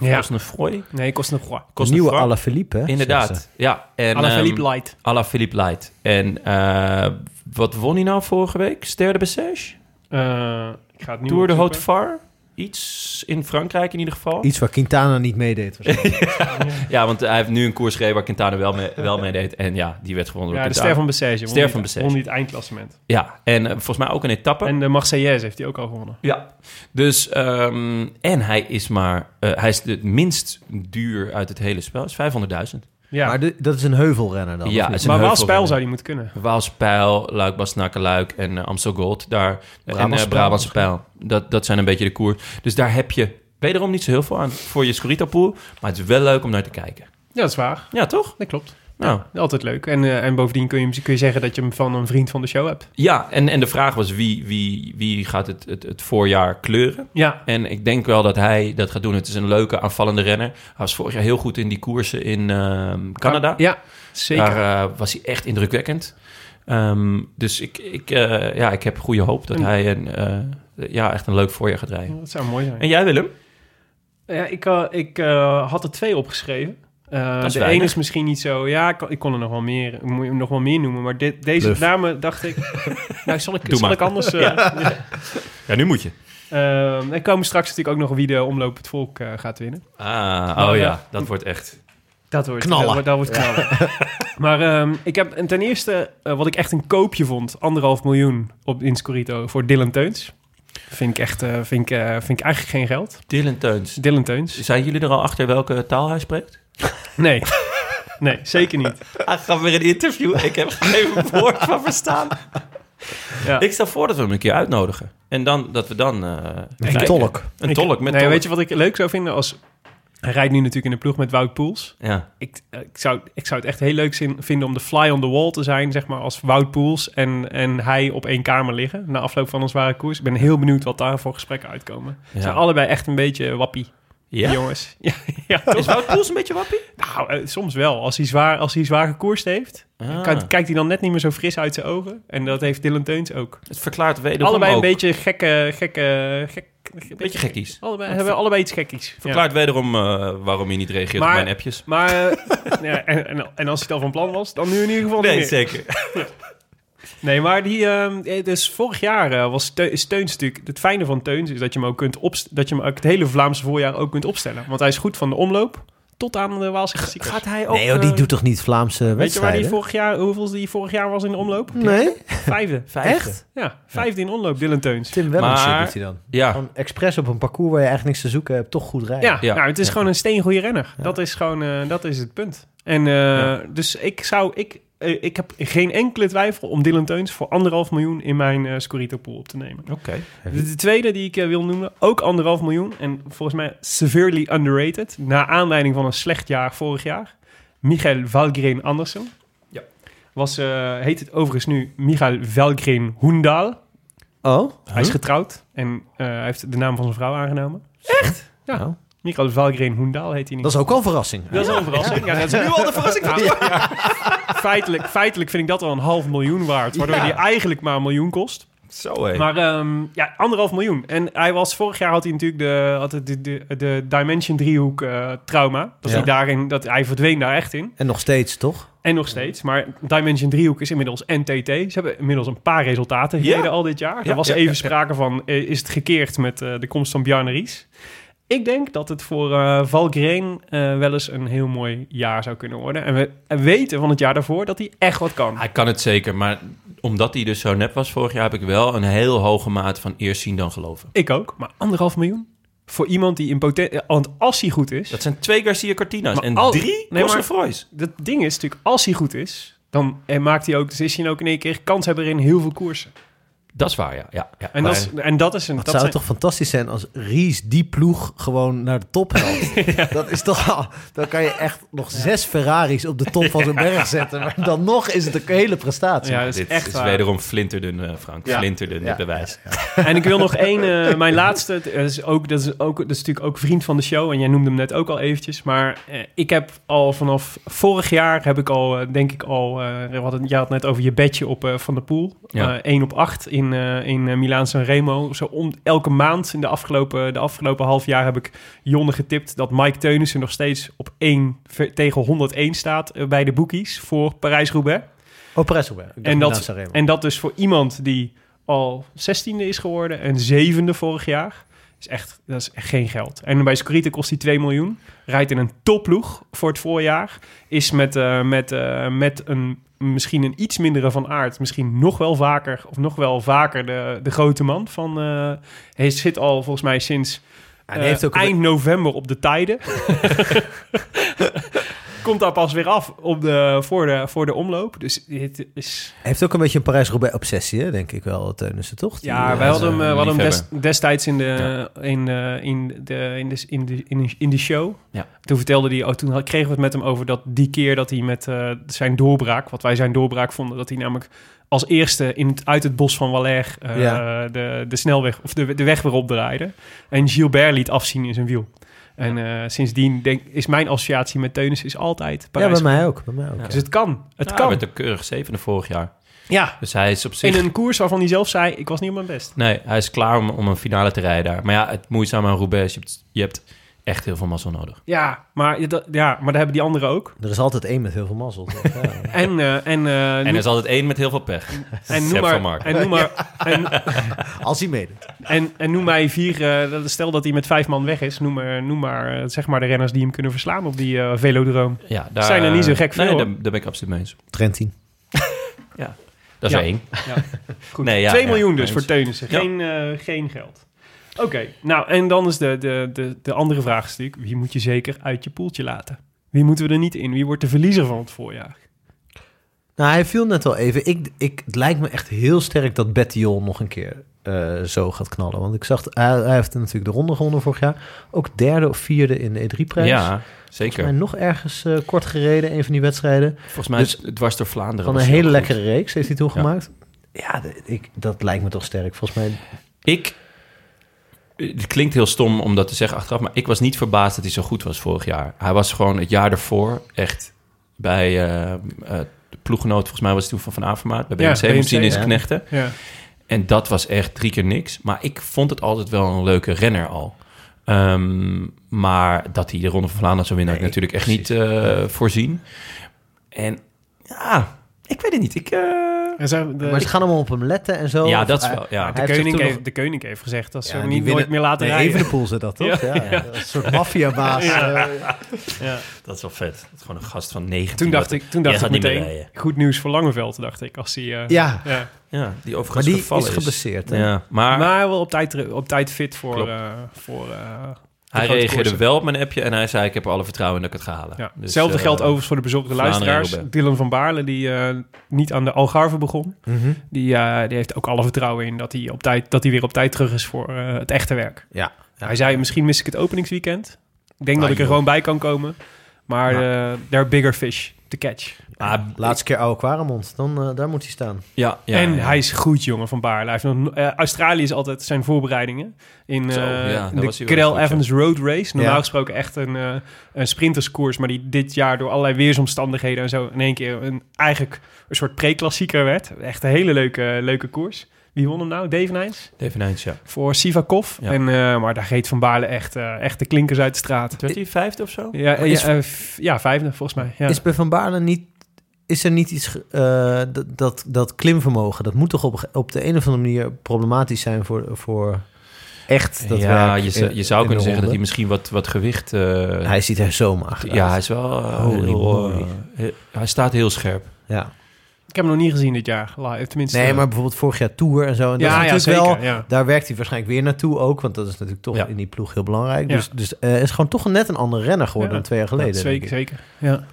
B: ja.
E: Cosnefroy,
B: Nee, kost nog wat.
C: De
E: Cosnefroy-
C: nieuwe Alaphilippe, hè? zeggen
E: Inderdaad, ja. En,
B: Alaphilippe
E: ehm,
B: Light.
E: Ala Philippe Light. En eh, wat won hij nou vorige week? Ster de Bessège?
B: Eh, ik ga het nu
E: Tour de
B: opzoeken.
E: Haute Var? Iets in Frankrijk in ieder geval.
C: ze. Iets waar Quintana niet meedeed. waarschijnlijk.
E: Ja, want hij heeft nu een koers gereden waar Quintana wel mee, wel mee deed. En ja, die werd gewonnen
B: Ja,
E: door
B: de
E: Quintana.
B: Ster van Bessège.
E: Ster van
B: Bessège.
E: Bessège.
B: Won niet het eindklassement.
E: Ja, en eh, volgens mij ook een etappe.
B: En de Marseillaise heeft hij ook al gewonnen.
E: Ja. Dus, ehm, en hij is maar, eh, hij is het minst duur uit het hele spel. Is 500.000.
B: Ja.
C: Maar
B: Maar,
C: de- dat is een heuvelrenner dan.
E: Ja,
C: of niet?
E: is een
B: maar wel
E: heuvel-
B: spijl zou hij moeten kunnen.
E: Waalspijl, Luik, Bastenakenluik en eh, Amstel Gold. Daar, en
C: Brabantse
E: eh, Brabantse Pijl. Dat, dat zijn een beetje de koers. Dus daar heb je wederom niet zo heel veel aan voor je Scorita-pool. Maar het is wel leuk om naar te kijken.
B: Ja, dat is waar.
E: Ja, toch?
B: Dat klopt.
E: Nou,
B: Altijd leuk. En, eh, en bovendien kun je, hem- kun je zeggen dat je hem van een vriend van de show hebt.
E: ja en, en de vraag was wie, wie, wie gaat het, het, het voorjaar kleuren?
B: Ja.
E: En ik denk wel dat hij dat gaat doen. Het is een leuke aanvallende renner. Hij was vorig jaar heel goed in die koersen in ehm, Canada.
B: Ja, zeker.
E: Daar eh, was hij echt indrukwekkend. Ehm, dus ik, ik, eh, ja, ik heb goede hoop dat
B: En-
E: hij een, eh, ja, echt een leuk voorjaar gaat rijden.
B: dat zou mooi zijn.
E: En jij Willem?
B: eh, Ja, ik, eh, ik eh, had er twee opgeschreven. Eh,
E: is
B: de
E: weinig.
B: ene is misschien niet zo... Ja, ik, kon- ik kon er nog wel meer, ik moet nog wel meer noemen. Maar dit, deze
C: Bluff.
B: namen dacht ik... nou, zal ik,
E: Doe
B: zal
E: maar.
B: ik anders... eh,
E: Ja, nu moet je.
B: Ehm, er komen straks natuurlijk ook nog wie de omloop het volk eh, gaat winnen.
E: Ah, oh ja, dat wordt echt.
B: Dat wordt
C: Knallen.
B: Dat wordt, dat wordt knallen. maar ehm, ik heb en ten eerste eh, wat ik echt een koopje vond, anderhalf miljoen op in Scorito voor Dylan Teuns. Vind ik echt, eh, vind ik, eh, vind ik eigenlijk geen geld.
E: Dylan Teuns.
B: Dylan Teuns?
E: Zijn jullie er al achter welke taal hij spreekt?
B: Nee. Nee, zeker niet.
E: Hij gaat weer een interview. Ik heb geen woord van verstaan.
B: Ja.
E: Ik stel voor dat we hem een keer uitnodigen. En dan, dat we dan... eh,
C: Een
E: kijken.
C: tolk.
E: Een
B: Ik-
E: tolk met
B: nee,
E: tolk.
B: Weet je wat ik leuk zou vinden als... Hij rijdt nu natuurlijk in de ploeg met Wout Poels.
E: Ja.
B: Ik, eh, ik, zou, ik zou het echt heel leuk zin- vinden om de fly on the wall te zijn, zeg maar, als Wout Poels en, en hij op één kamer liggen na afloop van een zware koers. Ik ben heel benieuwd wat daar voor gesprekken uitkomen. Ze
E: Ja.
B: zijn allebei echt een beetje wappie, die
E: ja?
B: jongens. Ja, ja, toch?
E: Is Wout Poels een beetje wappie?
B: nou, eh, soms wel. Als hij zwaar, als hij zwaar gekoerst heeft,
E: Ah.
B: kijkt, kijkt hij dan net niet meer zo fris uit zijn ogen. En dat heeft Dylan Teuns ook.
E: Het verklaart wederom
B: Allebei een
E: ook.
B: beetje gekke, gekke, gek,
E: Beetje gekkies.
B: Allebei, hebben allebei iets gekkies. Ja.
E: Verklaart wederom eh, waarom je niet reageert
B: Maar-
E: op mijn appjes.
B: Maar eh, ja, en, en, en als het al van plan was, dan nu in ieder geval
E: Nee,
B: niet meer.
E: zeker.
B: Nee, maar die, ehm, eh, dus vorig jaar eh, was Teu- is Teuns natuurlijk... Het fijne van Teuns is dat je hem ook kunt opst- dat je hem ook het hele Vlaamse voorjaar ook kunt opstellen. Want hij is goed van de omloop tot aan de Waalse klassiekers.
E: Gaat hij ook...
C: Nee, joh, die
E: eh,
C: doet toch niet Vlaamse
B: Weet je waar die
C: wedstrijden?
B: vorig jaar, hoeveel die vorig jaar was in de omloop?
C: Nee,
B: Vijfde.
E: vijfde?
C: echt?
B: Ja, vijfde in omloop, Dylan Teuns.
C: Tim Wellens
E: Maar-
C: doet hij dan.
B: Oh,
E: Ja.
C: Gewoon expres op een parcours waar je eigenlijk niks te zoeken hebt, toch goed rijden.
B: Ja,
E: Ja.
B: Nou, het is
E: Ja.
B: gewoon een steengoede renner. Dat is gewoon, eh, dat is het punt. En eh, dus ik zou, ik, eh, ik heb geen enkele twijfel om Dylan Teuns voor anderhalf miljoen in mijn eh Scorito pool op te nemen.
E: Oké.
B: De, de tweede die ik eh, wil noemen, ook anderhalf miljoen en volgens mij severely underrated, na aanleiding van een slecht jaar vorig jaar, Michael Valgren Andersen.
E: Ja.
B: Was, eh, heet het overigens nu Michael Valgren Hoendaal.
C: Oh,
B: Hij is getrouwd en eh, hij heeft de naam van zijn vrouw aangenomen. Ja.
E: Nou,
B: Michael Valgren Hoendaal heet hij niet.
C: dat is ook al een verrassing.
B: Dat is wel een verrassing. Ja, dat is nu al de verrassing van feitelijk, feitelijk vind ik dat al een half miljoen waard. Waardoor
E: Ja.
B: die eigenlijk maar een miljoen kost.
E: Zo hé.
B: Maar ehm, ja, anderhalf miljoen. En hij was vorig jaar had hij natuurlijk de, had het de, de, de Dimension driehoek eh, trauma. Dat
C: Ja.
B: hij daarin, dat hij verdween daar echt in.
C: En nog steeds, toch?
B: En nog steeds. Maar Dimension driehoek is inmiddels NTT. Ze hebben inmiddels een paar resultaten gereden al dit jaar.
E: Ja,
B: er was
E: ja,
B: even
E: ja, ja.
B: sprake van, eh, is het gekeerd met eh, de komst van Bjarne Ries? Ik denk dat het voor eh Valgren eh, wel eens een heel mooi jaar zou kunnen worden. En we en weten van het jaar daarvoor dat hij echt wat kan.
E: Hij kan het zeker, maar omdat hij dus zo nep was vorig jaar... heb ik wel een heel hoge mate van eerst zien dan geloven.
B: Ik ook, maar anderhalf miljoen? Voor iemand die in potentie... Want als hij goed is...
E: Dat zijn twee Garcia Cortina's
B: Maar
E: en
B: al-
E: drie
B: Nee, maar-
E: Cosnefroys.
B: Dat ding is natuurlijk, als hij goed is... dan eh, maakt hij ook... dus is hij ook in één keer kans hebben in heel veel koersen.
E: Dat is waar, ja. ja, ja.
B: En dat is,
E: Maar-
B: en dat is een...
C: Het
B: dat
C: zou
B: zijn-
C: toch fantastisch zijn als Ries die ploeg gewoon naar de top helpt. Dat is toch al... Dan kan je echt nog zes Ferraris op de top van zo'n berg zetten. Maar dan nog is het een hele prestatie.
B: Ja, dat is
E: dit
B: echt
E: is
B: waar.
E: wederom flinterdun, eh, Frank.
C: Ja.
E: Flinterdun, dit
C: Ja.
E: bewijs.
B: En ik wil nog één, eh, mijn laatste. Het- Dat is, ook, dat, is ook, dat is natuurlijk ook vriend van de show. En jij noemde hem net ook al eventjes. Maar eh, ik heb al vanaf vorig jaar, heb ik al, eh, denk ik al... eh, we hadden, jij had net over je bedje op eh, Van der Poel.
E: Ja.
B: Eh, 1 op 8 in, eh in eh, Milaan San Remo. Zo om, elke maand in de afgelopen, de afgelopen half jaar heb ik Jonne getipt... dat Mike Teunissen nog steeds op 1 ver- tegen 101 staat eh, bij de bookies voor Parijs-Roubaix.
C: Oh, Presselberg.
B: En dat, en dat dus voor iemand die al 16e is geworden en zevende vorig jaar. Is echt, dat is echt geen geld. En bij Scorita kost hij 2 miljoen. Rijdt in een topploeg voor het voorjaar. Is met, eh, met, eh, met een, misschien een iets mindere van aard. Misschien nog wel vaker, of nog wel vaker de, de grote man. Van, eh, hij zit al volgens mij sinds
C: hij heeft
B: eh,
C: ook een-
B: eind november op de tijden. Komt daar pas weer af op de, voor, de, voor de omloop. Dus dit is
C: Hij heeft ook een beetje een Parijs-Roubaix-obsessie, hè, denk ik wel, Teunissen, toch? Die,
B: Ja,
C: eh,
B: wij hadden hem, eh,
E: een
B: we hadden hem des-
E: liefhebber.
B: destijds in de, in, eh, in, de, in, de, in, de, in, de, in de show.
E: Ja.
B: Toen vertelde hij, oh, toen had- kregen we het met hem over dat die keer dat hij met eh, zijn doorbraak, wat wij zijn doorbraak vonden, dat hij namelijk als eerste in het, uit het bos van Waller eh,
C: Ja.
B: de, de snelweg of de, de weg weer opdraaide. En Gilbert liet afzien in zijn wiel. En eh, sindsdien denk, is mijn associatie met Teunis is altijd
C: Ja,
B: Parijs.
C: bij mij ook. Bij mij ook.
B: Dus het kan. Het
E: Ja,
B: kan.
E: Hij werd een keurig zevende vorig jaar.
B: Ja.
E: Dus hij is op zich...
B: In een koers waarvan hij zelf zei, ik was niet op mijn best.
E: Nee, hij is klaar om, om een finale te rijden daar. Maar ja, het moeizame aan Roubaix is, je hebt, je hebt echt heel veel mazzel nodig.
B: Ja, maar, dat- ja, maar daar hebben die anderen ook.
C: Er is altijd één met heel veel mazzel. toch? Ja.
B: En, eh, en, eh,
E: En er
B: noem-
E: is altijd één met heel veel pech.
B: en
E: Sepp
B: noem
E: van
B: maar,
E: Marken.
B: en noem maar, en,
C: Als hij meedoet.
B: en, en noem mij vier, eh, dat- stel dat hij met vijf man weg is, noem maar, noem maar eh, zeg maar de renners die hem kunnen verslaan op die eh, velodroom.
E: Ja, daar,
B: Zijn er niet zo gek
E: nee,
B: veel,
E: daar,
B: hoor.
E: daar ben ik absoluut mee eens.
C: Trentin.
E: Dat is
B: Ja.
E: er één.
B: Goed,
E: Nee, ja,
B: 2
E: ja,
B: miljoen dus
E: eens.
B: voor Teunissen,
E: Ja.
B: geen, eh, geen geld. Oké, nou en dan is de, de, de, de andere vraag is natuurlijk, wie moet je zeker uit je poeltje laten? Wie moeten we er niet in? Wie wordt de verliezer van het voorjaar?
C: Nou, hij viel net al even. Ik, ik, het lijkt me echt heel sterk dat Bettiol nog een keer eh, zo gaat knallen. Want ik zag, hij, hij heeft natuurlijk de ronde gewonnen vorig jaar. Ook derde of vierde in de E E3-prijs.
E: Ja, zeker.
C: En nog ergens eh, kort gereden, een van die wedstrijden.
E: Volgens mij
C: Dus-
E: is het dwars door Vlaanderen.
C: Van
E: was
C: een
E: heel
C: hele
E: goed.
C: lekkere reeks heeft hij toen gemaakt. Ja, d- ik, dat lijkt me toch sterk. Volgens mij
E: Ik... eh, Het klinkt heel stom om dat te zeggen achteraf, maar ik was niet verbaasd dat hij zo goed was vorig jaar. Hij was gewoon het jaar daarvoor echt bij eh, eh, de ploeggenoot, volgens mij was het toen van Van Avermaat, bij
B: Ja,
E: BMC,
B: BMC,
E: misschien is
C: ja.
E: knechten.
B: Ja.
E: En dat was echt drie keer niks. Maar ik vond het altijd wel een leuke renner al. Ehm, maar dat hij de Ronde van Vlaanderen zou winnen, had ik natuurlijk echt niet eh, voorzien. En ja, ik weet het niet. Ik, eh,
B: En zijn de,
C: Maar ze gaan allemaal op hem letten en zo.
E: ja,
C: Of
E: dat is
C: hij-
E: wel... Ja.
C: hij
B: de,
C: heeft zich
B: koning
C: toen
B: heeft,
C: nog-
B: de koning heeft gezegd dat ze
C: Ja,
B: hem
C: die
B: niet nooit
C: winnen-
B: meer laten
C: nee,
B: rijden.
C: Evenepoel zit dat, toch? Ja, ja. Een soort maffiabaas. eh.
E: Dat is wel vet. Dat is gewoon een gast van 19.
B: Toen dacht
E: dat-
B: ik, toen
E: Jij
B: dacht ik
E: gaat niet meer
B: meteen,
E: rijden.
B: goed nieuws voor Langeveld, dacht ik. Als hij, eh,
C: ja,
B: ja.
E: Ja, die
C: maar
E: overigens
C: die
E: gevallen
C: is geblesseerd. hè?
E: Ja, maar,
B: Maar wel op tijd, teru- op tijd fit voor...
E: Klopt.
B: eh, voor eh, de
E: hij
B: grote
E: reageerde
B: koersen.
E: wel op mijn appje en hij zei... ik heb er alle vertrouwen in dat ik het ga halen.
B: Ja.
E: Dus,
B: Hetzelfde
E: eh,
B: geldt overigens voor de bezorgde
E: Vlaanderen en
B: luisteraars.
E: Roubaix.
B: Dylan van Baarle, die eh, niet aan de Algarve begon.
C: Mhm.
B: Die, eh, die heeft ook alle vertrouwen in dat hij, op tijd, dat hij weer op tijd terug is voor eh, het echte werk.
C: Ja. Ja.
B: Hij zei, misschien mis ik het openingsweekend. Ik denk dat
C: Ah,
B: ik er
C: joh.
B: gewoon bij kan komen. Maar eh there are bigger fish to catch.
E: Ah,
C: Laatste keer oude Quaremond. Dan, eh, daar moet hij staan.
E: ja, ja,
B: en
E: ja.
B: hij is goed, jongen, van Baarle. Hij heeft nog, eh, Australië is altijd zijn voorbereidingen. In
E: Zo,
B: eh,
E: ja, daar was
B: de
E: hij wel
B: Cadel
E: goed, ja.
B: Evans Road Race. Normaal
C: Ja.
B: gesproken echt een, eh, een sprinterskoers. Maar die dit jaar door allerlei weersomstandigheden en zo... in één keer een, eigenlijk een soort pre-klassieker werd. Echt een hele leuke, leuke koers. Wie won hem nou? Dave Nijns?
E: Dave Nijns, ja.
B: Voor Sivakov.
E: Ja.
B: En, eh, maar daar reed Van Baarle echt, eh, echt de klinkers uit de straat.
E: Werd hij vijfde of zo?
B: Ja,
C: is-
B: ja, eh, f- ja, vijfde volgens mij. Ja.
C: Is bij Van Baarle niet... Is er niet iets... ge- eh, dat, dat, dat klimvermogen, dat moet toch op, op de een of andere manier problematisch zijn voor... voor echt dat
E: ja,
C: werk
E: je, zou-
C: in-
E: je zou
C: in de
E: kunnen zeggen dat
C: ronde.
E: hij misschien wat, wat gewicht... eh,
C: Hij ziet er zo mager
E: ja,
C: uit.
E: hij is wel... eh,
C: Holy
E: heel, eh,
C: moly.
E: he- hij staat heel scherp.
C: Ja.
B: Ik heb hem nog niet gezien dit jaar. live, Tenminste, eh.
E: eh,
C: Nee, maar bijvoorbeeld vorig jaar Tour en zo. En dat
B: ja,
C: is
B: ja,
C: natuurlijk
B: zeker.
C: wel...
B: ja.
C: Daar werkt hij waarschijnlijk weer naartoe ook, want dat is natuurlijk toch
E: Ja.
C: in die ploeg heel belangrijk.
B: Ja.
C: Dus, dus eh is gewoon toch een net een andere renner geworden
B: Ja.
C: dan twee jaar geleden.
B: Ja,
C: denk
B: zeker,
C: ik.
B: zeker. Ja.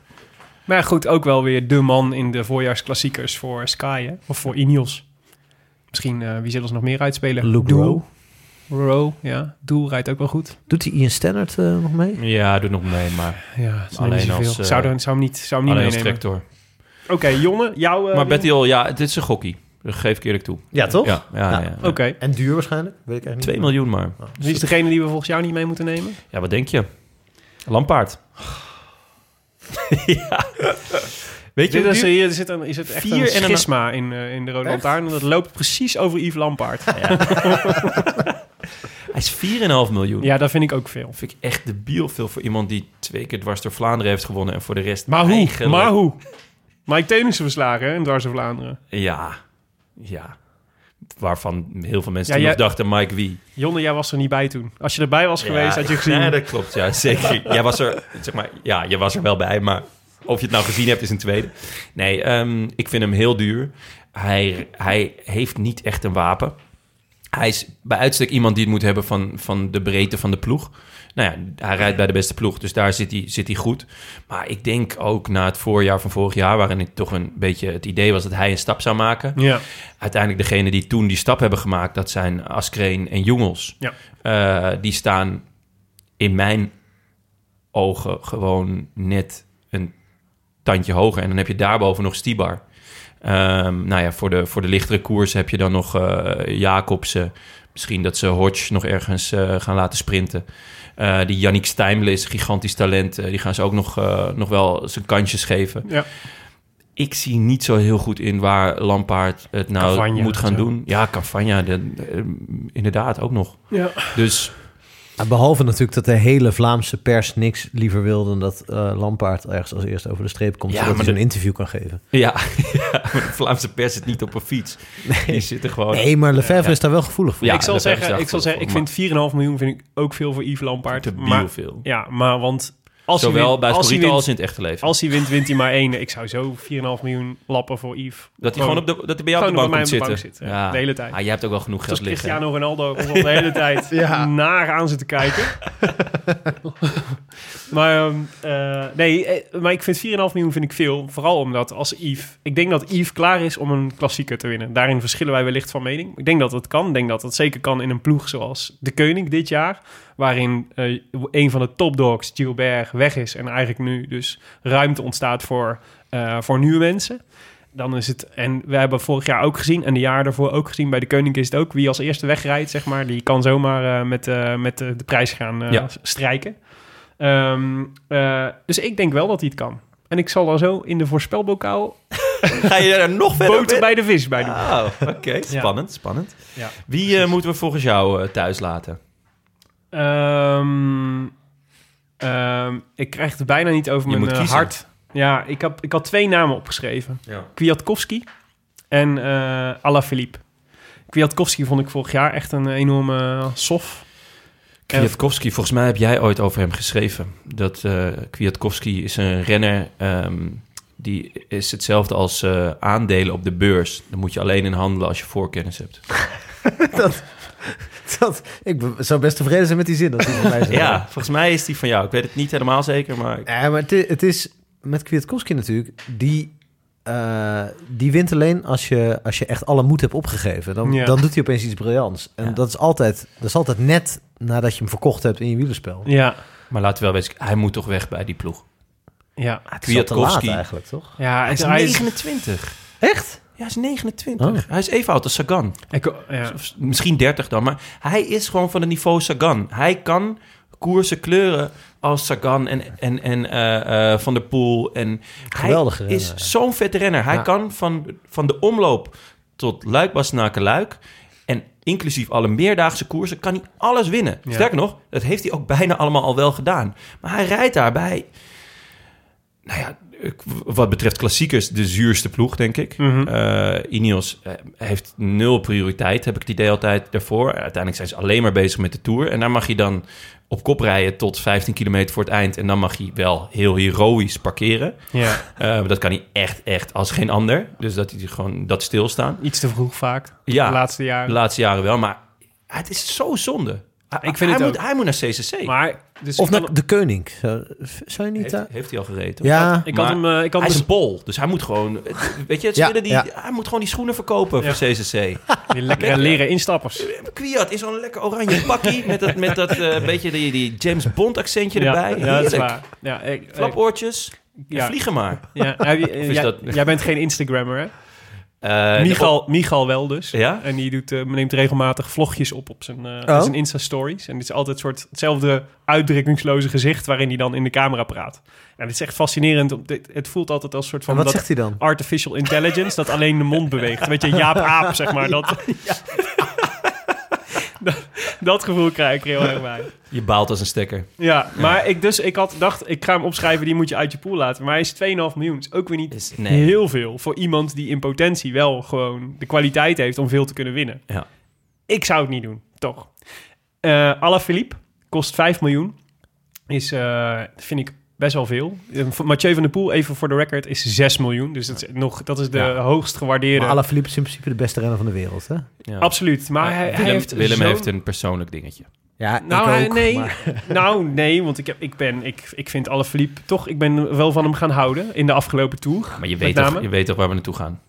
B: Maar ja, goed, ook wel weer de man in de voorjaarsklassiekers voor Sky, hè? of voor Ineos. Misschien, eh, wie zullen ze nog meer uitspelen?
C: Luke
B: Doel.
C: Rowe.
B: Rowe, ja. Doel rijdt ook wel goed.
C: Doet die Ian Stannard eh, nog mee?
E: Ja, doe nog mee, maar
B: Ja, het is
E: Alleen
B: alleen niet zoveel.
E: als, eh,
B: zou, er, zou hem niet, zou hem niet
E: alleen als
B: meenemen.
E: tractor.
B: Oké, Jonne, jouw... eh,
E: Maar Betty al, ja, het is een gokkie. Dat geef ik eerlijk toe.
C: Ja, toch?
E: Ja, ja, ja.
C: Ja.
B: Nou, Oké. dus
C: En duur waarschijnlijk? Weet ik eigenlijk
E: 2
C: niet.
E: miljoen maar.
B: Wie is degene die we volgens jou niet mee moeten nemen?
E: Ja, wat denk je? Lampaard. ja. Weet je,
B: Dit
E: hoe
B: is,
E: duur-
B: hier zit een, is het echt
E: Vier en
B: een
E: een-
B: schisma in, eh, in de Rode Lantaarn. Dat loopt precies over Yves Lampaard.
E: hij is 4,5 miljoen.
B: ja, dat vind ik ook veel.
E: Dat vind ik echt debiel veel voor iemand die twee keer dwars door Vlaanderen heeft gewonnen en voor de rest
B: Maar hoe?
E: eigenlijk-
B: Maar hoe? Mike Teunissen verslagen hè, in Dwars door Vlaanderen.
E: Ja, ja. Waarvan heel veel mensen
B: Ja,
E: toen
B: jij-
E: nog dachten, Mike wie?
B: Jonne, jij was er niet bij toen. Als je erbij was geweest, had je gezien.
E: Ja, dat klopt. Ja, zeker. jij was er, zeg maar, ja, je was er wel bij, maar of je het nou gezien hebt is een tweede. Nee, ehm, ik vind hem heel duur. Hij, hij heeft niet echt een wapen. Hij is bij uitstek iemand die het moet hebben van, van de breedte van de ploeg. Nou ja, hij rijdt bij de beste ploeg, dus daar zit hij, zit hij goed. Maar ik denk ook na het voorjaar van vorig jaar, waarin ik toch een beetje het idee was dat hij een stap zou maken
B: Ja.
E: uiteindelijk degene die toen die stap hebben gemaakt, dat zijn Askreen en Jongels.
B: Ja.
E: Eh, die staan in mijn ogen gewoon net een tandje hoger. En dan heb je daarboven nog Stibar. Ehm, nou ja, voor de, voor de lichtere koers heb je dan nog eh, Jacobsen. Misschien dat ze Hodge nog ergens eh, gaan laten sprinten. Eh, die Yannick Stijmle is een gigantisch talent. Eh, die gaan ze ook nog, eh, nog wel zijn kansjes geven
B: ja.
E: ik zie niet zo heel goed in waar Lampaard het nou
B: Cavagna,
E: moet gaan
B: zo.
E: doen. Ja, Cavagna, de- eh, inderdaad, ook nog.
B: ja.
E: Dus
C: En Behalve natuurlijk dat de hele Vlaamse pers niks liever wil dan dat eh, Lampaard ergens als eerste over de streep komt,
E: Ja,
C: zodat
E: maar
C: hij zo'n
E: de- Oh,
C: interview kan geven.
E: ja, ja, de Vlaamse pers zit niet op een fiets. Die zitten gewoon...
C: Nee, maar Lefebvre is daar wel gevoelig voor.
E: Ja,
B: ik zal
E: dat
B: zeggen,
E: hebben ze
B: ik, zal zeggen ik vind 4,5 miljoen vind ik ook veel voor Yves Lampaard.
E: te
B: maar,
E: biel veel.
B: Ja, maar want als hij
E: Zowel
B: wint,
E: bij
B: als, hij
E: Scorito als
B: wint,
E: in het echte leven.
B: als hij wint, wint hij maar één. Ik zou zo 4,5 miljoen lappen voor Yves.
E: dat hij gewoon op de, dat hij bij jou op de
B: Oh. gewoon
E: bank
B: bij
E: komt
B: mij op de
E: zitten.
B: bank zitten, ja, de hele tijd.
E: Ah, jij hebt ook wel genoeg
B: Zoals
E: geld liggen.
B: Cristiano Ronaldo ons al de hele tijd naar aan zitten kijken. maar, ehm, eh, nee, eh, maar ik vind 4,5 miljoen vind ik veel. Vooral omdat als Yves... Ik denk dat Yves klaar is om een klassieker te winnen. Daarin verschillen wij wellicht van mening. Ik denk dat dat kan. Ik denk dat dat zeker kan in een ploeg zoals De Koning dit jaar. Waarin eh, een van de topdogs, Gilbert, weg is. En eigenlijk nu dus ruimte ontstaat voor, eh, voor nieuwe mensen. Dan is het, en we hebben vorig jaar ook gezien, en de jaar daarvoor ook gezien, bij de Koning is het ook. Wie als eerste wegrijdt, zeg maar, die kan zomaar eh, met, eh, met eh, de prijs gaan eh,
E: Ja.
B: s- strijken. Ehm, eh, dus ik denk wel dat hij het kan. En ik zal daar zo in de voorspelbokaal
E: Ga je daar nog verder
B: boter bij de vis bij doen.
E: Oh, oké. Spannend, spannend.
B: Ja.
E: Wie eh, moeten we volgens jou eh, thuis laten?
B: Ehm, ehm, ik krijg het bijna niet over
E: Je moet
B: mijn eh,
E: kiezen.
B: hart. Ja, ik, heb, ik had twee namen opgeschreven.
E: Ja.
B: Kwiatkowski en eh Alaphilippe. Kwiatkowski vond ik vorig jaar echt een enorme eh, sof.
E: Kwiatkowski, volgens mij heb jij ooit over hem geschreven. Dat eh Kwiatkowski is een renner. ehm, die is hetzelfde als eh, aandelen op de beurs. Daar moet je alleen in handelen als je voorkennis hebt.
C: dat, dat, ik be- zou best tevreden zijn met die zin. Dat die van mij zou
E: Ja, volgens mij is die van jou. Ik weet het niet helemaal zeker, maar...
C: zijn. Ja, maar het, i- het is met Kwiatkowski natuurlijk, die, eh, die wint alleen als je, als je echt alle moed hebt opgegeven. Dan,
B: Ja.
C: dan doet hij opeens iets briljants. En
E: Ja.
C: dat, is altijd, dat is altijd net nadat je hem verkocht hebt in je wielerspel.
B: Ja,
E: Maar laten we wel wezen, hij moet toch weg bij die ploeg.
B: ja.
C: Ah, Het is al te laat
E: Kwiatkowski.
C: eigenlijk, toch?
B: Ja,
E: Hij
B: het
E: is
B: hij is...
E: 29.
C: Echt?
E: Ja, hij is 29.
C: Oh.
E: Hij is even oud als Sagan.
B: Ik, ja.
E: Of misschien 30 dan, maar hij is gewoon van het niveau Sagan. Hij kan koersen kleuren als Sagan en, en, en eh, eh, Van der Poel. En
C: Geweldige
E: hij
C: renner,
E: is
C: ja.
E: zo'n vette renner. Hij
C: Ja.
E: kan van, van de omloop tot luik Bastenaken, luik en inclusief alle meerdaagse koersen, kan hij alles winnen.
B: Ja.
E: Sterker nog, dat heeft hij ook bijna allemaal al wel gedaan. Maar hij rijdt daarbij... Nou ja, ik- wat betreft klassiekers, de zuurste ploeg, denk ik.
B: Mhm.
E: Eh, Ineos eh, heeft nul prioriteit, heb ik het idee altijd daarvoor. Uiteindelijk zijn ze alleen maar bezig met de Tour. En daar mag je dan op kop rijden tot 15 kilometer voor het eind. En dan mag je wel heel heroïs parkeren.
B: ja,
E: Eh, maar dat kan hij echt, echt als geen ander. Dus dat hij gewoon dat stilstaan.
B: iets te vroeg vaak.
E: Ja,
B: de laatste
E: de
B: jaren.
E: laatste jaren wel. Maar het is zo zonde.
B: Ik vind
E: hij,
B: het
E: moet,
B: ook.
E: hij moet naar CCC.
B: Maar, dus
C: Of
B: ik kan-
C: naar de koning. Zou, zou je niet...
E: heeft,
C: daar-
E: heeft hij al gereden?
C: ja,
B: ik had
E: maar
B: hem, eh, ik
E: Hij
B: had hem
E: is een
B: dus
E: pol, dus hij moet gewoon... Weet je, ze
C: Ja,
E: willen die,
C: ja.
E: hij moet gewoon die schoenen verkopen
B: Ja.
E: voor CCC.
B: die lekkere leren instappers.
E: Kwiat is zo'n lekker oranje pakkie met dat, met dat eh, beetje die, die James Bond accentje erbij.
B: ja, dat is
E: Heerlijk.
B: waar. Ja, ik, ik-
E: Flapoortjes, en
B: ja,
E: vliegen maar.
B: ja, heb je-
E: is
B: jij,
E: dat-
B: jij bent geen Instagrammer, hè?
E: Eh,
B: Michal, Michal wel dus.
E: Ja?
B: En die doet, eh, neemt regelmatig vlogjes op op zijn, eh,
C: Oh.
B: zijn Insta-stories. En het is altijd soort hetzelfde uitdrukkingsloze gezicht... waarin hij dan in de camera praat. En het is echt fascinerend. om- dit- Het voelt altijd als soort
C: en
B: van...
C: wat
B: dat
C: zegt hij dan?
B: artificial intelligence... dat alleen de mond beweegt. Weet je, Jaap Aap, zeg maar. Dat, dat, dat gevoel krijg ik er heel erg bij.
E: Je baalt als een stekker.
B: Ja, maar ik, dus, ik had dacht, ik ga hem opschrijven, die moet je uit je pool laten. Maar hij is 2,5 miljoen. Is ook weer niet
E: Is- nee.
B: heel veel voor iemand die in potentie wel gewoon de kwaliteit heeft om veel te kunnen winnen.
E: Ja.
B: Ik zou het niet doen, toch? Eh Alaphilippe kost 5 miljoen. Is, eh, vind ik best wel veel. Eh, voor Mathieu van der Poel, even voor de record, is 6 miljoen. Dus dat is, nog, dat is de
E: Ja.
B: hoogst gewaardeerde.
C: Maar Alaphilippe is in principe de beste renner van de wereld, hè?
E: Ja.
B: Absoluut. Maar hij, hij
E: Willem,
B: heeft
E: Willem
B: zo'n-
E: heeft een persoonlijk dingetje.
C: Ja,
B: Nou,
C: ik
B: hij-
C: ook,
B: nee.
C: maar-
B: Nou, nee, want ik, heb, ik, ben, ik, ik vind Alaphilippe toch... Ik ben wel van hem gaan houden in de afgelopen tour.
E: Maar je
B: Met
E: weet, toch,
B: name?
E: je weet toch waar we naartoe gaan.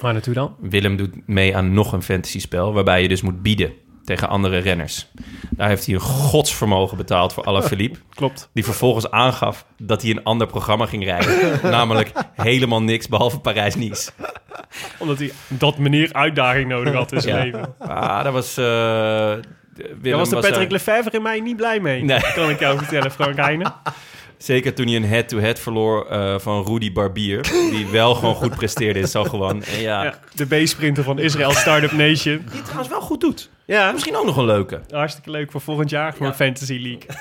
B: Waar naartoe dan?
E: Willem doet mee aan nog een fantasy spel... waarbij je dus moet bieden tegen andere renners. Daar heeft hij een godsvermogen betaald voor Alaphilippe...
B: Klopt.
E: die vervolgens aangaf dat hij een ander programma ging rijden. namelijk helemaal niks behalve Parijs-Nice.
B: Omdat hij dat manier uitdaging nodig had in zijn
E: Ja.
B: leven.
E: Ah, daar was... eh, Willem
B: Daar was eh, de
E: daar-
B: Patrick Lefevre in mij niet blij mee.
E: Nee.
B: Kan ik jou vertellen, Frank Heijnen.
E: Zeker toen hij een head-to-head verloor eh, van Rudy Barbier. Die wel gewoon goed presteerde in Salgowan. En eh, ja,
B: Ja, de B-sprinter van Israël Startup Nation.
E: die het trouwens wel goed doet.
B: Ja.
E: Misschien ook nog een leuke.
B: Hartstikke leuk voor volgend jaar voor Fantasy League.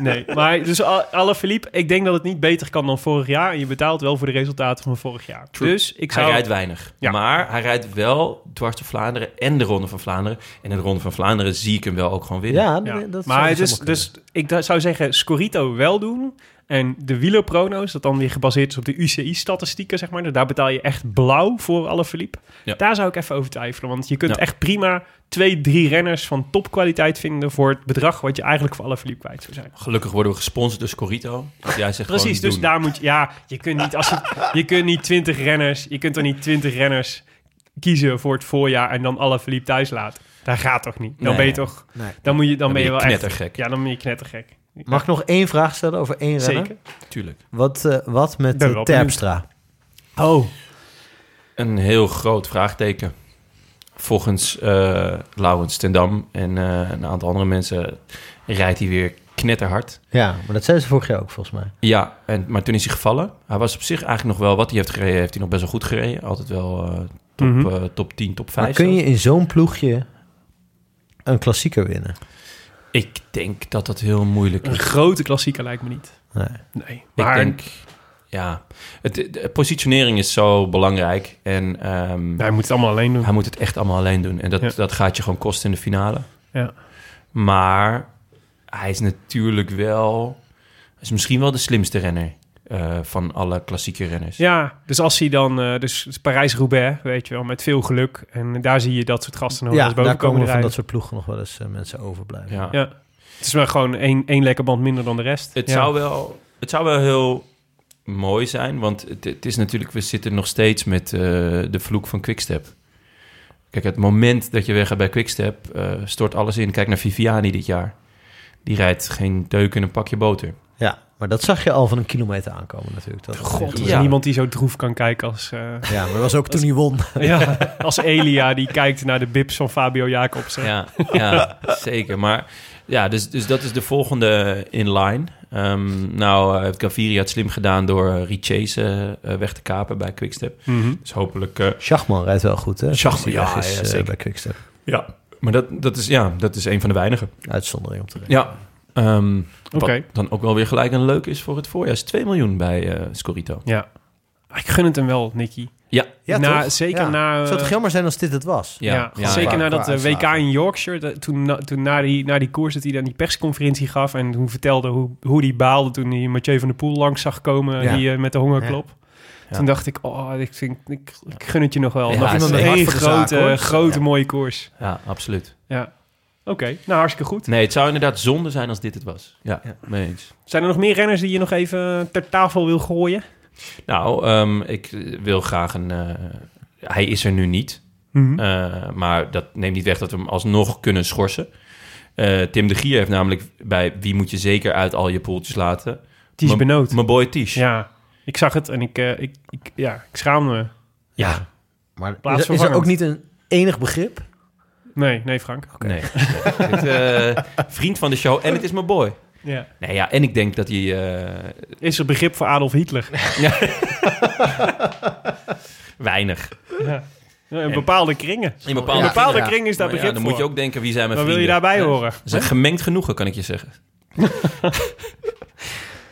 B: Nee, maar dus Al- Alaphilippe, ik denk dat het niet beter kan dan vorig jaar. En je betaalt wel voor de resultaten van vorig jaar. Dus ik zou...
E: Hij rijdt weinig.
B: Ja.
E: Maar hij rijdt wel dwars door Vlaanderen en de Ronde van Vlaanderen. En in de Ronde van Vlaanderen zie ik hem wel ook gewoon winnen.
C: Ja,
B: Ja.
C: nee, dat zou
B: maar
C: dus
B: dus,
C: helemaal
B: dus ik da- zou zeggen, Scorito wel doen. En de wielerprono's, dat dan weer gebaseerd is op de UCI-statistieken, zeg maar. Daar betaal je echt blauw voor alle verliep.
E: Ja.
B: Daar zou ik even over twijfelen. Want je kunt
E: Ja.
B: echt prima twee, drie renners van topkwaliteit vinden... voor het bedrag wat je eigenlijk voor alle verliep kwijt zou zijn.
E: Gelukkig worden we gesponsord door Scorito. Dus jij zegt
B: Precies,
E: gewoon
B: dus
E: doen.
B: daar moet je... Ja, je kunt niet, als je, je kunt niet twintig renners... Je kunt er niet twintig renners kiezen voor het voorjaar... en dan alle verliep thuis laten. Dat gaat toch niet? Dan
E: Nee.
B: ben je toch...
C: geen- nee.
B: Dan, moet je, dan,
E: ben
B: ben je,
E: je
B: wel echt...
E: knettergek.
B: Ja, dan ben je knettergek.
C: Mag ik nog één vraag stellen over één renner?
B: dus- Zeker.
E: Tuurlijk.
C: Wat, eh, wat met
B: Ben
C: eh,
B: wel benieuwd.
C: Terpstra?
B: Oh.
E: Een heel groot vraagteken. Volgens eh Laurens ten Dam en eh, een aantal andere mensen rijdt hij weer knetterhard.
C: Ja, maar dat zei ze vorig jaar ook volgens mij.
E: Ja, en, maar toen is hij gevallen. Hij was op zich eigenlijk nog wel wat hij heeft gereden. Heeft hij nog best wel goed gereden. Altijd wel eh, top,
B: Mhm.
E: eh, top 10, top 5.
C: Maar kun je in zo'n ploegje een klassieker winnen?
E: Ik denk dat dat heel moeilijk
B: Een
E: is.
B: grote klassieker lijkt me niet.
C: Nee.
B: Nee.
E: Ik
B: Maar
E: denk, ja. Het, de positionering is zo belangrijk. En ehm,
B: hij moet het allemaal alleen doen.
E: hij moet het echt allemaal alleen doen. En dat,
B: Ja.
E: dat gaat je gewoon kosten in de finale.
B: Ja.
E: Maar hij is natuurlijk wel... Hij is misschien wel de slimste renner eh, van alle klassieke renners.
B: Ja, dus als hij dan... eh, dus Parijs-Roubaix, weet je wel, met veel geluk. En daar zie je dat soort gasten nog wel
C: Ja,
B: eens boven
C: daar komen
B: komen
C: we van dat
B: rijden.
C: soort ploegen nog wel eens eh, mensen overblijven.
E: Ja.
B: Ja. Het is maar gewoon één, één lekker band minder dan de rest.
E: Het,
B: Ja.
E: zou wel, het zou wel heel mooi zijn, want het, het is natuurlijk, we zitten nog steeds met eh, de vloek van Quickstep. Kijk, het moment dat je weggaat bij Quickstep, eh, stort alles in. Kijk naar Viviani dit jaar. Die rijdt geen deuk in een pakje boter.
C: Ja, maar dat zag je al van een kilometer aankomen natuurlijk. Dat
B: God, er is
E: Ja.
B: niemand die zo droef kan kijken als, eh,
C: Ja, maar dat was ook toen hij won.
B: ja, als Elia die kijkt naar de bips van Fabio Jacobs. hè.
E: Ja, ja zeker. Maar ja, dus, dus dat is de volgende in line. Ehm, nou, eh, heeft Gaviria het slim gedaan door eh, Riches eh, eh, weg te kapen bij Quickstep.
B: Mhm.
E: Dus hopelijk eh,
C: Schachman rijdt wel goed, hè?
E: Schachman,
C: Die weg
E: ja, ja,
C: eh,
E: zeker.
C: bij Quickstep.
E: Ja, maar dat, dat, is, ja, dat is een van de weinigen.
C: Uitzondering om te rekenen.
E: Ja. ehm, wat
B: Oké.
E: dan ook wel weer gelijk een leuk is voor het voorjaar. Is 2 miljoen bij eh Scorito.
B: Ja. Ik gun het hem wel, Nicky.
E: Ja.
B: Na- zeker na, eh,
C: Zou het jammer zijn als dit het was?
E: Ja,
B: Ja,
E: ja,
B: zeker
C: ja.
B: na dat
C: Qua
B: eh, WK
C: uitslagen.
B: in Yorkshire. dat- toen na, toen na, die, na die koers dat hij dan die persconferentie gaf... en toen vertelde hoe, hoe die baalde toen hij Mathieu van der Poel langs zag komen...
C: Ja.
B: Die, eh, met de hongerklop.
E: Ja.
B: Toen dacht ik, oh, ik, vind, ik, ik gun het je nog wel.
E: Ja,
B: nog
E: het is
B: iemand met
E: echt
B: één
C: hard voor de zaak,
B: grote,
C: hoor.
B: grote mooie koers.
E: Ja, absoluut.
B: Ja. Oké, nou hartstikke goed.
E: Nee, het zou inderdaad zonde zijn als dit het was. Ja, mee eens.
B: Zijn er nog meer renners die je nog even ter tafel wil gooien?
E: Nou, ehm, ik eh, wil graag een... eh, hij is er nu niet.
B: Hm?
E: Eh, maar dat neemt niet weg dat we hem alsnog kunnen schorsen. Eh, Tim de Gier heeft namelijk bij Wie moet je zeker uit al je poeltjes laten...
B: Die is
E: Mijn-
B: benood.
E: Mijn boy Ties.
B: Ja, ik zag het en ik, eh, ik, ik, ja, ik schaam me.
E: Ja.
C: Maar is,
B: Plaatsvervangend.
C: is er ook niet een enig begrip?
B: Nee, nee Frank.
E: Nee. Het, eh, vriend van de show en het is mijn boy.
B: Ja.
E: Nee, ja, en ik denk dat hij... eh,
B: Is er begrip voor Adolf Hitler?
E: weinig.
B: ja. In bepaalde kringen.
E: In
B: In
E: bepaalde,
B: bepaalde
C: ja.
B: kringen is daar
E: Maar ja,
B: begrip
E: dan
B: voor.
E: moet je ook denken, wie zijn mijn
B: Wat wil je
E: vrienden?
B: daarbij horen?
E: Ze zijn gemengd genoegen, kan ik je zeggen.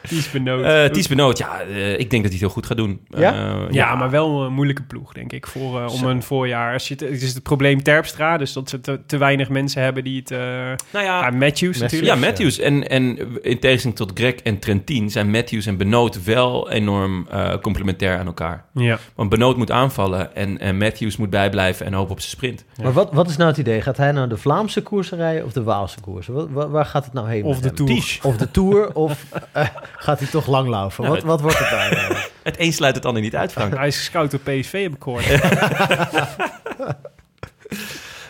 B: Ties benood.
E: Eh Ties Benoot, ja, eh, ik denk dat hij het heel goed gaat doen.
C: Ja?
E: Eh,
B: ja, maar wel een moeilijke ploeg, denk ik, voor, eh, om
E: Zo.
B: een voorjaar. Als je het, het is het probleem Terpstra, dus dat ze te, te weinig mensen hebben die het... eh
E: Nou ja,
B: ah, Matthews
E: ja,
B: natuurlijk.
E: Matthews. En, en in tegenstelling tot Greg en Trentin zijn Matthews en Benoot wel enorm eh, complementair aan elkaar.
B: Ja.
E: Want Benoot moet aanvallen en, en Matthews moet bijblijven en hopen op zijn sprint.
C: Maar wat, wat is nou het idee? Gaat hij nou de Vlaamse koersen rijden of de Waalse koersen? Wat, wa- waar gaat het nou heen?
B: Of
C: met
B: de
C: hem?
B: Tour.
E: Ties.
C: Of de Tour? of eh, gaat hij toch langlaufen?
E: Nou,
C: wat, wat wordt het nou? eigenlijk?
E: Het een sluit het ander niet uit, Frank.
B: Hij is gescout door PSV, heb ik gehoord.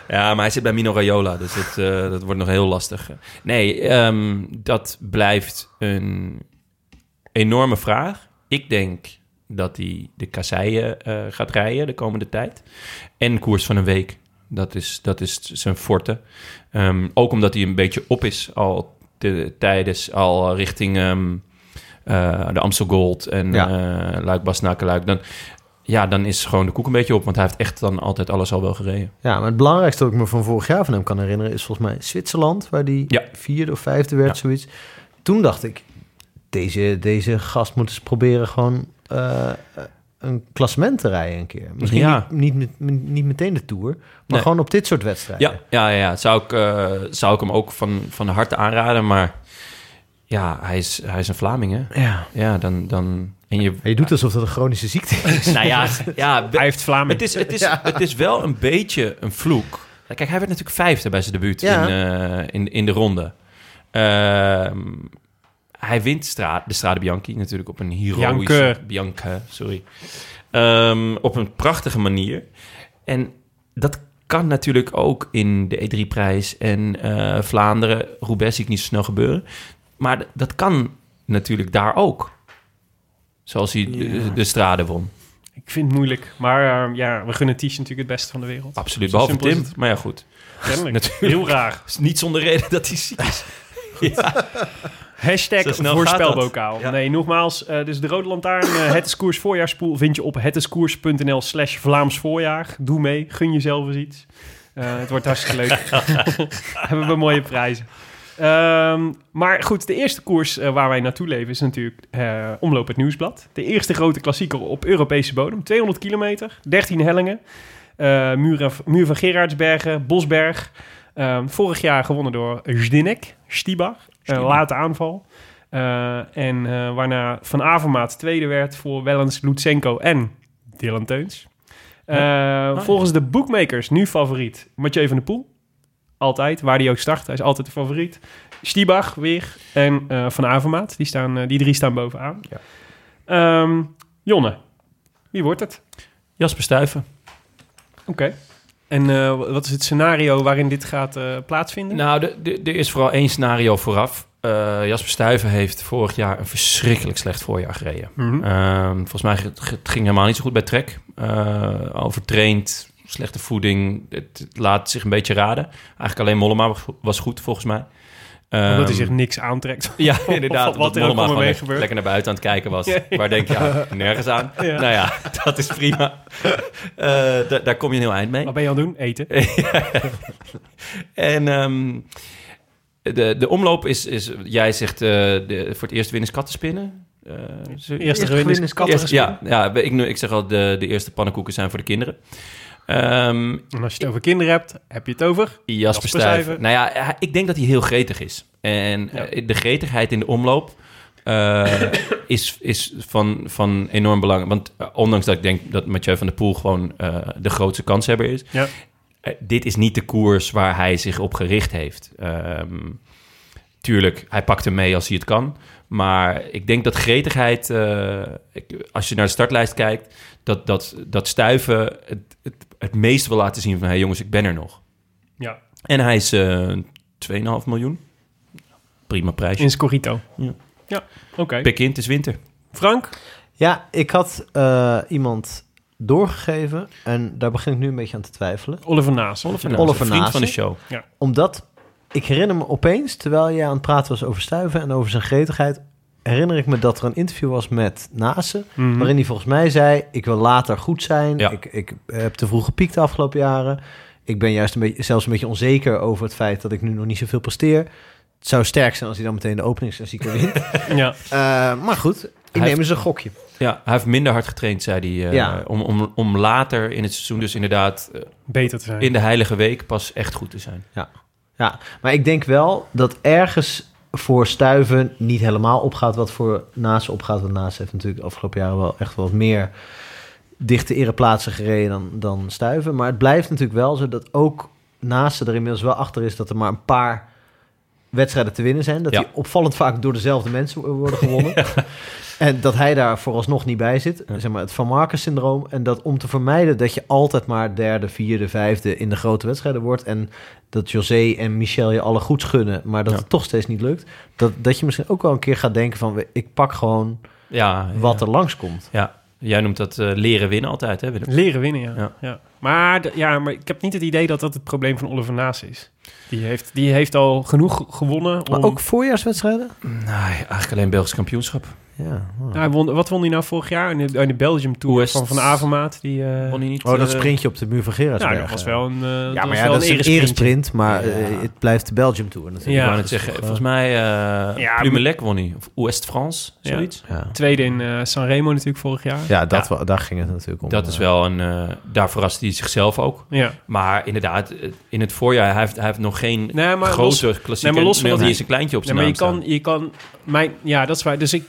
E: Ja, maar hij zit bij Mino Raiola, dus dat, eh, dat wordt nog heel lastig. Nee, ehm, dat blijft een enorme vraag. Ik denk dat hij de kasseien eh, gaat rijden de komende tijd. En koers van een week. Dat is, dat is zijn forte. Ehm, ook omdat hij een beetje op is al te- tijdens, al richting ehm, eh, de Amstel Gold en
C: Ja.
E: eh, Luik Basnakeluik. Dan, ja, dan is gewoon de koek een beetje op, want hij heeft echt dan altijd alles al wel gereden.
C: ja, maar het belangrijkste dat ik me van vorig jaar van hem kan herinneren... is volgens mij Zwitserland, waar die
E: Ja.
C: vierde of vijfde werd,
E: Ja.
C: zoiets. Toen dacht ik, deze, deze gast moet eens proberen gewoon... eh, een klassement te rijden een keer. Misschien
E: Ja.
C: niet, niet, met- niet meteen de Tour, maar
E: Nee.
C: gewoon op dit soort wedstrijden.
E: Ja, ja, ja, ja. Zou, ik, eh, zou ik hem ook van, van harte aanraden. Maar ja, hij is, hij is een Vlaming, hè?
C: Ja.
E: Ja, dan... dan en je,
C: Maar je doet alsof dat een chronische ziekte is.
E: nou ja, ja be-
B: Hij heeft Vlaming.
E: het, is, het, is, het is wel een beetje een vloek. Kijk, hij werd natuurlijk vijfde bij zijn debuut
C: Ja.
E: in, eh, in, in de ronde. Ehm, hij wint stra de Strade Bianchi natuurlijk op een heroïsche...
B: Bianche.
E: Bianca, sorry. Ehm, op een prachtige manier. En dat kan natuurlijk ook in de E3-prijs en eh, Vlaanderen. Roubaix zie ik niet zo snel gebeuren. Maar d- dat kan natuurlijk daar ook. Zoals hij de, de strade won.
B: Ik vind het moeilijk. Maar eh, ja, we gunnen Ties natuurlijk het beste van de wereld.
E: Absoluut,
B: Zo
E: behalve
B: simpel is
E: Tim.
B: het.
E: Maar ja, goed.
B: Kennelijk.
E: Natuurlijk.
B: Heel raar.
E: is niet zonder reden dat hij ziek is. Ja.
B: Hashtag
E: Zo snel
B: voorspelbokaal.
E: gaat dat. Ja.
B: Nee, nogmaals, eh, dus de Rode Lantaarn, eh, het is koers voorjaarspoel, vind je op hetescours.nl slash Vlaams voorjaar. Doe mee, gun jezelf eens iets. Eh, het wordt hartstikke leuk. Hebben we mooie prijzen. Ehm, maar goed, de eerste koers eh, waar wij naartoe leven is natuurlijk eh, Omloop het Nieuwsblad. De eerste grote klassieker op Europese bodem. 200 kilometer, 13 hellingen. eh, muur, muur van Gerardsbergen, Bosberg. Ehm, vorig jaar gewonnen door Zdinek, Stibar. Een late aanval. Eh, en eh, waarna Van Avermaat tweede werd voor Wellens, Lutsenko en Dylan Teuns. Eh,
E: ja.
B: Volgens de bookmakers nu favoriet Mathieu van der Poel. Altijd, waar hij ook start. Hij is altijd de favoriet. Stiebach weer en eh, Van Avermaat. Die, staan, eh, die drie staan bovenaan.
C: Ja.
B: Ehm, Jonne, wie wordt het?
E: Jasper Stuyven.
B: Oké. En eh, wat is het scenario waarin dit gaat eh, plaatsvinden?
E: Nou, de- de- er is vooral één scenario vooraf. Eh, Jasper Stuyven heeft vorig jaar een verschrikkelijk slecht voorjaar gereden.
B: Mhm.
E: Ehm, volgens mij g- g- het ging helemaal niet zo goed bij Trek. Eh, overtraind, slechte voeding. Het het laat zich een beetje raden. Eigenlijk alleen Mollema was- was goed, volgens mij.
B: Omdat hij
E: Ehm,
B: zich niks aantrekt.
E: Ja, inderdaad.
B: Of wat
E: Wat
B: er
E: Mollema
B: ook allemaal
E: gewoon
B: mee
E: lekker,
B: gebeurt.
E: lekker naar buiten aan het kijken was.
B: Ja.
E: Waar denk je, ja, nergens aan.
B: Ja.
E: Nou ja, dat is prima. Eh, da- daar kom je een heel eind mee.
B: Wat ben je aan het doen? Eten.
E: En ehm, de, de omloop is, is jij zegt, eh, de, voor het eerst winnen is kattenspinnen. Eh, zo-
B: Eerste gewin is
C: is
B: katten.
E: eerst- ja, ja, ik, ik zeg al, de, de eerste pannenkoeken zijn voor de kinderen. Ehm,
B: En als je het over kinderen hebt, heb je het over.
E: Jasper
B: Jasper
E: Stuyven.
B: Stuyven.
E: Nou ja, hij- ik denk dat hij heel gretig is. En
B: Ja.
E: eh, de gretigheid in de omloop eh, is, is van, van enorm belang. Want eh, ondanks dat ik denk dat Mathieu van der Poel gewoon eh, de grootste kanshebber is...
B: Ja.
E: eh, eh, dit is niet de koers waar hij zich op gericht heeft. Ehm, tuurlijk, hij pakt hem mee als hij het kan. Maar ik denk dat gretigheid, eh, ik- als je naar de startlijst kijkt, dat, dat, dat stuiven het, het, het meest wil laten zien van... hé hey jongens, ik ben er nog.
B: Ja.
E: En hij is eh 2,5 miljoen. Prima prijsje.
B: In Scorito.
E: Ja.
B: Ja, oké.
E: Pek in, het is winter.
B: Frank?
C: Ja, ik had eh, iemand doorgegeven en daar begin ik nu een beetje aan te twijfelen.
B: Oliver Naas.
E: Oliver
C: Naas. Oliver
E: Een vriend
C: Naas,
E: van de
C: hè?
E: show.
C: Omdat ik herinner me opeens, terwijl jij aan het praten was over stuiven en over zijn gretigheid, herinner ik me dat er een interview was met Nase,
B: Mhm.
C: waarin hij volgens mij zei: Ik wil later goed zijn.
E: Ja.
C: Ik, ik heb te vroeg gepiekt de afgelopen jaren. Ik ben juist een beetje, zelfs een beetje onzeker over het feit dat ik nu nog niet zoveel presteer. Het zou sterk zijn als hij dan meteen de openingsklassieker wint.
B: Ja.
C: Eh, maar goed, ik
E: Hij
C: neem
E: heeft-
C: eens een gokje.
E: Ja, hij heeft minder hard getraind, zei hij. eh,
C: Ja.
E: om, om, om later in het seizoen, dus inderdaad, eh,
B: Beter te zijn.
E: in de heilige week pas echt goed te zijn.
C: Maar ik denk wel dat ergens voor stuiven niet helemaal opgaat wat voor Naast opgaat. Want Naast heeft natuurlijk de afgelopen jaren wel echt wat meer dichte ereplaatsen gereden dan, dan stuiven. Maar het blijft natuurlijk wel zo dat ook Naast er inmiddels wel achter is dat er maar een paar wedstrijden te winnen zijn. Dat
E: Ja.
C: die opvallend vaak door dezelfde mensen wo- worden gewonnen. En dat hij daar vooralsnog niet bij zit.
E: Ja.
C: Zeg maar het Van Marcus syndroom. En dat om te vermijden dat je altijd maar derde, vierde, vijfde in de grote wedstrijden wordt. En dat José en Michel je alle goed gunnen, maar dat
E: Ja.
C: het toch steeds niet lukt. Dat, dat je misschien ook wel een keer gaat denken van... ik pak gewoon
E: Ja,
C: wat
E: ja.
C: er langskomt.
E: Jij noemt dat eh, leren winnen altijd, hè Willem?
B: Leren winnen, ja. ja.
E: Ja.
B: Maar, d- ja. maar ik heb niet het idee dat dat het probleem van Oliver Naas is. Die heeft, die heeft al genoeg gewonnen.
C: Maar
B: om-
C: ook voorjaarswedstrijden?
E: Nee, eigenlijk alleen Belgisch kampioenschap.
C: Ja.
B: Nou, hij won, wat won hij nou vorig jaar in de, in de Belgium Tour
E: West-
B: van Van Avermaat? Die, eh,
E: Won hij niet,
C: Oh, dat
E: eh,
C: sprintje op de muur van
B: nou,
C: Gerardsberg.
B: dat was wel een, eh,
C: Ja, maar
B: was
C: ja,
B: wel
C: dat is
B: een
C: een
B: eresprint.
C: eresprint, maar
E: Ja.
C: eh, het blijft de Belgium Tour natuurlijk.
B: Ja.
E: Ik wou net
C: Dat is
E: zeggen,
C: toch, eh,
E: volgens mij eh
B: Ja,
E: Plumelec won hij. Of Ouest-France,
B: Ja.
E: zoiets.
C: Ja,
B: Tweede in eh Sanremo natuurlijk vorig jaar.
C: ja, dat wa- daar ging het natuurlijk om.
E: Dat is wel een... eh, daar verrast hij zichzelf ook.
B: Ja.
E: Maar inderdaad, eh, in het voorjaar, hij heeft, hij heeft nog geen
B: Nee, maar los-
E: grote klassieke...
B: nee, maar los van
E: nee, die
B: dat hij-
E: is een kleintje op
B: Nee,
E: zijn
B: maar je
E: naam
B: kan, je kan, mijn, ja, dat is waar. Dus ik,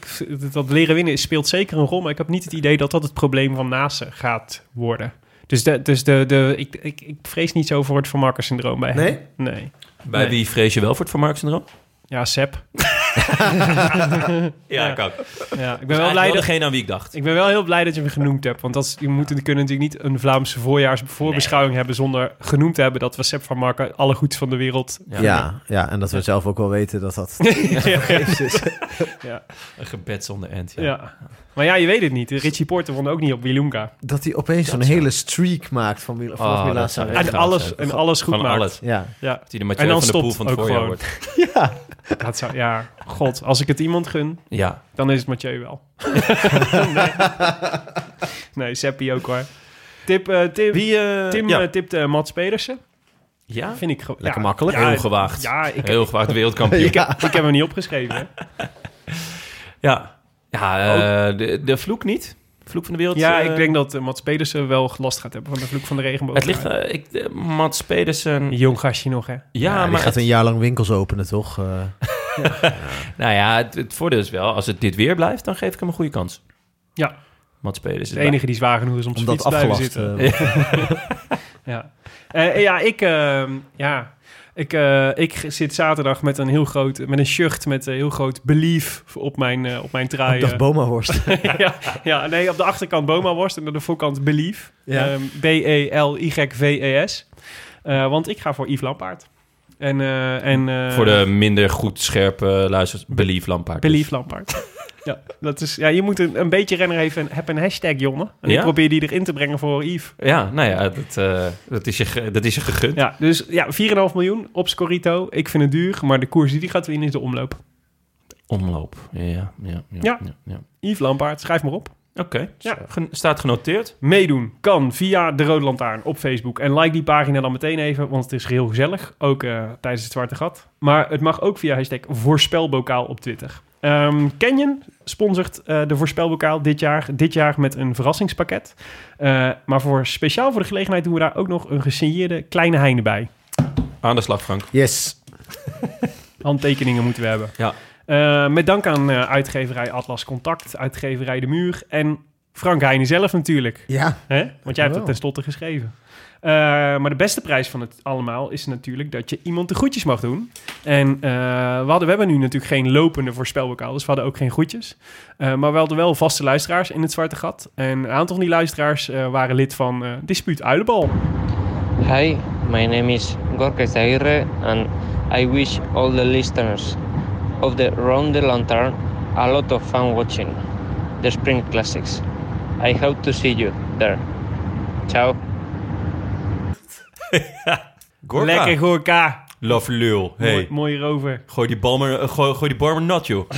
B: dat leren winnen speelt zeker een rol, maar ik heb niet het idee dat dat het probleem van Nase gaat worden. Dus, de, dus de, de, ik, ik, ik vrees niet zo voor het Van Marker syndroom bij hem.
C: Nee?
B: Nee.
E: staan. Bij
B: Nee.
E: wie vrees je wel voor het Van Mark syndroom?
B: Ja, Sep.
E: Ja,
B: Ja.
E: ik ook. Ik
B: Ja, ik ben
C: Dus
E: ben
B: wel blij dat...
E: degene aan wie ik dacht.
B: Ik ben wel heel blij dat je hem genoemd hebt. Want dat is, je moet, we kunnen natuurlijk niet een Vlaamse voorjaarsvoorbeschouwing hebben... zonder genoemd te hebben dat we Sepp van Marken alle goeds van de wereld...
C: Ja, ja, en dat we zelf ook wel weten dat dat...
B: ja.
E: Een gebed zonder end, ja.
B: Ja. Maar ja, je weet het niet. Richie Porter won ook niet op Wielunga.
C: dat hij opeens zo'n hele streak maakt van Mila
E: Oh,
C: oh,
E: dat
C: Mila's.
E: zou echt
B: En
E: gaaf
B: alles,
E: zijn.
B: en alles goed
E: Van
B: maakt.
E: alles.
C: Ja.
B: Ja.
E: Dat hij de Mathieu
B: dan
E: van de Poel
B: stopt
E: van het
B: ook
E: voorjaar
B: gewoon.
E: wordt.
C: ja.
B: Dat zou, ja, god. Als ik het iemand gun,
E: Ja,
B: dan is het Mathieu wel. nee, nee Seppi ook hoor. Tip, eh, tip,
E: Wie, eh,
B: Tim
E: ja.
B: eh, tipte Mats Pedersen.
E: ja?
B: Vind ik gewoon...
C: Lekker
B: ja,
C: makkelijk.
B: Ja,
E: heel gewaagd.
B: Ja, ik,
E: Heel gewaagd wereldkampioen.
B: ik, heb, ik heb hem niet opgeschreven. hè.
E: Ja, ja eh, de, de vloek niet. Vloek van de wereld.
B: Ja,
E: eh,
B: ik denk dat eh, Mats Pedersen wel last gaat hebben van de vloek van de regenboog.
E: Het ligt... eh, ik, eh, Mats Pedersen...
B: Een
E: Ja,
B: jong gastje nog, hè?
C: Ja, die
E: maar...
C: gaat een jaar lang winkels openen, toch? Eh,
E: nou ja, het, het voordeel is wel... Als het dit weer blijft, dan geef ik hem een goede kans.
B: Ja.
E: Mats Pedersen.
B: Het enige die zwaar genoeg is om zijn
C: omdat
B: fiets te blijven
C: afgelast.
B: zitten.
C: eh,
B: Ja, Eh, ja ik... ehm, ja. Ik, eh, ik zit zaterdag met een heel groot, met een shirt met een heel groot belief op mijn, eh, op mijn
C: ik
B: trui.
C: dacht
B: eh.
C: Boma-worst.
B: ja, ja, nee, op de achterkant Boma worst en aan de voorkant Belief.
C: Ja.
B: Ehm, B-E-L-Y-V-E-S. E Eh, want ik ga voor Yves Lampaard. En, eh, en, eh,
E: nou, Voor de minder goed scherpe luisteraars, Belief Lampaard.
B: Belief Lampaard. ja, dat is, ja, je moet een, een beetje renner even heb een hashtag, jongen. En ik
E: Ja?
B: probeer die erin te brengen voor Yves.
E: Ja, nou ja, dat, eh, dat, is, je, ge- dat is je gegund.
B: Ja, dus ja, 4,5 miljoen op Scorito. Ik vind het duur, maar de koers die die gaat winnen is de omloop.
E: Omloop. Ja, ja, ja.
B: Ja.
E: ja, ja, ja.
B: Yves Lampaard, schrijf maar op.
E: Oké,
B: Ja.
E: Gen- staat genoteerd.
B: Meedoen kan via de Rode Lantaarn op Facebook. En like die pagina dan meteen even, want het is heel gezellig. Ook eh, tijdens het Zwarte Gat. Maar het mag ook via hashtag voorspelbokaal op Twitter. Ehm Canyon sponsort eh, de voorspelbokaal dit jaar. Dit jaar met een verrassingspakket. Eh, maar voor, speciaal voor de gelegenheid doen we daar ook nog een gesigneerde kleine heine bij.
E: Aan de slag, Frank.
C: Yes.
B: Handtekeningen moeten we hebben.
E: Ja.
B: Eh, met dank aan eh, uitgeverij Atlas Contact, uitgeverij De Muur en Frank Heijnen zelf natuurlijk.
C: Ja.
B: Hè? Want jij hebt
C: Wel.
B: het tenslotte geschreven. Eh, maar de beste prijs van het allemaal is natuurlijk dat je iemand de groetjes mag doen. En eh, we, hadden, we hebben nu natuurlijk geen lopende voorspelbokaal, dus we hadden ook geen groetjes. Eh, maar we hadden wel vaste luisteraars in het Zwarte Gat. En een aantal van die luisteraars eh, waren lid van eh, Dispuut Uilenbal.
F: Hi, my name is Gorka Zaire, and I wish all the listeners of the Round the Lantern a lot of fun watching the Spring Classics. I hope to see you there. Ciao.
E: Gorka.
B: Lekker Gorka.
E: Love lul.
B: Mooi,
E: Hey.
B: mooie rover.
E: Gooi die bal maar, eh, gooi, gooi die bar maar nat, joh.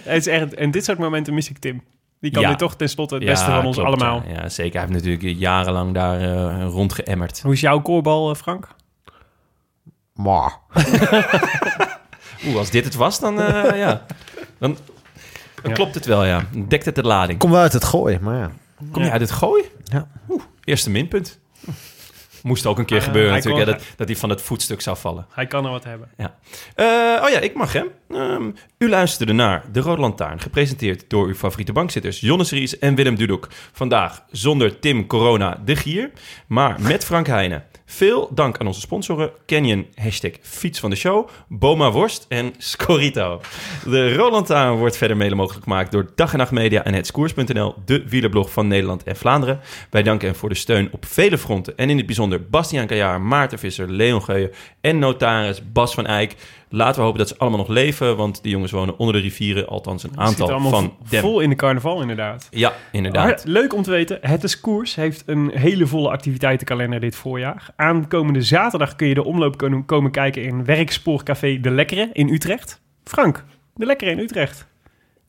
B: Het is echt, en dit soort momenten mis ik Tim. Die kan
E: Ja.
B: dit toch tenslotte het beste van ons
E: klopt,
B: allemaal.
E: Ja, Ja, zeker. Hij heeft natuurlijk jarenlang daar eh, rondgeëmmerd.
B: Hoe is jouw koorbal, eh, Frank?
C: Maar.
E: Oeh, als dit het was, dan, eh, ja. dan, dan
B: Ja.
E: klopt het wel, ja. Dan Dekt het de lading. Kom,
C: Kom wel uit het gooien, maar ja.
E: je uit het gooi?
C: Ja.
E: Oeh, eerste minpunt. Moest ook een keer
B: Ah,
E: gebeuren
B: hij
E: natuurlijk,
B: kon-
E: ja, dat, dat hij van het voetstuk zou vallen.
B: Hij kan er wat hebben.
E: Eh, oh ja, ik mag hè. Ehm, u luisterde naar De Rode Lantaarn, gepresenteerd door uw favoriete bankzitters Jonas Ries en Willem Dudok. Vandaag zonder Tim Corona de Gier, maar met Frank Heijnen. Veel dank aan onze sponsoren Canyon, hashtag fiets van de show, Boma Worst en Scorito. De Rode Lantaarn wordt verder mede mogelijk gemaakt door Dag en Nacht Media en Hetskoers.nl, de wielerblog van Nederland en Vlaanderen. Wij danken hen voor de steun op vele fronten en in het bijzonder Bastiaan Kajaar, Maarten Visser, Leon Geuyen en notaris Bas van Eyck. Laten we hopen dat ze allemaal nog leven, want die jongens wonen onder de rivieren, althans een
B: Zit
E: aantal
B: allemaal
E: van
B: v-
E: dem.
B: vol in de carnaval, inderdaad.
E: Ja, inderdaad.
B: Maar leuk om te weten, het is koers heeft een hele volle activiteitenkalender dit voorjaar. Aankomende zaterdag kun je de omloop kon- komen kijken in Werkspoorcafé De Lekkere in Utrecht. Frank, De Lekkere in Utrecht.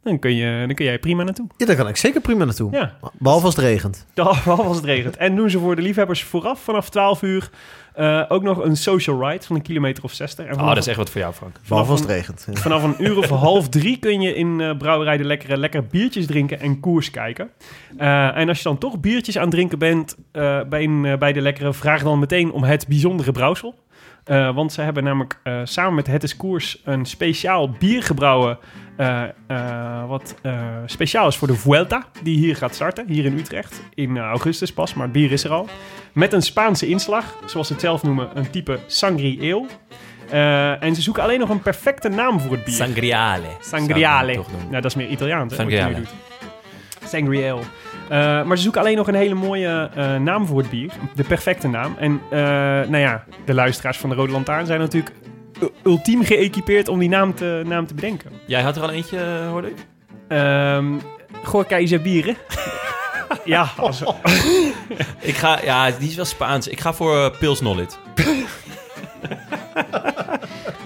B: Dan kun, je, dan kun jij prima naartoe.
C: ja, daar kan ik zeker prima naartoe.
B: Ja,
C: Behalve als het regent.
B: behalve als het regent. En doen ze voor de liefhebbers vooraf vanaf 12 uur eh, ook nog een social ride van een kilometer of 60. En
E: Oh,
B: vanaf
E: dat is echt wat voor jou, Frank.
C: Behalve als
B: een-
C: het regent. Ja.
B: Vanaf een uur of half drie kun je in eh Brouwerij de Lekkere lekker biertjes drinken en koers kijken. Eh, en als je dan toch biertjes aan het drinken bent eh, bij, een, eh, bij de Lekkere, vraag dan meteen om het bijzondere brouwsel. Eh, want ze hebben namelijk eh, samen met Het is Koers een speciaal bier gebrouwen. eh, eh, wat eh, speciaal is voor de Vuelta, die hier gaat starten, hier in Utrecht. In eh, augustus pas, maar het bier is er al. Met een Spaanse inslag, zoals ze het zelf noemen, een type sangrieel. Eh, en ze zoeken alleen nog een perfecte naam voor het bier.
E: Sangriale.
B: Sangriale.
E: Zou ik toch
B: Nou,
E: doen.
B: dat is meer Italiaans. Hè, wat
E: Sangriale.
B: je nu doet. Sangriel. Eh, maar ze zoeken alleen nog een hele mooie eh, naam voor het bier. De perfecte naam. En eh, nou ja, de luisteraars van de Rode Lantaarn zijn natuurlijk u- ultiem geëquipeerd om die naam te, naam te bedenken.
E: Jij had er al eentje, eh, hoorde ik?
B: Ehm Gorka Isabieren. ja, als,
E: Ik ga, ja, die is wel Spaans. Ik ga voor eh, Pils Nollit.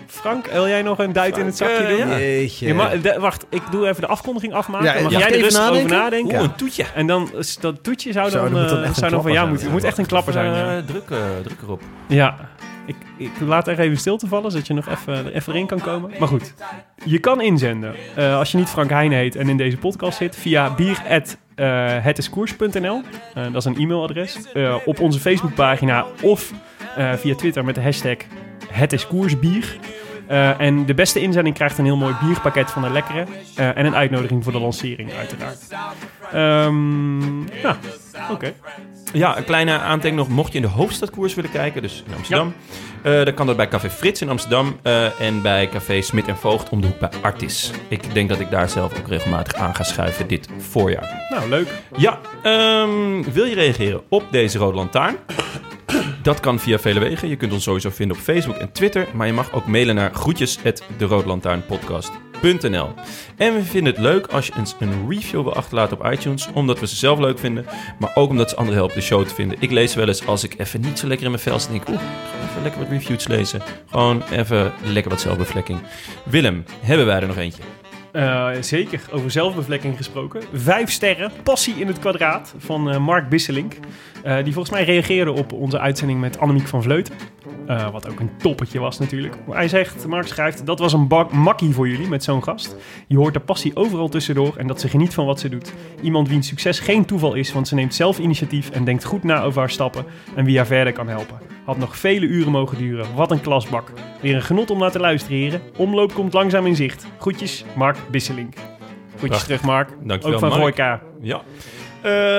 B: Frank, wil jij nog een duit in het zakje
E: Frank, eh,
B: doen?
E: ja.
C: Jeetje.
B: Je mag- de- wacht, ik doe even de afkondiging afmaken.
C: Ja,
B: mag
C: mag
B: jij
C: ik
B: er
C: even
B: rustig over
C: nadenken?
B: nadenken?
E: Oeh, Oh, een toetje.
B: En dan, eh, dat toetje zou
C: Zou,
B: dan,
C: dat moet dan
B: eh,
C: echt
B: zou
C: een
B: dan van
C: klapper
B: jou moeten.
C: zijn,
B: Het moet echt een klapper zijn. ja.
E: Eh, druk, eh, druk erop.
B: Ja, ik, ik laat er even stilte vallen, zodat je nog even, er even in kan komen. Maar goed, je kan inzenden eh, als je niet Frank Heijn heet en in deze podcast zit via bier@ eh, hetiskoers.nl. Eh, dat is een e-mailadres. Eh, op onze Facebookpagina of eh, via Twitter met de hashtag het is koersbier. Eh, en de beste inzending krijgt een heel mooi bierpakket van de lekkere. eh, en een uitnodiging voor de lancering, uiteraard. Ehm nou, oké.
E: Ja, een kleine aantekening nog. Mocht je in de hoofdstadkoers willen kijken, dus in Amsterdam, eh, dan kan dat bij Café Frits in Amsterdam eh, en bij Café Smit en Voogd om de hoek bij Artis. Ik denk dat ik daar zelf ook regelmatig aan ga schuiven dit voorjaar.
B: Nou, leuk.
E: Ja, ehm, wil je reageren op deze Rode Lantaarn? Dat kan via vele wegen. Je kunt ons sowieso vinden op Facebook en Twitter. Maar je mag ook mailen naar groetjes.deroodlantaarnpodcast.nl En we vinden het leuk als je eens een review wil achterlaten op iTunes. Omdat we ze zelf leuk vinden. Maar ook omdat ze anderen helpen de show te vinden. Ik lees wel eens als ik even niet zo lekker in mijn vel zit. denk ik, oeh, ik ga even lekker wat reviews lezen. Gewoon even lekker wat zelfbevlekking. Willem, hebben wij er nog eentje?
B: Eh, zeker, over zelfbevlekking gesproken. Vijf sterren, passie in het kwadraat van eh, Mark Bisselink. Eh, die volgens mij reageerde op onze uitzending met Annemiek van Vleuten. Eh, wat ook een toppetje was natuurlijk. Maar Hij zegt, Mark schrijft, dat was een bak makkie voor jullie met zo'n gast. Je hoort de passie overal tussendoor en dat ze geniet van wat ze doet. Iemand wiens succes geen toeval is, want ze neemt zelf initiatief en denkt goed na over haar stappen en wie haar verder kan helpen. Had nog vele uren mogen duren. Wat een klasbak. Weer een genot om naar te luisteren, heren. Omloop komt langzaam in zicht. Groetjes, Mark Bisselink. Goedjes terug, Mark.
E: Dankjewel,
B: Ook van
E: Mark.
B: Roy K.
E: Ja.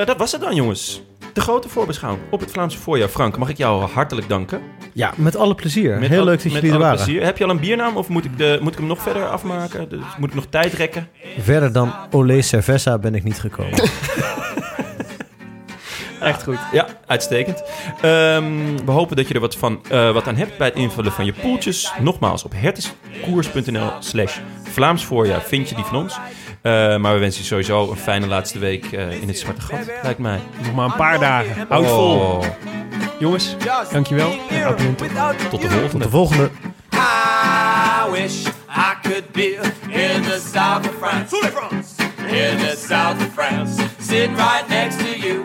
E: Eh, dat was het dan, jongens. De grote voorbeschouwing op het Vlaamse voorjaar. Frank, mag ik jou hartelijk danken?
C: Ja, met alle plezier.
E: Met
C: Heel
E: al-
C: leuk dat
E: met
C: jullie er
E: alle
C: waren.
E: plezier. Heb je al een biernaam of moet ik, de, moet ik hem nog verder afmaken? Dus moet ik nog tijd rekken?
C: Verder dan Olé Cerveza ben ik niet gekomen.
B: Echt goed.
E: Ja, uitstekend. Ehm, we hopen dat je er wat, van, eh, wat aan hebt bij het invullen van je poeltjes. Nogmaals, op herteskoers.nl slash Vlaams voorjaar vind je die van ons. Eh, maar we wensen je sowieso een fijne laatste week eh, in het Zwarte Gat, lijkt mij.
B: Nog maar een paar dagen. Houd vol.
E: Oh,
B: Jongens,
D: Just
B: dankjewel.
D: here
B: En Atlanta.
D: without
E: tot de
D: you.
E: volgende.
C: De volgende.
D: I wish I could be in the south of France. In the south of France, sitting right next to you.